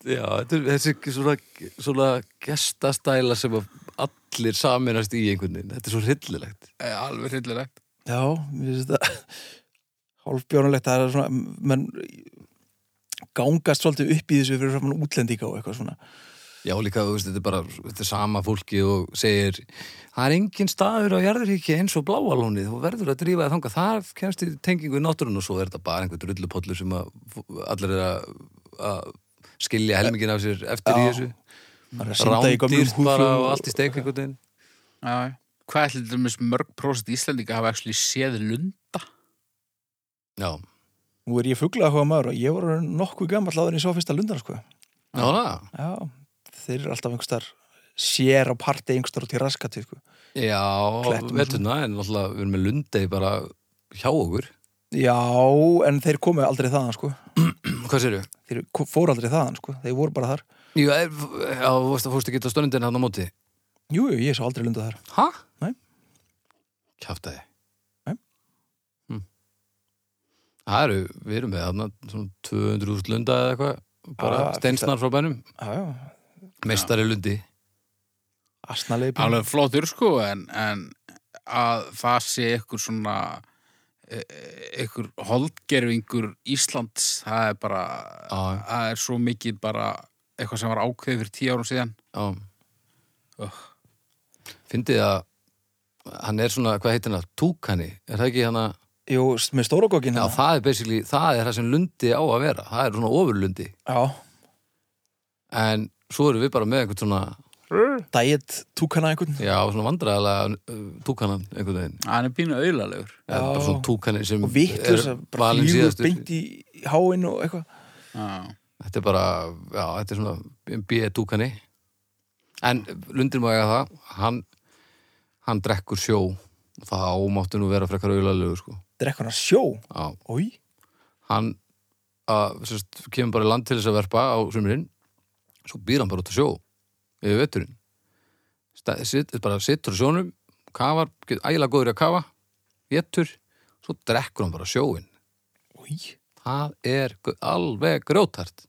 Speaker 4: Já, þetta er þessi svona, svona gestastæla sem að allir saminast í einhvern veginn. Þetta er svo hryllilegt.
Speaker 2: Eh, alveg hryllilegt
Speaker 3: Já, við veist <laughs> það. Hálfbjónulegt, það er svona, menn gangast svolítið upp í þessu fyrir framann útlendinga og eitthvað svona.
Speaker 4: Já, líka, þú veist, þetta er bara þetta er sama fólki og segir það er engin staður á jarðuríki eins og bláalónið, þú verður að drífa það þangað þar kemst í tengingu í náttúrun og svo er þetta bara einhver drullupollur sem að f- allir er að, að skilja helmingin af sér eftir í
Speaker 3: Já.
Speaker 4: þessu
Speaker 3: Það er að synda í gömlum
Speaker 4: Mm. rándýrt bara
Speaker 3: húfum
Speaker 4: og allt í steik einhvern veginn
Speaker 2: já. já. hvað ætlir til dæmis mörg prósent íslendinga hafa actually séð lunda
Speaker 4: Já,
Speaker 3: Nú er ég fuggla að maður og ég var nokkuð gammal áður en ég svo fyrsta lundar sko.
Speaker 4: já, já.
Speaker 3: Já, þeir eru alltaf einhverstar sér á parti einhverstar út í raskati sko.
Speaker 4: Já,
Speaker 3: Klettum og
Speaker 4: veturna, en alltaf við erum með lundegi bara hjá okkur.
Speaker 3: Já, en þeir komu aldrei þaðan sko.
Speaker 4: Hvað sérðu?
Speaker 3: Þeir ko- fóru aldrei þaðan sko. Þeir voru bara þar
Speaker 4: Jú, er, já, þú veist að fórstu að geta stöndin hann á móti.
Speaker 3: Jú, jú, ég sá aldrei lunda þar
Speaker 4: Hæ?
Speaker 3: Nei.
Speaker 4: Kjaftaði.
Speaker 3: Nei.
Speaker 4: Hm. Það eru, við erum með þarna svona 200.000 lunda eða eitthvað, bara
Speaker 3: Ah,
Speaker 4: steinsnar frá bænum.
Speaker 3: Já, já,
Speaker 4: Meistari lundi.
Speaker 3: asnalegi bíl.
Speaker 2: alveg flottur sko en, en að það sé ykkur svona e- e- ykkur holdgerfingur Íslands, það er bara
Speaker 4: Já.
Speaker 2: það er svo mikið bara eitthvað sem var ákveðið fyrir tíu árum síðan
Speaker 4: Já.
Speaker 2: Ugh.
Speaker 4: Fyndið að hann er svona, hvað heitir hann? Túkani. Er það ekki hann að...
Speaker 3: Jú, s- með stóragokkin
Speaker 4: Já, það er basically, það er það sem lundi á að vera. Það er svona ofurlundi.
Speaker 3: já
Speaker 4: en svo erum við bara með einhvern svona
Speaker 3: Diet túkana einhvern
Speaker 4: já, svona vandræðalega túkanan einhvern veginn,
Speaker 2: hann er pínu auðlalegur
Speaker 4: já. bara svona túkanin sem
Speaker 3: Og vittlust,
Speaker 4: er
Speaker 3: bara
Speaker 4: valin
Speaker 3: flýgur
Speaker 4: síðastur.
Speaker 3: beint í háinn og eitthvað
Speaker 4: þetta er bara, já, þetta er svona B-túkani en lundir maður eiga það hann, hann drekkur sjó það ámáttu nú vera frekar auðalegu sko.
Speaker 3: Drekkur hann sjó
Speaker 4: Já.
Speaker 3: Ói,
Speaker 4: hann að, sérst, kemur bara í land til þess að verpa á sumurinn svo býr hann bara út að sjó yfir veturinn Stæ- sit, bara sittur á sjónum kafar, getur ægilega góður í að kafa getur, svo drekkur hann bara sjóin
Speaker 3: Új.
Speaker 4: Það er gu- alveg grótart.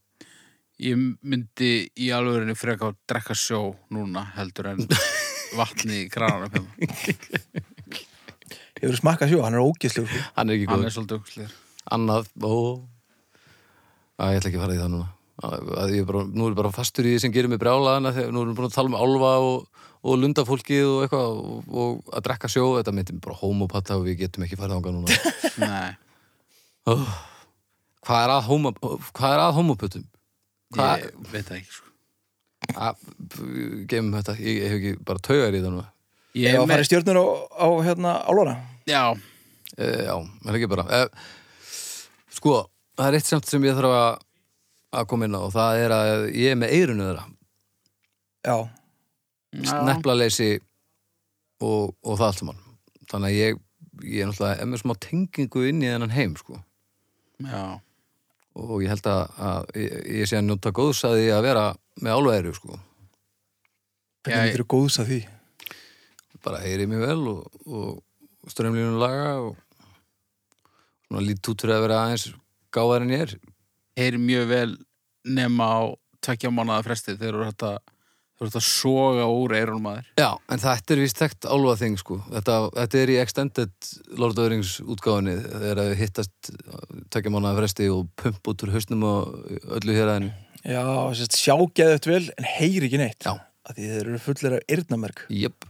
Speaker 2: Ég myndi í alvegurinu frekar að drekka sjó núna heldur
Speaker 3: <laughs>
Speaker 2: en vatni í krananum hérna.
Speaker 3: Hefur smakkað sjó, hann er ógislu
Speaker 4: Hann er ekki
Speaker 2: Hann
Speaker 4: góð.
Speaker 2: er svolítið ógslir.
Speaker 4: Annað, ó. Að ég ætla ekki að fara í það núna. Að, að ég er bara, nú er ég bara fastur í því sem gerir mig brjálaðan að þegar nú erum við búin að tala um álfa og, og lundafólkið og eitthvað og, og að drekka sjó. Þetta myndir mig bara homopata og við getum ekki farið ánga núna.
Speaker 2: Nei.
Speaker 4: Ó, hvað er að, homo, hvað er að homopötum? Hvað,
Speaker 2: Ég veit það ekki, sko.
Speaker 4: að, gefum þetta, ég, ég hef ekki bara taugar í það núna.
Speaker 2: Ég
Speaker 3: Ef
Speaker 2: er
Speaker 3: að fara í
Speaker 2: með,
Speaker 3: stjörnur á, á hérna, álóna
Speaker 2: já,
Speaker 4: E, já, er ekki bara. E, sko, það er eitt samt sem ég þarf að, að koma inn á og það er að ég er með eirunu þeirra.
Speaker 3: Já,
Speaker 4: Sneplaleysi og, og það allt saman. Þannig að ég, ég er náttúrulega er með smá tengingu inn í þennan heim, sko.
Speaker 2: já.
Speaker 4: Og ég held að, að ég, ég sé að njóta góðs að því að vera með álveiru, sko.
Speaker 3: hvernig
Speaker 2: Já,
Speaker 3: þetta eru góðs að því
Speaker 4: Bara heyri mig vel og, og strömlínu laga og svona lít út fyrir að vera aðeins gáðar en ég er.
Speaker 2: heyri mjög vel nema á tvekja mánuða fresti þegar þú ert að þú ert að soga úr eyrunum maður
Speaker 4: Já, en þetta er vist þekkt álfa þing sko. Þetta, þetta er í Extended Lord of the Rings útgáfinni þegar að hittast tökja mánuða fresti og pump út úr hausnum og öllu héræðinu.
Speaker 3: Já, sérst, sjá geðut vel en heyri ekki neitt
Speaker 4: Já.
Speaker 3: að Því þeir eru fullir af yrnamerk
Speaker 4: Jöp,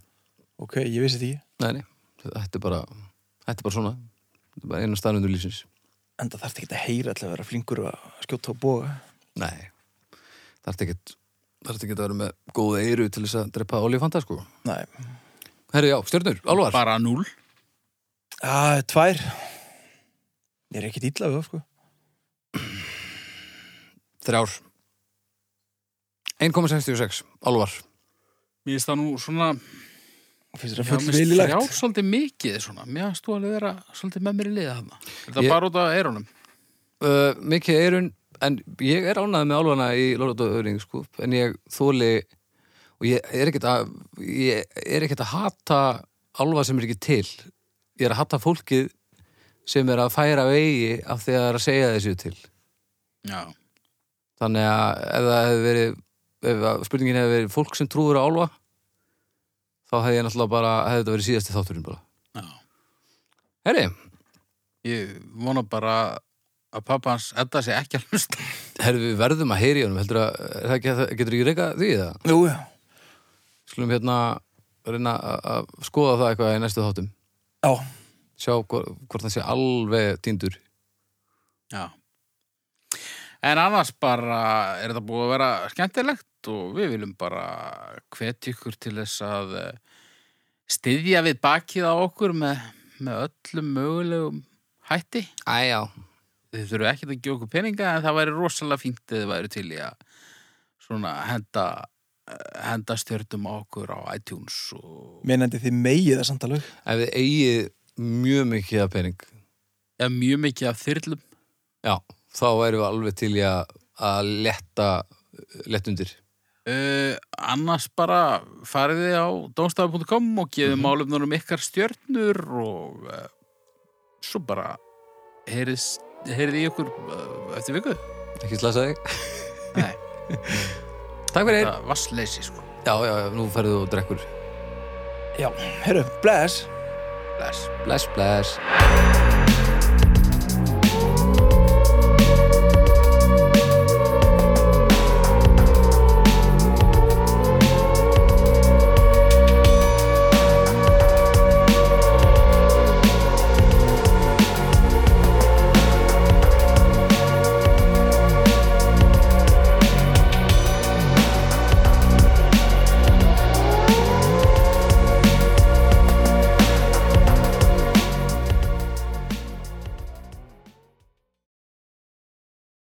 Speaker 3: Ok, ég vissi þetta ekki
Speaker 4: nei, nei, þetta er bara, þetta er bara svona. Þetta er bara eina staðnundur lífsins.
Speaker 3: En það þarf ekki að heyra alltaf að vera flinkur að skjóta á boga
Speaker 4: Nei, það er ekkert, það er ekkert að vera með góða eyru til þess að drepa olífanda sko.
Speaker 3: Nei,
Speaker 4: Herri, já, stjörnur, álfar.
Speaker 2: bara núl
Speaker 3: að tvær Ég er ekkit illa við það, sko
Speaker 4: Þrjár. 1,66, álfar.
Speaker 2: mér finnst það nú svona
Speaker 3: Finnst þetta
Speaker 2: já,
Speaker 3: full
Speaker 2: mér finnst þrjár
Speaker 3: vililegt
Speaker 2: svolítið mikið svona mér finnst þú alveg vera svolítið með mér í liða þarna þetta
Speaker 4: Ég-
Speaker 2: bara út af eyrunum
Speaker 4: uh, mikið eirun en ég er ánæðið með álfana í Lóraðóðurinn sko, en ég þóli og ég er ekkert að ég er ekkert að hata álfa sem er ekki til ég er að hata fólkið sem er að færa vegi af því að það er að segja þessu til
Speaker 2: já,
Speaker 4: þannig að ef það hefði verið ef að spurningin hefði verið fólk sem trúður á álfa þá hefði ég náttúrulega bara hefði þetta verið síðasti þátturinn bara
Speaker 2: já.
Speaker 4: Herri,
Speaker 2: ég vona bara að pappa hans edda sé ekki að hlusta
Speaker 4: herri við verðum að heyri honum heldur að, er það ekki, getur ekki reyka því það?
Speaker 3: Jú, já
Speaker 4: skulum hérna reyna að- að skoða það eitthvað í næstu þáttum
Speaker 3: Já,
Speaker 4: sjá hvort, hvort það sé alveg týndur
Speaker 2: já en annars bara er þetta búið að vera skemmtilegt og við viljum bara hvetja ykkur til þess að eh, styðja við bakið á okkur með, með öllum mögulegum hætti
Speaker 4: Æjá
Speaker 2: þið þurfum ekki að gefa okkur peninga en það væri rosalega fínt eða þið væri til í að svona henda eh, henda stjörnum á okkur á iTunes og
Speaker 3: mennandi þið megið það samt alveg
Speaker 4: Ef þið eigið mjög mikið af pening
Speaker 2: ja, mjög mikið af þyrlum
Speaker 4: já, þá væri við alveg til í að, að letta lett undir
Speaker 2: uh, annars bara fariði á domstafi.com og gefið málefnunum ykkar stjörnur og uh, svo bara heyrið heyrið í okkur uh, eftir viku
Speaker 4: ekki slasa þig
Speaker 2: Nei.
Speaker 4: Takk fyrir,
Speaker 2: það vassleysi sko
Speaker 4: já, já, já, nú ferðu og drekkur
Speaker 3: Já, herru, bless
Speaker 2: bless
Speaker 4: Bless, bless